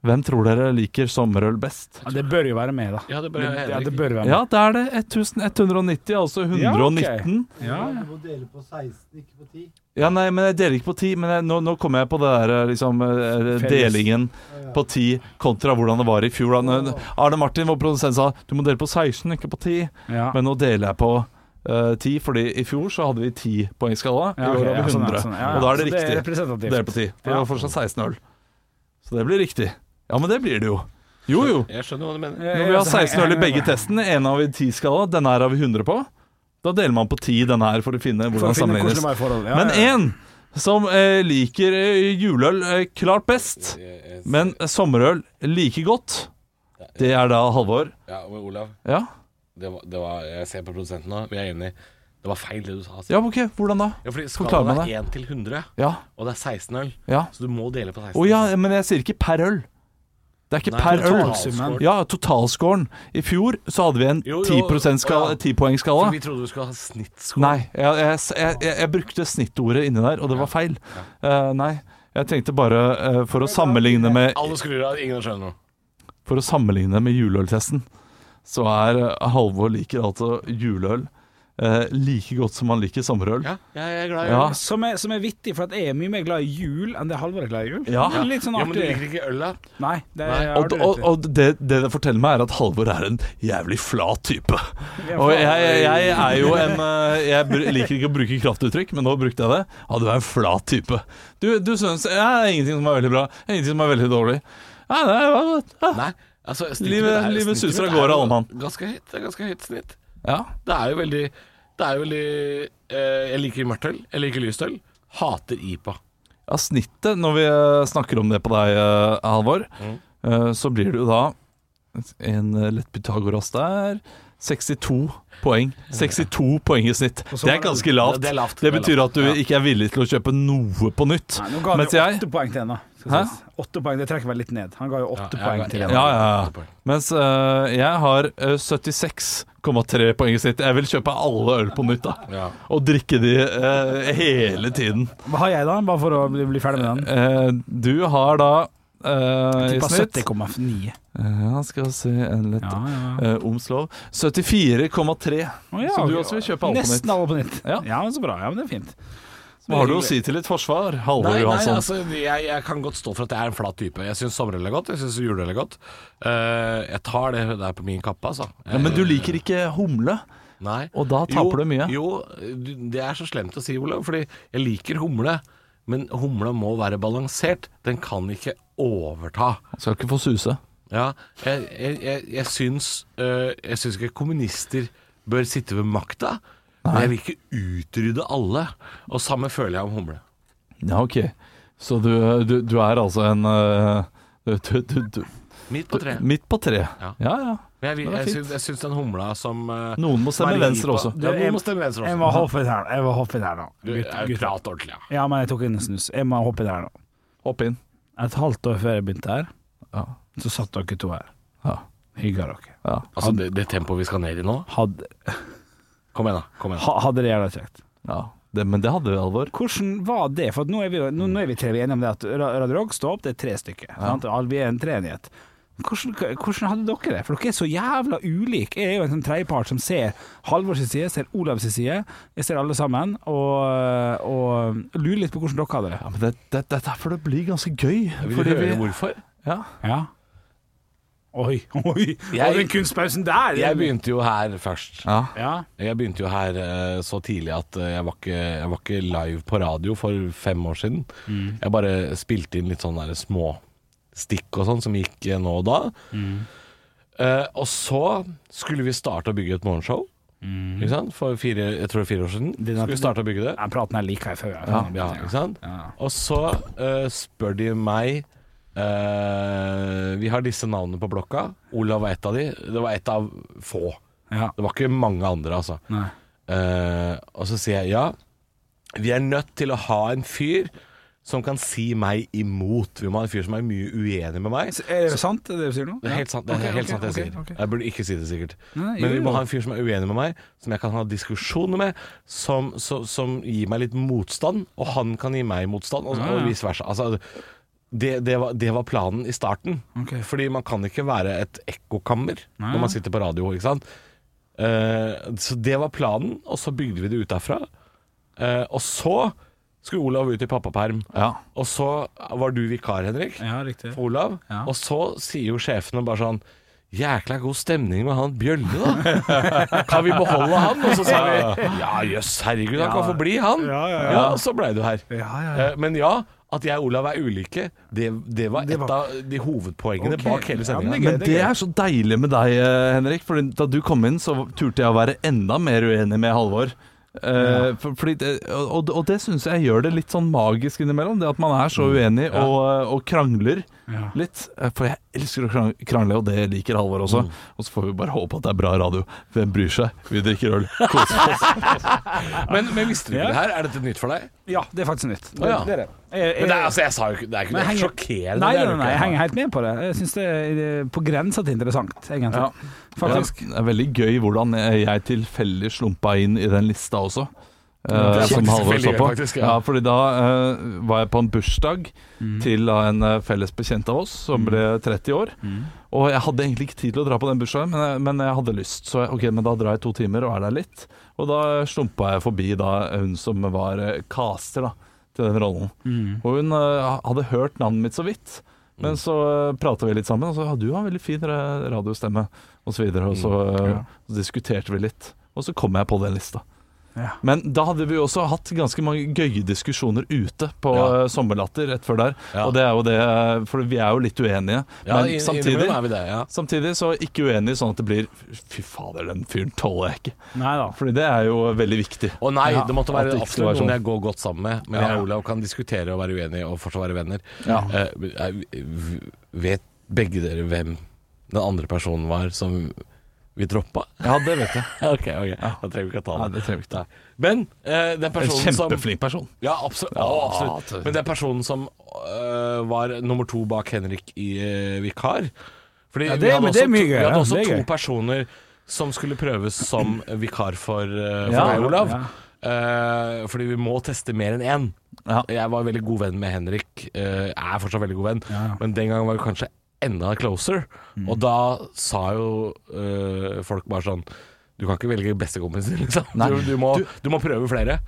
Hvem tror dere liker sommerøl best?
Ja, det bør jo være med, da.
Ja, det bør
Det,
jeg
ja, det
Henrik.
bør være med.
Ja, det er det. 1190, altså 119.
Ja,
Ja,
ok. Ja,
Du må dele på 16, ikke på 10.
nei, men jeg deler ikke på 10. Men jeg, nå, nå kommer jeg på det der eh, liksom eh,
Felles.
delingen på 10 kontra hvordan det var i fjor. da. Nå- Arne Martin, vår produsent, sa du må dele på 16, ikke på 10.
Ja.
Men nå deler jeg på eh, 10, fordi i fjor så hadde vi 10 poengskala. I
Ja, ok,
år har
ja,
vi
sånn
100.
er det, sånn er det. Ja,
Og da er
så
det
Det er
riktig.
representativt.
Delt på ti. For det
Ja.
var fortsatt 16-0. Så det blir riktig. Ja, men det blir det jo. Jo, jo.
Jeg skjønner hva du mener.
Ja,
Når
ja,
vi har
så her-
16-0 i
her-
begge testene, en av i 10-skala, denne her har vi 100 på, da deler man på 10 denne her for å finne
For å
hvordan
finne hvordan
sammenlignes.
det var i forhold. Ja,
Men
ja, ja.
én som eh, liker eh, juleøl eh, klart best, men sommerøl like godt, det er da Halvor.
Ja, men Olav,
Ja,
det var, det var, jeg ser på produsenten nå, vi er enige. Det var feil det du sa. Altså.
ja OK. Hvordan da?
Ja, fordi
forklar
skalaen
meg
er 1 til 100,
Ja.
og det er 16 øl,
ja.
så du må dele på 16.
Å ja, men jeg sier ikke per øl. Det er ikke per øl.
totalsummen.
Ja, totalscoren. I fjor så hadde vi en
Jo,
10
jo, å ja.
skala- 10-poengsskala.
For vi trodde du skulle ha snittskål.
Nei, jeg, jeg, jeg, jeg, jeg brukte snittordet inni der, og det var feil. Eh, nei, jeg tenkte bare eh, for, å sammenligne med,
Alle skrur av, ingen skjønner noe.
for å sammenligne med juleøltesten, så er eh, Halvor liker altså juleøl eh, like godt som han liker sommerøl.
Ja, jeg er glad i
Ja.
øl.
Som er, som er vittig, for at jeg er mye mer glad i jul enn det Halvor er glad i jul.
Ja.
Det er Litt sånn
Ja, men du
artig.
liker ikke øl, da?
Nei, det
Nei,
har
Og,
du
og,
rett i.
og det, det det forteller meg, er at Halvor er en jævlig flat type. Og jeg, jeg, jeg er jo en eh, Jeg br- liker ikke å bruke kraftuttrykk, men nå brukte jeg det. Ja, du er en flat type. Du, du syns ja, det er ingenting som er veldig bra, det er ingenting som er veldig dårlig. Ja, det er, ja, ja.
Nei. Altså, snittet mitt
Livet-
er-
livet
snittet
suser av
mitt er
gårde,
jo
alle mann.
Ganske høyt. Det er ganske høyt snitt.
Ja.
Det er jo veldig Det er jo veldig eh, Jeg liker mørkt øl. Jeg liker lyst øl. Hater IPA.
Ja, snittet, når vi eh, snakker om det på deg, eh, Halvor, eh, så blir det jo da en eh, lett Pythagoras der. 62 poeng. 62 poeng i snitt.
så
Det
var
er
det-
ganske lavt.
Det er lavt,
Det
det er
betyr
lavt,
at du
ja.
ikke er villig til å kjøpe noe på nytt.
Nei, nå ga han
Mens
jo
jeg
åtte poeng til en, da. skal
Hæ?
sies. Åtte poeng, Det trekker vel litt ned. Han ga jo åtte
Ja,
poeng
jeg-
til
jeg-
en.
Ja, ja,
Åtte
ja.
poeng.
Mens eh, jeg har eh, 76,3 poeng i snitt. Jeg vil kjøpe alle øl på nytt, da.
Ja.
Og drikke de eh, hele tiden.
Hva har jeg, da? Bare for å bli, bli ferdig med den.
Eh, du har da eh, i
Tippa
snitt.
70,9.
Ja, Eh, skal vi se en lett
Ja, ja.
eh, Omslov. 74,3.
Å, ja,
Så du
ok.
også vil kjøpe alt på
Nesten
nytt.
alle på nytt.
Ja.
men Så bra. Ja, men det er fint.
Hva har du å si til ditt forsvar, Halvor
Nei, nei
Johansson?
altså, jeg, jeg kan godt stå for at jeg er en flat type. Jeg syns sommerøl er godt, jeg syns juleøl er godt. Eh, jeg tar det der på min kappe, altså.
ja, men du liker ikke humle.
Nei.
Og da taper
jo,
du mye.
Jo, du- det er så slemt å si, Olav, fordi jeg liker humle. Men humla må være balansert. Den kan ikke overta.
Skal ikke få suse.
Ja, jeg, jeg, jeg, jeg, syns, øh, jeg syns ikke kommunister bør sitte ved makta. Men jeg vil ikke utrydde alle. Og samme føler jeg om humle.
Ja, ok. Så du, du, du er altså en eh, du, du, du,
Midt på treet.
Midt på tre. Ja.
Ja.
ja,
Men jeg, vil-
Det er
jeg,
fint.
syns, jeg syns den humla som øh,
Noen må stemme
Marie
venstre
på-
også.
Ja, noen må stemme venstre
Jeg
også.
må hoppe inn her, jeg må hoppe inn her nå.
Du,
Gutt-
jeg
gutt-
prat ordentlig, ja.
Ja, men jeg tok en snus. Jeg må hoppe inn her nå.
Hopp inn.
Et halvt år før jeg begynte her,
Ja.
så satt dere to her.
Ja.
Hygga dere.
Ja.
Altså, det, det tempoet vi skal ned i nå
Hadde,
Kom igjen, da. Kom igjen.
ha, hadde det jævla kjekt.
ja. Det, men det hadde vi, Halvor.
Hvordan var det? For at nå er vi, jo- nå, nå er vi tre vi er enige om det at Ra- Radio Rock står opp, det er tre stykker. sant? Al- Vi er en treenighet. Hvordan, hvordan hadde dere det? For dere er så jævla ulike. Jeg er jo en sånn tredjepart som ser Halvor sin side, ser Olavs side, jeg ser alle sammen, og, og lurer litt på hvordan dere hadde det.
Ja, men det, det, det er derfor det blir ganske gøy.
Vil du
Fordi
høre
vi,
hvorfor?
ja.
Ja. Oi, oi!
Jeg-
og den kunstpausen der!
Jeg begynte jo her først.
Ja.
Ja.
Jeg begynte jo her eh, så tidlig at eh, jeg var, ikke, jeg var ikke live på radio for fem år siden. Jeg bare spilte inn litt sånne der små stikk og sånn som gikk eh, nå og da. Eh, og så skulle vi starte å bygge et morgenshow. Ikke sant? For fire, jeg tror Mm. det er fire år siden.
er
Skulle vi starte å bygge det?
Den praten her liker jeg før. jeg.
Ja, ikke sant? Og så eh, spør de meg eh, Vi har disse navnene på blokka. Olav var ett av de. Det var ett av få.
Ja.
Det var ikke mange andre, altså.
Nei.
Eh, og så sier jeg ja. Vi er nødt til å ha en fyr som kan si meg imot. Vi må ha en fyr som er mye uenig med meg.
Så Er det sant, det du sier nå?
Det er helt sant, det er
Ok,
helt
ok,
sant det jeg
ok,
sier.
ok.
Jeg burde ikke si det sikkert.
Nei,
Men
jo,
vi må
jo.
ha en fyr som er uenig med meg, som jeg kan ha diskusjoner med, som, så, som gir meg litt motstand, og han kan gi meg motstand, og,
Ja, ja.
og vice versa. Altså, det, det, var, det var planen i starten.
Ok.
Fordi man kan ikke være et ekkokammer
Nei.
når man sitter på radio, ikke sant. Eh, så det var planen, og så bygde vi det ut derfra. Eh, og så skulle Olav ut i pappaperm,
ja.
og så var du vikar, Henrik
Ja, riktig.
for Olav.
Ja.
Og så sier jo sjefene bare sånn Jækla god stemning med han Bjølle, da. Kan vi beholde han? Og så sa vi ja, jøss, herregud, han kan få bli, han.
Ja, ja, ja.
og så blei du her.
Ja, ja,
Eh, Men ja, at jeg og Olav er ulike, det, det var et av de hovedpoengene
Ok.
bak hele
Ja, men
sendinga.
det er
Men det er så deilig med deg, eh, Henrik. Fordi da du kom inn, så turte jeg å være enda mer uenig med Halvor. Eh, for, fordi det, og, og det syns jeg gjør det litt sånn magisk innimellom. Det at man er så uenig og, eh, og krangler
Ja.
litt. Eh, For jeg elsker å krang- krangle, og det liker Halvor også. Og så får vi bare håpe at det er bra radio. Hvem bryr seg? Vi drikker øl. Koser oss.
Men, men visste du ikke det her? Er dette nytt for deg?
Ja, det er faktisk nytt. Det,
Å, ja.
det er det. Jeg, jeg,
Men det er, altså, jeg sa jo ikke Det er ikke
Men
det er
henger-
sjokkerende.
nei,
det
nei,
er
nei,
det jo
jeg
ikke.
henger helt med på det. Jeg syns det er eh, på grensa til interessant, egentlig.
Ja.
Faktisk.
Det er veldig gøy hvordan jeg tilfeldig slumpa inn i den lista også. eh,
Det er
som
faktisk
Halvor
veldig
så
gøy,
på.
faktisk,
ja.
ja. Mm.
fordi da eh, var jeg på en bursdag til eh, en eh, felles bekjent av oss som ble 30 år.
Mm.
Og jeg hadde egentlig ikke tid til å dra på den bursdagen, men jeg, men jeg hadde lyst. Så jeg, ok, men da drar jeg to timer og er der litt. Og da slumpa jeg forbi da hun som var eh, caster da, til den rollen.
Mm.
Og hun eh, hadde hørt navnet mitt så vidt.
Mm.
Men så uh, prata vi litt sammen, og så ja, du har en veldig fin ra- radiostemme, og så videre. Og så,
Mm.
eh, så diskuterte vi litt, og så kom jeg på den lista.
Ja.
Men da hadde vi jo også hatt ganske mange gøye diskusjoner ute på
Ja.
eh, Sommerlatter rett før der.
Ja.
Og det er jo det eh, For vi er jo litt uenige.
Ja,
men
i-
samtidig,
innimellom er vi det, ja.
samtidig så ikke uenige sånn at det blir Fy fader, den fyren tåler jeg ikke.
Nei da.
Fordi det er jo veldig viktig.
Å nei, det måtte være
at det ikke skulle
absolutt
være
noen
sånn.
jeg går godt sammen med. Men jeg og Olav kan diskutere og være uenige og fortsatt være venner.
Ja.
Eh, eh, v- vet begge dere hvem den andre personen var som vi droppa?
Ja, det vet jeg.
ok, ok, da trenger vi ikke å ta det.
Nei, det trenger vi ikke.
Men eh, den
En
personen som
kjempeflink person.
ja, absolutt. Ja, absolutt. Men det er personen som øh, var nummer to bak Henrik i øh, Vikar. Fordi
Ja, det-
vi hadde
men det er
også
mye gøy,
to- Vi
ja.
hadde også
Det er
to
gøy.
personer som skulle prøves som vikar for, øh, for
Ja,
meg, Olav. Øh,
ja.
Eh, fordi vi må teste mer enn én.
Ja.
Jeg var veldig god venn med Henrik. eh, er fortsatt veldig god venn,
Ja. Mm.
men den gangen var vi kanskje enda closer. Og da sa jo eh, folk bare sånn Du kan ikke velge bestekompisen, liksom.
Nei.
Du, du, må,
Du-
du må prøve flere.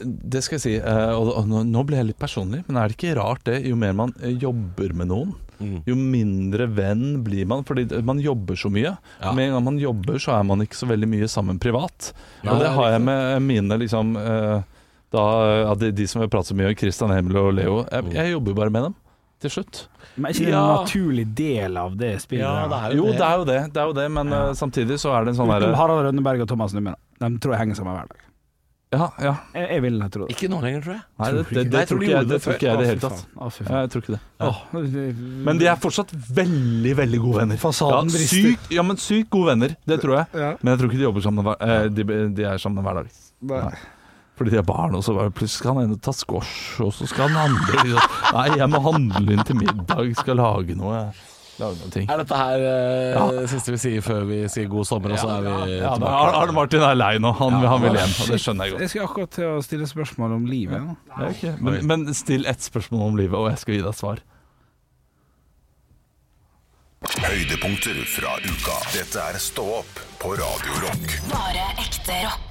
Det skal jeg si, eh, og, og nå- nå ble jeg litt personlig, men er det ikke rart det? Jo mer man eh, jobber med noen,
Mm.
jo mindre venn blir man, fordi det- man jobber så mye.
Ja.
Og Med en gang man jobber, så er man ikke så veldig mye sammen privat.
Ja,
og
det
det
er
har jeg med mine liksom eh, da, ja, de, de som vi prater så mye om, Christian Hemmel og Leo. Jeg, jeg jobber jo bare med dem til slutt.
Men er ikke det en
Ja.
naturlig del av det spillet? der?
Jo, det er jo det, det, er jo det men eh, samtidig så er det en sånn
Utenom
derre
Harald Rønneberg og Thomas Numme. da. De tror jeg henger sammen hver dag.
Ja, ja.
Jeg, jeg vil tro det.
Ikke nå lenger, tror jeg.
Nei, det, det, det,
Nei, jeg tror
tror
de
ikke jeg,
gjorde
det
det
tror
før.
ikke jeg i det
Å, fy
hele tatt.
faen. Å, fy faen.
Jeg tror ikke det.
Åh,
Men de er fortsatt veldig, veldig gode venner.
Fasaden
ja,
brister.
sykt, ja, men sykt gode venner, det tror jeg.
Ja.
Men jeg tror ikke de jobber sammen hver, eh, de, de er sammen hver dag.
Nei.
Fordi de er barn, og så bare plutselig skal han ene ta squash, og så skal han handle liksom. Nei, jeg må handle inn til middag, skal lage noe. Lage noen ting.
Er dette her eh, det siste vi sier før vi sier god sommer, og så er vi
Ja, men
tilbake?
Ar- Arne Martin er lei nå, han, han vil hjem, og det skjønner jeg godt.
Jeg skal akkurat til å stille spørsmål om livet. nå.
Ja, ok. men, men still ett spørsmål om livet, og jeg skal gi deg svar.
Høydepunkter fra uka. Dette er Stå opp på Radio Rock.
Bare ekte rock.